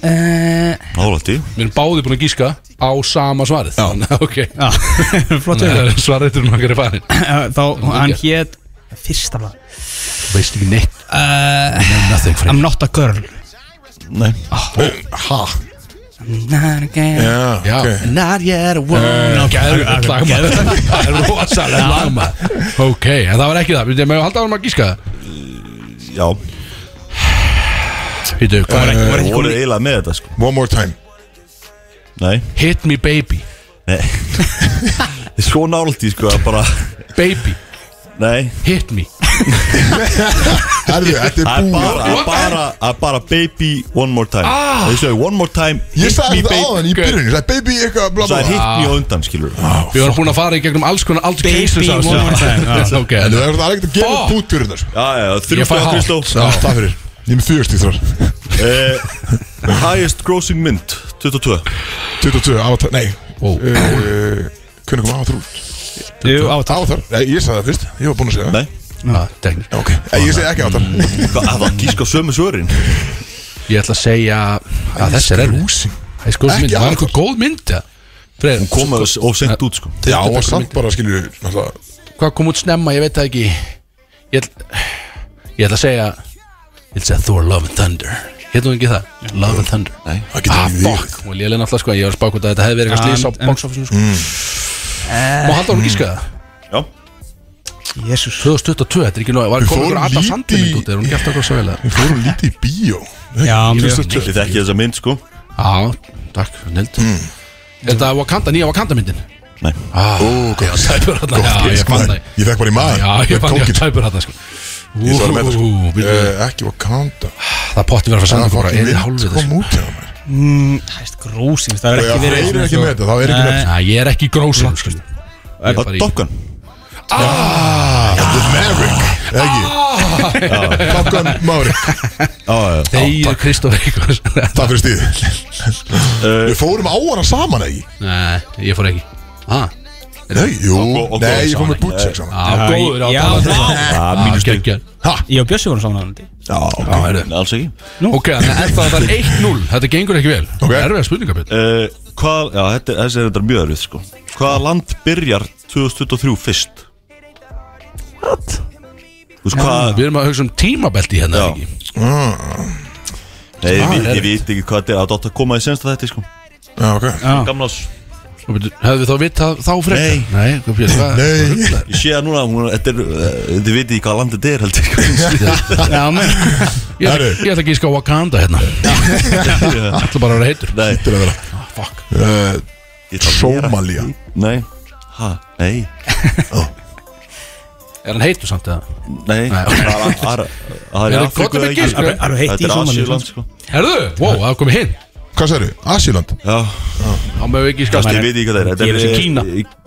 Nálætti Við erum báði búin að gíska á sama svarið Já Ok Já, flott við það Svarið til maður er farin Þá, hann hét Fyrsta blað Veist ekki neitt uh, Nothing I'm not a girl Nei Ha? Not a girl Já, Já ok Not yet a woman Gæðvöld lag maður. Það er rosalega lag maður. Ok, en það var ekki það Við erum að halda árum að gíska það Já Hýttu, hvað er Þú voruð eiginlega með þetta sko One more time Nei Hit me baby Nei Svo nálætti sko að bara Baby Nei Hit me Herðu, þetta er Það er búið bara, að bara, að bara baby one more time ah. Það er svo one more time Ég hit sagði me þetta baby áðan í byrjun Ég sagði baby eitthvað bla Það bla er bla hitt mjög undan skilur Við erum búin að fara í gegnum alls konar alls Baby cases á þessu. one more time, já. Ok, En það er það er ekkert að gefa Fuck. pút fyrir þetta Já, já, Ég fæ þrjústu að hálft. Kristó Já, það fyrir Ég er með fjögust í þar Eh, Highest grossing mynd 22 22 avatar Nei Ó. Eh, Hvernig kom avatar út? Jú, á það Avatar Nei, ég sagði það fyrst Ég var búin að segja það Nei, Ah, teknik. Ok Nei, Ég segi ekki avatar Mm. hvað, það var gísk á sömu svörin Ég ætla að segja að þessi er erfið Lúsing Það er sko Ekki mynd, það var alveg. eitthvað góð mynd ja. Freyr, Hún kom að og sent út sko Já, og samt bara skilur við, náttúrulega, hvað kom út snemma, ég veit það ekki Ég ætla, ég ætla að segja Ég ætla að segja Thor Love and Thunder Héttum við ekki það? Love and Thunder Nei. Það getur Ah, ekki verið. fuck, og lélega náttúrulega sko Ég var spákvæmt að þetta hefði verið eitthvað Ja, slýs á en- box office sko. Mm. Má halda hún gíska það? Já, Jésús 2022, þetta er ekki nóg Var Við komið fórum einhver lítið Adam Mm. Sandi mynd út Er hún í- gert eitthvað svo vel eða? Við fórum lítið í bíó Já, mjög. ég þekki þessa mynd sko Já, takk, nild mm. Þetta er Wakanda, nýja Wakanda myndin Nei. ah, Ó, gott Já, tæpur hann Já, ég fann það Ég fekk bara í maður Já, ég fann ég tæpur hann sko. Ég svarði með það sko Ú, bíddu. Eh, Ekki Wakanda Það potti verið að fara Það saman er bara sko. fokkin Er þið mynd sko. hálfið kom þessu út hjá mér Hæst grósing Það er Já, ekki það verið er ekki með þetta, þá er ekki með Nei, Já, ég er ekki grósum sko. Ég er Það bara er í- Top Gun The Maverick, ekki Ah. Top Gun Maverick, Já, já, Þeir Kristof Eikos það fyrir stíð Eh. Við fórum á hana saman, ekki? Nei, ég fór ekki ah, Nei, jú, og- og- nei, ég fór saman. með Butchek saman ah, Já, Góður á já, tala já. það er mínu stygg Gekkja Ég og Bjössi vorum saman aðlandi Já, ok, alls ekki Ok, en það er 1-0 Þetta gengur ekki vel Ok. Erfiða spurningabit Eh, Hvað, já, þetta, þessi er þetta mjög erfið sko Hvaða land byrjar 2023 fyrst? What? Þú veist hvað, Við erum að hugsa um tímabelti hérna Já. ekki? nei, ég, það veit- er ég veit ekki hvað þetta er Það átt að koma í sensta þetta sko Já, ok Gamlás Og byrju, Hefðu við þá vitað þá frekar? Nei. Nei, hvað björn, hvað? Nei, Ég sé að núna, hún, þetta er, eh, þið veit ekki hvað land þetta er heldur sko. Já, menn Ég ætla, ég ætla ekki að ská Wakanda hérna Það ætla bara að vera heitur Nei, til að vera Fuck Eh, ég ætla að vera- Sómalía Nei, hæ, nei Er hann heitur samt eða? Nei, Nei. það er- það er- það er í Eru Afríku gott með eða ekki? gísk, Þetta sko? Alveg heitt í er sómanum, Asíuland sko Herðu, wow, það komið hinn Hvað sagði, Asíland? Já, Þá mögum við ekki Gast, skást ég veit ekki hvað það er Þetta Ég er þessi Kína.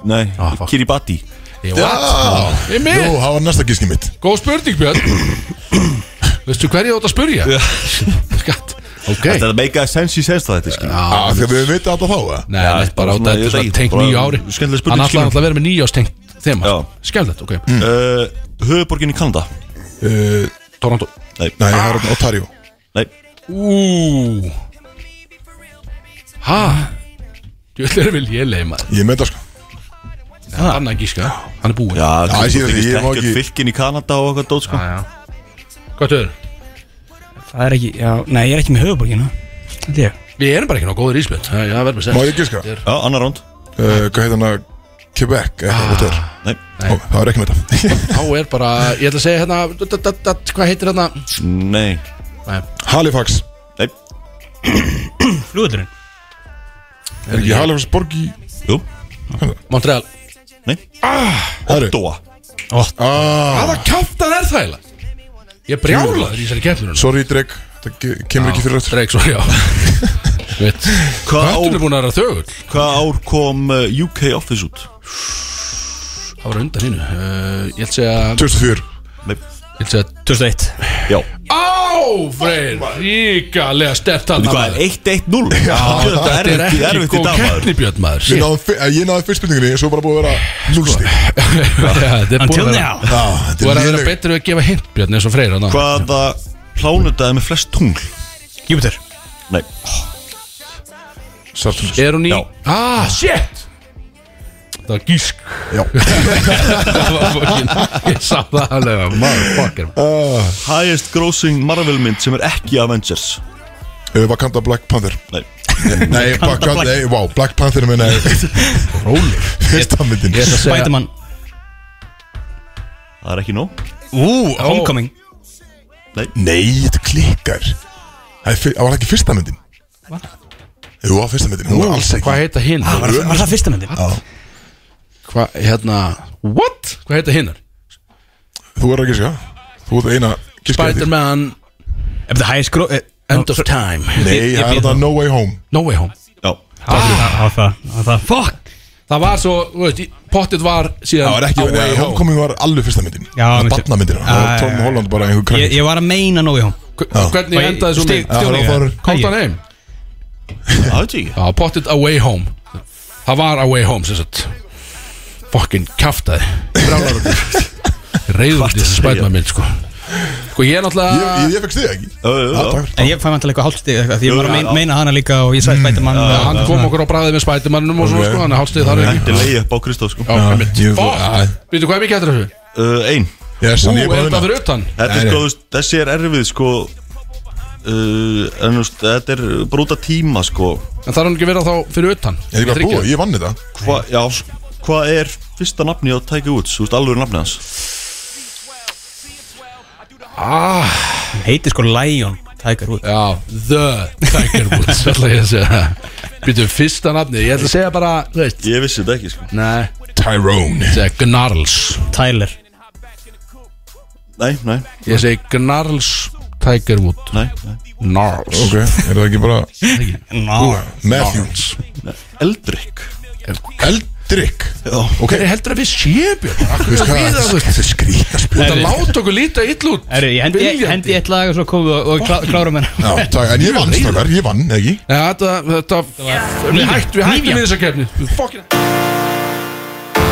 Nei, Ah, fuck. Kiribati Ég Já, var- Ég með. jú, það var næsta gíski mitt Góð spurning Björn Veistu hverju þú átt að spurja? Skatt Ok Þetta meika sense í sko. senst að þetta skil ah, Þegar við veitum alltaf þá eða? Nei, Já, þetta er bara svona, átt að ég veit þetta ekki, tengt bara nýju ári skemmtileg spurning, Hann ætlaði skilur. alltaf að vera með nýjástengt þema Já. Skemmtilegt, ok uh, Höfuborgin í Kanada Uh, Toronto Nei, Nei, það Ah. er Otario nei Ú Hæ? Þú ætlir að vilja ég leið maður Ég með það sko Anna gíska, hann er búinn Já, Já, ég sé það þetta, ég er má ekki ekki- fylkin í Kanada og eitthvað dót sko Hvað þau? Það er ekki, já, nei, ég er ekki með höfuborgina Þetta er Við erum bara ekki nóg góður íspjöld Það verður með Má sér ég gíska? Uh, Já, annar ránd Eh, hvað heit hann að Quebec eða eitthvað hotel Ah, Nei, Ó, Það er ekki með það Þá er bara, ég ætla að segja hérna dut, dut, dut, dut, Hvað heitir hérna? nei, Halifax nei, flugvöldurinn Er ekki Halifax borg í jú, Montreal nei Herru Dóa ah, Hvaða kaftan er það heila? Ég brjálaður í þessari keflunum Sorry Dreg Það ge- kemur ekki fyrir aftur Drake, sorry, já Veit, Hvað Höttun er ár, búin að vera þögull hvað ár kom uh, UK Office út? Það var undan hínu uh, Ég ætla að segja, 2004 Nei, ég ætla að segja 2001 já Á, Freyr, ríkalega stert hann Þú hvað, 1-1-0? Já, þetta Þetta er er erfitt ekki erfitt í góð dag maður keppni Björn maður Við náðum fi- eh, Ég náði fyrst spurningunni Svo bara búið að vera Núlstig Þetta er búin Until að vera now Já, Þú þetta er er að vera léleg betur við að gefa hint Björn eins og Freyr hann Hvaða plánutaði með flest tungl? Júpiter Nei, Satúrnus. Er hún í Já. Ah, shit Það var gísk Já Það var fokkin Ég sá það alveg Motherfucker Ah, highest grossing Marvel mynd sem er ekki Avengers Eh, Wakanda Black Panther Nei, Nei, Wakanda Black- Nei, wow Black Panther minna Róli Fyrsta myndin Ég ætla að segja Spiderman það er ekki nóg Ú, Homecoming Nei, þetta klikkar Það er fyr- það var ekki fyrsta myndin Jú, það var fyrsta myndin Hún var alls ekki Hvað heita hinn? Var það- var það fyrsta myndin? Já. Hvað, hérna What? Hvað heita hinn? Þú er að gíska Þú ert eina gíska Spider-Man Ef það hægir skró eh, End of Time Nei, það er það No Way Home No Way Home Já, Það var það það var það Fuck Það var svo, þú veist, í- pottet var síðan Það var ekki No Way Nei, Home. Homecoming var alveg fyrsta myndin Já, Það var minnstu. barnamyndin Það Já, var Tom já, já. Holland bara einhver Ég kræk ég var að meina Nói Hóm Já. Hver- Hvernig endaði svo mynd? Já, það var- Komst hann heim? það veit ég ekki Já, pottet Away Home Það var Away Home sem sagt Fokkin kjaftaði Reyður út í þessu spætma minn sko Sko ég er Ég, náttúrulega ég, ég fekk stiga ekki Jú, jú, Já, jú. takk. En ég fæ vantilega eitthvað hálfstig eða eitthvað Því ég var að Jú, mein- já. meina hana líka Og ég sagði Spiderman og- Hann kom okkur á bræði með spætumannum og svona Ok. sko Þannig að hálfstegið þar er Hætti ekki leið upp á Kristóf sko Já, einmitt. ég- já. Fuck. Veitu hvað er mikið eftir þessu? uh, Ein, Yes, Ú, en ég er bara þetta vinna fyrir utan? þetta Nei, er nei. sko, þú veist, þessi er erfið sko uh, en, þú veist, Þetta er brúta tíma sko En þarf hann ekki að vera þá fyrir utan? Ég er bara þryggi. búið, ég vann þetta Hva, Já, hvað er fyrsta nafni á Tiger Woods? Þú veist, alveg nafni hans Ah. Hann Heitir sko Lion Tiger Woods Já, The Tiger Woods Það ætla ég að segja Býtu fyrsta nafni Ég ætla að segja bara, þú veist Ég vissi þetta ekki sko Nei, Tyrone segja Gnarls Tyler Nei, nei, Ég segi Gnarls Tiger Wood nei, nei. Gnarls Ok, er það ekki bara Nó Matthews Eldrick Eldrick Já, Ok, Hver er heldur að við sépjum? þú veist hvað Þetta er skrýtna spil Þetta láta okkur líta ill út Herru, ég hendi, Viljandi. hendi eitt lag og svo komum við og- og klá, klárum hennar Já, takk, en ég vann, stakar, ég vann, eða ekki Já, þetta, þetta Við hættum við hættum við þessa kefni Fucking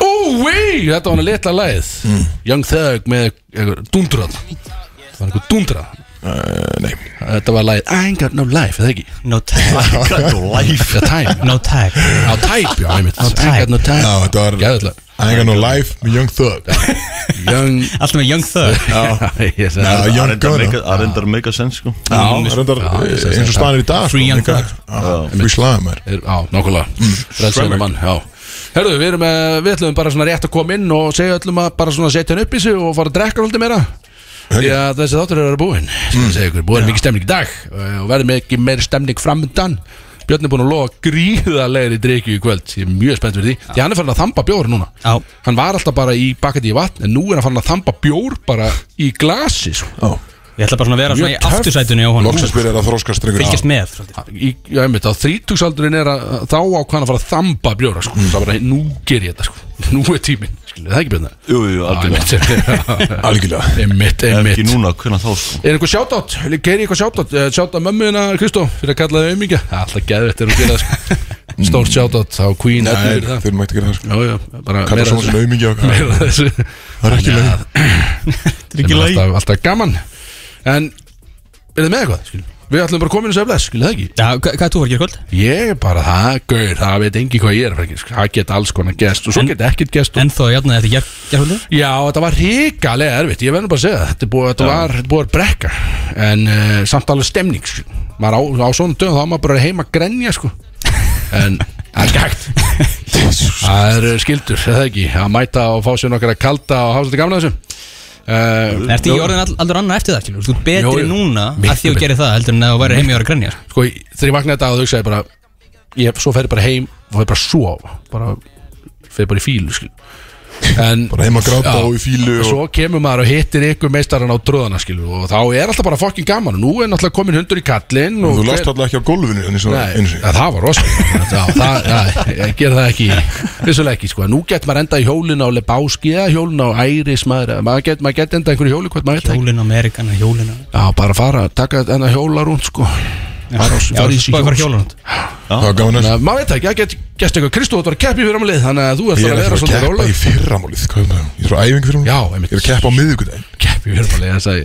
Oh, wey Þetta var hann að litla lagið Mm. Young Thug með einhver dundrað Það var einhver dundrað Eh, Nei Þetta var lagið I ain't got no life, eða ekki No tag God, life Já, time No tag Á type, já, einmitt I ain't got no Já, time þetta var Gæðilega I ain't got no life með Young Thug Young Alltaf með Young Thug Ég sagði Já, það. Það Young reyndar Gunna mega- það reyndar mega sens sko Já, reyndar eh, eins og staðan er í dag Free Young Thug Free Slam er Er- Já, nokkulega Frelsaður mann, já Herðu, við erum með, við ætlum bara svona rétt að koma inn og segja öllum að bara svona setja hann upp í sig og fara að drekka haldið meira Því að þessi þáttur eru að búin mm. segja ykkur, búin mikið stemning í dag eh, og verðum ekki meiri stemning framöndan Björn er búin að lofa gríðarlegri drikju í kvöld, ég er mjög spennt fyrir því því hann er farin að þamba bjór núna Já. hann var alltaf bara í bakkandi í vatn en nú er hann farin að þamba bjór bara í glasi sko. Já. Ég ætla bara svona að vera svona í Mjög töff. aftursætunni á honum Loksins byrjar að þróska strengur Fylgjast með svolítið. í, já, einmitt, á þrítugsaldurinn er að þá ákvæðan að fara að þamba bjóra sko. það bara, nú ger ég þetta sko. nú er tíminn, skilur það ekki björna Jú, jú, algjörlega Algjörlega Algjörlega Einmitt, Ekki einmitt núna, hvernig þá sko Er einhver sjátátt? Gerir eitthvað sjátátt? Sjátátt mömmuðina Kristó fyrir að kalla þau auðmingja Alltaf geðvett er að gera það sko Stórt sjátátt á Queen Eddu Nei, fyrir það. þurfum ekki að gera það sko Já, já, bara Kallar meira svona sem þessu aumingi á Meira þessu Það er ekki leið Sem er alltaf, alltaf gaman En, er þið með eitthvað? Skil? Við ætlum bara að koma inn í söfles, skilur það ekki? Já, hva- hvað er þú að gera í kvöld? Ég er bara það, gaur, það veit engi hvað ég er að fara ekki Það get alls konar gest og svo get ekkert gest og... Ennþá játnaði þetta ger, gerhullu? Já, þetta var hrikalega erfitt, ég verður bara að segja það Þetta er búið, þetta var, þetta búið að brekka En uh, samt alveg stemning skil. Maður á, á svona dögum þá er maður bara heima að grenja sko. En, það er ekki hægt Það er eh, skildur, er það ekki Að mæta og fá sér nokkara kalda og hafa svolítið gamla þessu uh, Ertu í orðin all, aldur annar eftir það, skilur? Þú ert betri Jó, jú. núna Miklu að því þú betri. gerir það heldur en að þú væri heim í ára grænja sko, ég- þegar ég vaknaði þetta að þau sagði bara ég, svo fer ég bara heim og fer bara að sofa bara, fer bara í fílu skil. en, Bara heima að gráta Já. og í fílu og svo kemur maður og hittir ykkur meistaran á tröðana skil, og þá er alltaf bara fokkin gaman og nú er náttúrulega komin hundur í kallinn og Þú hver- last alltaf ekki á gólfinu Þannig svona Nei, einu sinni ja, það var rosalega Já, það, já, ég ger það ekki Vissulega ekki, sko Nú get maður enda í hjólinu á Lebowski eða hjólinu á Æris maður, maður get, maður get enda einhverju hjóli hvort maður veit það ekki. Hjólin Amerikana, hjólin Já, bara fara, taka þennan hjóla rúnd, sko Bara á- Já, fara í þessi bara hjól, fara sko. hjólan Það var gaman Þannig að að maður veit það ekki, það get, gæst eitthvað Kristú þetta var að keppi fyrir ámalið Þannig að þú Ég ætlar er að að vera fara að svolítið keppa í róleg fyrramálið Hvað er það? Ég er svo æfing fyrir Já, einmitt. Ég er að keppa á miðvikudaginn Keppi fyrir ámalið, þess að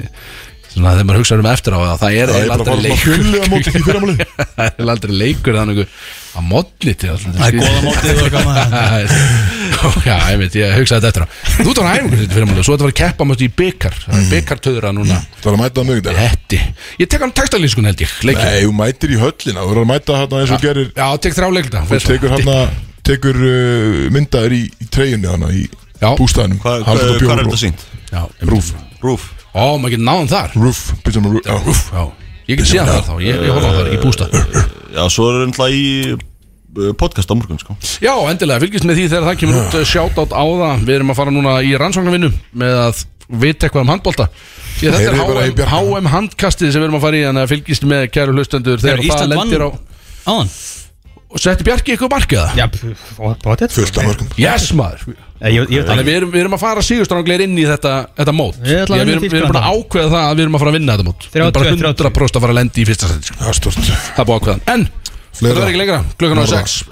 Svona að þegar maður hugsa um eftir á það Það er Það er bara að fara á eiginlega aldrei leikur hullu á móti í fyrramálið Það er eiginlega aldrei leikur þannig einhver- að modli til Það er góða mótið og gaman. Já, ég veit, ég hugsaði þetta eftir á Þú ert á æfingu þetta fyrir ámalið Svo þetta var að keppa mjög í byggar Mm. Byggartöðra núna Það er að mæta á miðvikudaginn Hetti Ég tek hann textalýskun held ég leikinn. Nei, þú mætir í höllina Þú verður að mæta hérna eins og þú gerir Já, tek þrá leikta Þú tekur hérna Tekur uh, myndaður í, í treyjunni hana Í Já. bústæðinum Hvað hva, hva, hva er þetta sínt? Rúf Rúf Ó, maður getur náðan þar Rúf Býtum að rúf Já, rúf Já, ég get síðan þar þá, ég, ég horfa á þar í bústa Já, svo er ennla í uh, podcast á morgun sko Já, endilega, fylgist með því þegar það kemur út sjátátt á það Við erum að fara núna í rannsóknarvinnu með að vita eitthvað um handbolta Því að Heyrðu þetta bara í er HM, Bjarna. HM handkastið sem við erum að fara í Þannig að fylgist með kæru hlustendur þegar Heyrðu, það Ísland lendir á vann. Áðan? Og setti Bjarki eitthvað markiða? Já, bótið Fullt af mörgum Yes, maður Ég ég veit Þannig að ekki við erum, við erum að fara sígurstrangleir inn í þetta, þetta mót Ég ætla að Því að Við vinna erum, við erum bara að ákveða það að við erum að fara að vinna þetta mót Við erum bara 32, 100% að fara að lendi í fyrsta seti sko. Það er stort Það er búið ákveðan En, Fleira. þetta verður ekki lengra, klukkan á Norra. 6